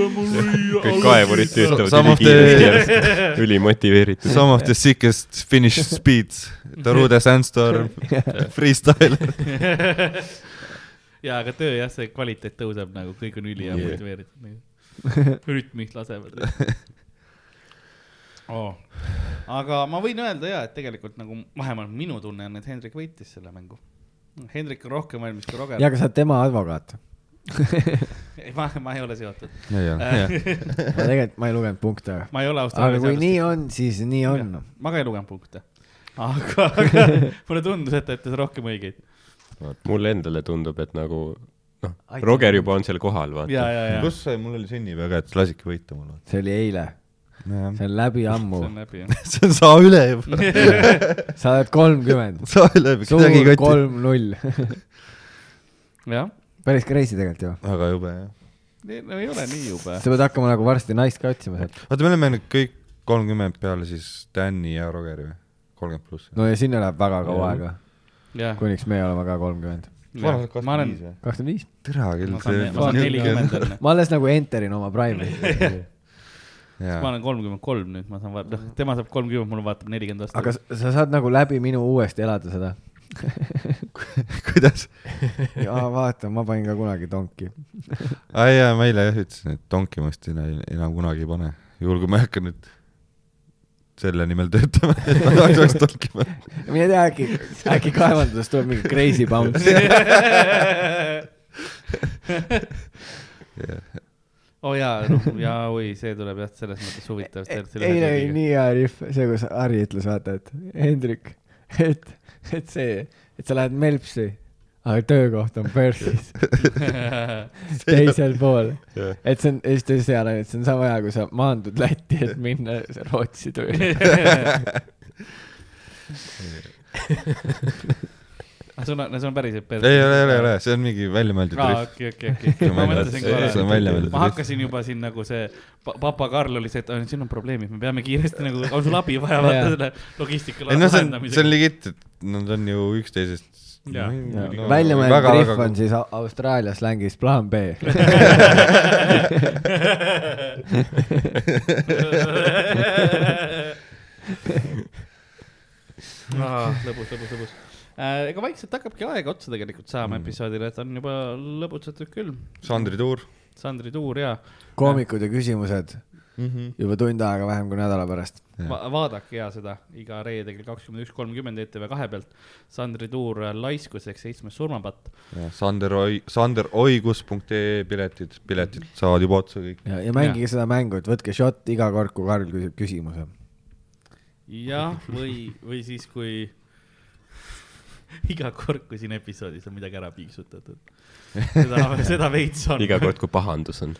Speaker 4: kõik kaevurid
Speaker 2: Some of
Speaker 4: töötavad
Speaker 2: the-
Speaker 4: ülikiiresti , ülimotiveeritud .
Speaker 2: Some of the sickest Finnish speeds . Taru the sandstorm , freestyler .
Speaker 1: ja , aga töö jah , see kvaliteet tõuseb nagu , kõik on ülihea
Speaker 4: Yeah.
Speaker 1: motiveeritud . rütmid lasevad . Oh. aga ma võin öelda ja , et tegelikult nagu vähemalt minu tunne on , et Hendrik võitis selle mängu . Hendrik on rohkem valmis kui Roger
Speaker 3: ja ,. aga sa oled tema advokaat .
Speaker 1: ei , ma , ma ei ole seotud .
Speaker 3: ma tegelikult , ma ei lugenud punkte .
Speaker 1: ma ei ole
Speaker 3: aga
Speaker 1: Austraalia
Speaker 3: kui nii on , siis nii on .
Speaker 1: ma ka ei lugenud punkte . aga , aga mulle tundus , et ta ütles rohkem õigeid .
Speaker 4: mulle endale tundub , et nagu noh ,
Speaker 3: Aitäh.
Speaker 4: Roger juba on seal kohal ,
Speaker 1: ja ,
Speaker 4: vaata .
Speaker 1: ja , ja .
Speaker 2: pluss see , mul oli sünnipäev ka , et lasidki võita mulle .
Speaker 3: see oli eile , see on läbi ammu
Speaker 1: see , on läbi ,
Speaker 2: see on saa üle juba ,
Speaker 1: jah .
Speaker 3: sa oled kolmkümmend ,
Speaker 2: saa üle juba , midagi ei
Speaker 3: suur
Speaker 2: koti .
Speaker 3: kolm-null .
Speaker 1: jah ,
Speaker 3: päris crazy tegelikult ju .
Speaker 2: väga jube jah .
Speaker 1: no ei ole nii jube .
Speaker 3: sa pead hakkama nagu varsti naist ka otsima sealt .
Speaker 2: oota , me oleme nüüd kõik kolmkümmend peale siis Tänni ja Rogeri või ? kolmkümmend pluss .
Speaker 3: no ja sinna läheb väga kaua aega ,
Speaker 1: jah ,
Speaker 3: kuniks meie oleme ka kolmkümmend .
Speaker 1: ma olen ,
Speaker 2: või ?
Speaker 3: kakskümmend viis .
Speaker 2: tere
Speaker 1: ma saan , ma saan
Speaker 2: küll .
Speaker 1: nelikümmend enne .
Speaker 3: ma alles nagu enter'in oma prime'i .
Speaker 1: ma olen kolmkümmend kolm nüüd , ma saan , noh , tema saab kolmkümmend , mul vaatab nelikümmend
Speaker 3: aga
Speaker 1: aastat .
Speaker 3: s- sa saad nagu läbi minu uuesti elada seda .
Speaker 2: kuidas ?
Speaker 3: jaa , vaata , ma panin ka kunagi donki .
Speaker 2: aa jaa , ma eile jah ütlesin , et Donkey ma vist enam, enam kunagi ei pane , juhul kui ma ei hakka nüüd selle nimel töötama , et ma tahaks oleks Donkey man .
Speaker 3: mine tea , äkki , äkki kaevanduses tuleb mingi crazy bounce .
Speaker 1: oo jaa , noh , jaa , oi , see tuleb jah , selles mõttes huvitav .
Speaker 3: E- eile oli nii hea riff , see , kus Harri ütles , vaata , et Hendrik , et , et see , et sa lähed Melpsi , aga töökoht on Perthis , teisel pool . et see on , ja siis ta ütles seal , et see on sama hea , kui sa maandud Lätti , et minna Rootsi tööle .
Speaker 1: Ah, see on , see on päriselt
Speaker 2: ei , ei ole , ei ole , ei ole , see on mingi väljamõeldud
Speaker 1: aa ,
Speaker 2: rühm .
Speaker 1: okei , okei , okei , ma mõtlesin
Speaker 2: see on
Speaker 1: korra .
Speaker 2: väljamõeldud
Speaker 1: ma
Speaker 2: rühm .
Speaker 1: hakkasin juba siin nagu see pa- papa Karl oli see , et "Ah, siin on probleemid , me peame kiiresti nagu , on sul abi vaja vaata
Speaker 3: Jaa.
Speaker 1: selle logistika
Speaker 2: ei noh , see on , see on
Speaker 1: lahendamisega .
Speaker 2: legit , et nad on ju üksteisest .
Speaker 1: Jaa.
Speaker 3: väljamõeldud rihv on siis Au- Austraalia slängis plaan B .
Speaker 1: lõbus , lõbus , lõbus . ega vaikselt hakkabki aega otsa tegelikult
Speaker 2: Mm.
Speaker 1: saama episoodile , et on juba lõbutsetud küll .
Speaker 2: Sandri tuur .
Speaker 1: Sandri tuur ja
Speaker 3: koomikud ja küsimused juba tund aega vähem kui nädala pärast .
Speaker 1: Va vaadake ja seda iga reede kell kakskümmend üks kolmkümmend ETV kahe pealt . Sandri tuur äh, laiskuseks seitsmes surmapatt .
Speaker 2: Sander Oi- , sanderoigus.ee piletid , piletid saavad juba otsa kõik .
Speaker 3: ja , ja mängige seda mängu , et võtke shot iga kord , kui Karl küsib küsimuse .
Speaker 1: jah , või , või siis , kui iga kord , kui siin episoodis on midagi ära piiksutatud . seda , seda veits on .
Speaker 4: iga kord , kui pahandus on .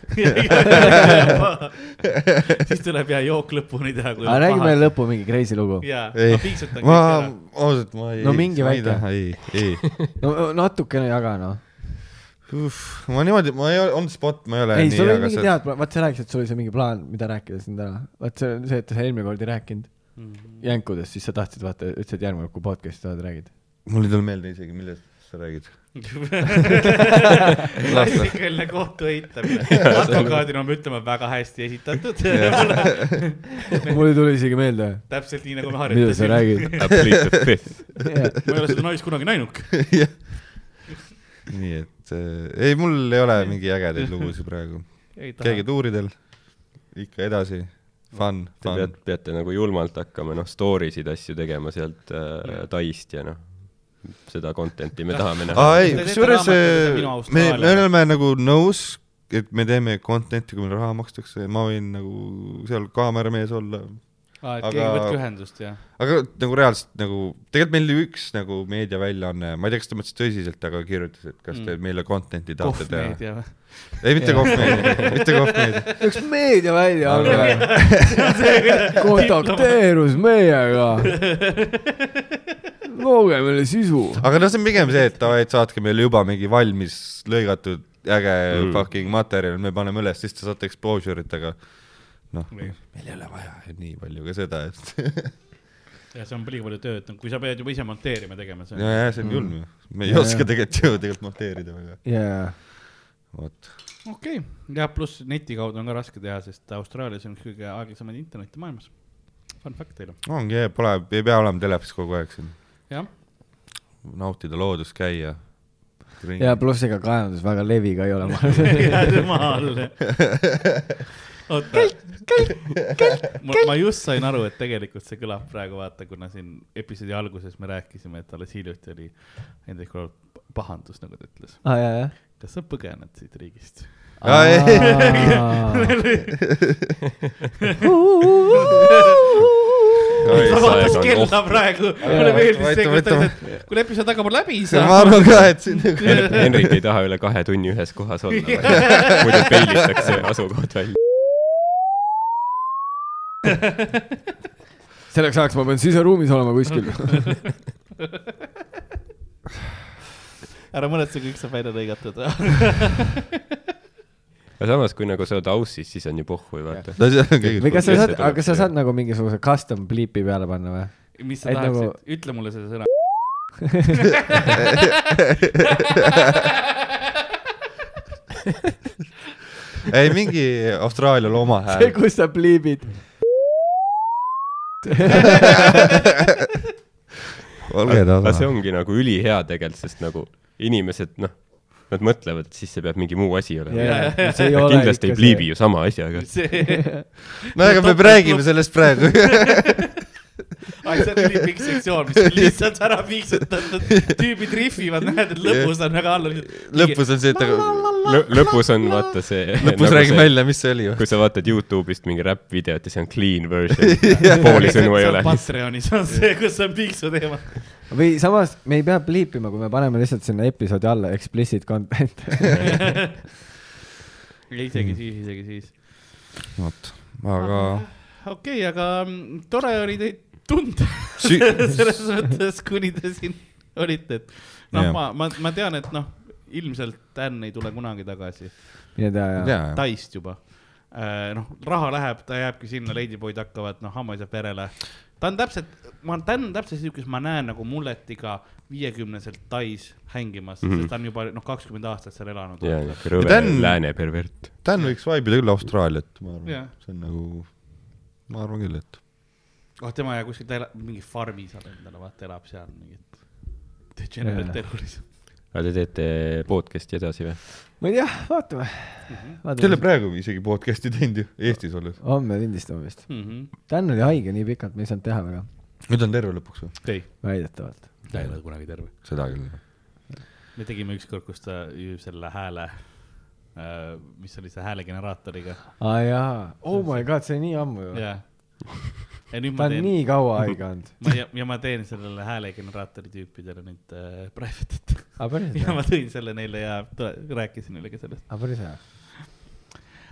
Speaker 1: siis tuleb ja jook lõpuni teha .
Speaker 3: aga räägi meile lõppu mingi crazy lugu .
Speaker 1: jaa ,
Speaker 2: ei
Speaker 1: ma piiksutan ,
Speaker 2: ma
Speaker 1: kõik ära .,
Speaker 2: ausalt , ma ei .
Speaker 3: No mingi väike.
Speaker 2: ei , ei ,
Speaker 3: no natukene jaga noh .
Speaker 2: ma niimoodi , ma ei ole , on spot , ma ei ole
Speaker 3: ei ,
Speaker 2: nii ,
Speaker 3: sul oli
Speaker 2: aga
Speaker 3: mingi
Speaker 2: see ,
Speaker 3: tead , vaat sa rääkisid , et sul oli see mingi plaan , mida rääkida siin täna . vaat see on see , et sa eelmine kord ei rääkinud jänkudest , siis sa tahtsid vaata , ütlesid järgmine kord , kui podcast'i tahad , räägid .
Speaker 2: mul ei tule meelde isegi , millest sa räägid .
Speaker 1: klassikaline kohtu eitamine , advokaadina peame ütlema väga hästi esitatud .
Speaker 3: mul ei tule isegi meelde ,
Speaker 1: täpselt nii nagu me
Speaker 3: mida sa
Speaker 1: harjutasime .
Speaker 3: räägid .
Speaker 1: ma ei ole seda naist kunagi näinud .
Speaker 2: nii et äh, ei , mul ei ole mingi ägedaid lugusid praegu . keegi tuuridel , ikka edasi , fun ,
Speaker 4: Te
Speaker 2: fun
Speaker 4: pead , peate nagu julmalt hakkama , noh , story sid asju tegema sealt äh, Taist ja noh , seda content'i me tahame näha
Speaker 2: aa ei
Speaker 1: Te , teete
Speaker 2: kusjuures
Speaker 1: raamatut,
Speaker 2: äh,
Speaker 1: et minu
Speaker 2: me ,
Speaker 1: Austraalia.
Speaker 2: me oleme nagu nõus , et me teeme content'i , kui meile raha makstakse , ma võin nagu seal kaameramees olla ,
Speaker 1: aa , et
Speaker 2: Aga-
Speaker 1: keegi võtke ühendust ja .
Speaker 2: aga nagu reaalselt nagu , tegelikult meil oli üks nagu meediaväljaanne , ma ei tea , kas ta mõtles tõsiselt , aga kirjutas , et kas te
Speaker 1: Mm.
Speaker 2: meile content'i tahate teha .
Speaker 1: kohvmeedia või ?
Speaker 2: ei , mitte kohvmeedia , mitte kohvmeedia .
Speaker 3: üks meediaväljaanne kontakteerus meiega . looge meile sisu .
Speaker 2: aga noh , see on pigem see , et davai , et saatke meile juba mingi valmis lõigatud äge mm. fucking materjal , me paneme üles , siis te saate exposure'it , aga noh ,
Speaker 1: Nii.
Speaker 2: meil ei ole vaja nii palju ka seda , et
Speaker 1: ja see on liiga palju tööd , kui sa pead juba ise monteerima tegema , see on .
Speaker 2: ja , ja see on julm ju , me ei
Speaker 3: Ja,
Speaker 2: ja, oska
Speaker 3: ja.
Speaker 2: tegelikult ju tegelikult monteerida väga ,
Speaker 3: jaa ,
Speaker 2: vot .
Speaker 1: okei , ja pluss neti kaudu on ka raske teha , sest Austraalias on üks kõige aeglasemaid internette maailmas . Fun fact teile .
Speaker 2: ongi , pole , ei pea olema telefonis kogu aeg siin ,
Speaker 1: jah ,
Speaker 2: nautida loodust , käia .
Speaker 3: ja pluss ega kaevandus väga leviga ei ole .
Speaker 1: maa all . oota . ma ma just sain aru , et tegelikult see kõlab praegu , vaata , kuna siin episoodi alguses me rääkisime , et alles hiljuti oli Hendrikul pahandus , nagu ta ütles .
Speaker 2: Ah,
Speaker 3: aa , jaa , jaa .
Speaker 1: kas sa põgened siit riigist ? ta vaatas
Speaker 4: nagu-
Speaker 1: kella praegu , mulle meeldis see , kui ta ütles , et kuule , episood hakkab läbi
Speaker 2: ma
Speaker 1: saama .
Speaker 2: arvan ka , et siin
Speaker 4: Hen- Henrik ei taha üle kahe tunni ühes kohas olla , muidu peilitakse asukoht välja .
Speaker 3: selleks ajaks ma pean siseruumis olema kuskil .
Speaker 1: ära muretse , kõik saab välja lõigatud .
Speaker 4: aga samas , kui nagu sa oled aussis , siis on ju pohhu , vaata .
Speaker 2: no see on kõige
Speaker 3: või kas sa
Speaker 4: Kes
Speaker 3: saad
Speaker 4: see , tuleb?
Speaker 3: aga kas sa saad nagu mingisuguse custom bliipi peale panna või ?
Speaker 1: mis sa
Speaker 3: Et nagu-
Speaker 1: tahaksid , ütle mulle seda sõna .
Speaker 2: ei , mingi Austraalial oma
Speaker 3: see ,
Speaker 2: hääl .
Speaker 3: kus sa bliibid .
Speaker 2: olge
Speaker 4: aga see
Speaker 2: tasa .
Speaker 4: ongi nagu ülihea tegelikult , sest nagu inimesed , noh , nad mõtlevad , siis see peab mingi muu asi olema . kindlasti ei pliibi . ju sama asjaga .
Speaker 1: see ,
Speaker 2: no ega me räägime sellest praegu .
Speaker 1: ai , see on nii pikk sektsioon , mis on lihtsalt ära piiksutatud , tüübid rihvivad , näed , et lõpus on väga all .
Speaker 2: lõpus on see , et aga
Speaker 4: lõpus on vaata see .
Speaker 2: lõpus räägime . välja , mis Nagu see oli ju .
Speaker 4: kui sa vaatad Youtube'ist mingi räpp-videot ja see on clean version , pooli sõnu ei ole .
Speaker 1: Patreonis on see , kus on piiksu teema .
Speaker 3: või samas , me ei pea bliipima , kui me paneme lihtsalt sinna episoodi alla explicit content .
Speaker 1: isegi siis , isegi siis .
Speaker 2: vot , aga
Speaker 1: okei okay, , aga mm, tore oli teid tunda
Speaker 2: Sü-
Speaker 1: selles mõttes , kuni te siin olite , et noh
Speaker 2: Jah. ,
Speaker 1: ma , ma , ma tean , et noh , ilmselt Dan ei tule kunagi tagasi ,
Speaker 3: mine tea ja .
Speaker 2: jaa ,
Speaker 1: Taist juba . noh , raha läheb , ta jääbki sinna , Ladyboyd hakkavad , noh , Hamma saab järele . ta on täpselt , ma , Dan on täpselt siuke , kes ma näen nagu mulletiga viiekümneselt Tais hängimas mm , -hmm. sest ta on juba noh , kakskümmend aastat seal elanud .
Speaker 4: ja niuke rõve
Speaker 2: Dan-
Speaker 4: lääne pervert .
Speaker 2: Dan võiks vaibida küll Austraaliat , ma
Speaker 1: Jah.
Speaker 2: arvan , see on nagu , ma arvan küll , et
Speaker 1: oh , tema ja kuskil ta elab , mingi farmi saab endale , vaata , elab seal mingit . Degenerate terrorism .
Speaker 4: aga te teete podcast'i edasi või ?
Speaker 3: ma ei tea , vaatame .
Speaker 1: Mhm.
Speaker 2: te ei ole praegu isegi podcast'i teinud ju , Eestis olles .
Speaker 3: homme lindistame vist .
Speaker 1: Mhm.
Speaker 3: Dan oli haige nii pikalt , me ei saanud teha väga ,
Speaker 2: nüüd on terve lõpuks või ?
Speaker 1: ei ,
Speaker 3: väidetavalt .
Speaker 1: ta ei ole kunagi terve .
Speaker 2: seda küll .
Speaker 1: me tegime ükskord , kus ta ju selle hääle , mis oli see häälegeneraatoriga .
Speaker 3: aa jaa , oh my god , see oli nii ammu ju .
Speaker 1: ja , ja nüüd
Speaker 3: ta
Speaker 1: ma
Speaker 3: on
Speaker 1: teen ,
Speaker 3: nii kaua haige olnud .
Speaker 1: ma ja , ja ma teen sellele häälegeneraatori tüüpidele nüüd äh, private'it .
Speaker 3: aa , Ah, päris
Speaker 1: ja
Speaker 3: hea .
Speaker 1: ma tõin selle neile ja tule- rääkisin neile ka sellest .
Speaker 3: aa , päris hea .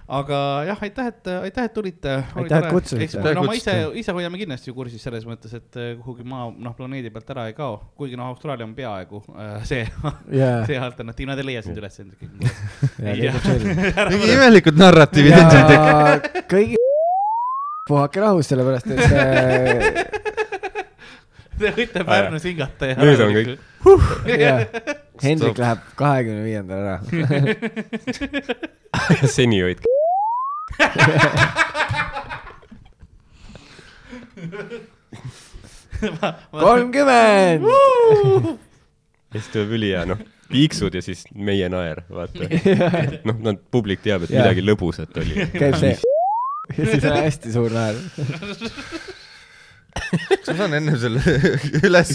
Speaker 1: aga jah , aitäh , et , aitäh , et tulite .
Speaker 3: Aitäh, et kutsusite.
Speaker 1: no ma ise
Speaker 2: Aitäh, ,
Speaker 1: ise hoiame kindlasti ju kursis selles mõttes , et äh, kuhugi maa , noh , planeedi pealt ära ei kao , kuigi noh , Austraalia on peaaegu äh, see ,
Speaker 3: jaa ,
Speaker 1: see alternatiiv , nad ei leia sind üles ilmselt kõik .
Speaker 3: jaa ,
Speaker 1: Jah.
Speaker 3: leidub selline .
Speaker 2: mingi imelikud narratiivid endiselt tekivad .
Speaker 3: ja kõigi puhake rahus , sellepärast et äh, see ,
Speaker 1: Te võite Pärnus hingata ja .
Speaker 4: Nüüd on kõik. .
Speaker 3: jah , Hendrik
Speaker 2: Stop.
Speaker 3: läheb kahekümne viiendal ära .
Speaker 4: seni hoidke .
Speaker 3: kolmkümmend .
Speaker 4: ja siis tuleb ülihea , noh , piiksud ja siis meie naer , vaata . noh , nad , publik teab , et
Speaker 3: Jaa.
Speaker 4: midagi lõbusat oli .
Speaker 3: käib see ja siis on hästi suur naer .
Speaker 2: kas ma saan ennem selle üles ,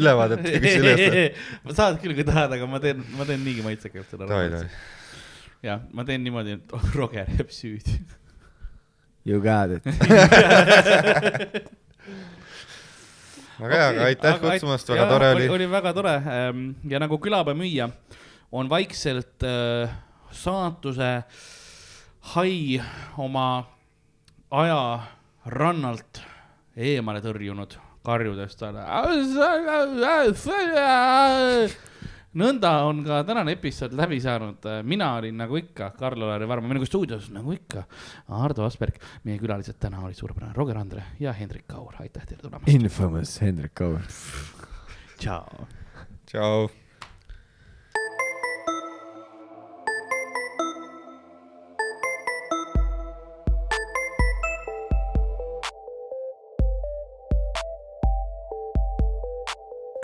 Speaker 2: ülevaadet teha , kui sa üles võtad ?
Speaker 1: saad küll , kui tahad , aga ma teen , ma teen niigi maitsekalt
Speaker 2: davai ,
Speaker 1: seda
Speaker 2: davai ..
Speaker 1: jah , ma teen niimoodi , et Roger jääb süüdi .
Speaker 3: You got it .
Speaker 2: väga hea , aga aitäh
Speaker 1: Aga ait-
Speaker 2: kutsumast , väga
Speaker 1: jaa,
Speaker 2: tore oli .
Speaker 1: oli väga tore ähm, ja nagu külapäemüüja on vaikselt äh, saatuse hai oma aja rannalt eemale tõrjunud , karjudes talle . nõnda on ka tänane episood läbi saanud , mina olin nagu ikka , Karl-Lari Varma , minuga stuudios nagu ikka , Ardo Asperg , meie külalised täna olid suurepärane Roger Andre ja Hendrik Kaur , aitäh teile tulemast ,
Speaker 3: Infamous Hendrik Kaur .
Speaker 1: tšau .
Speaker 2: tšau .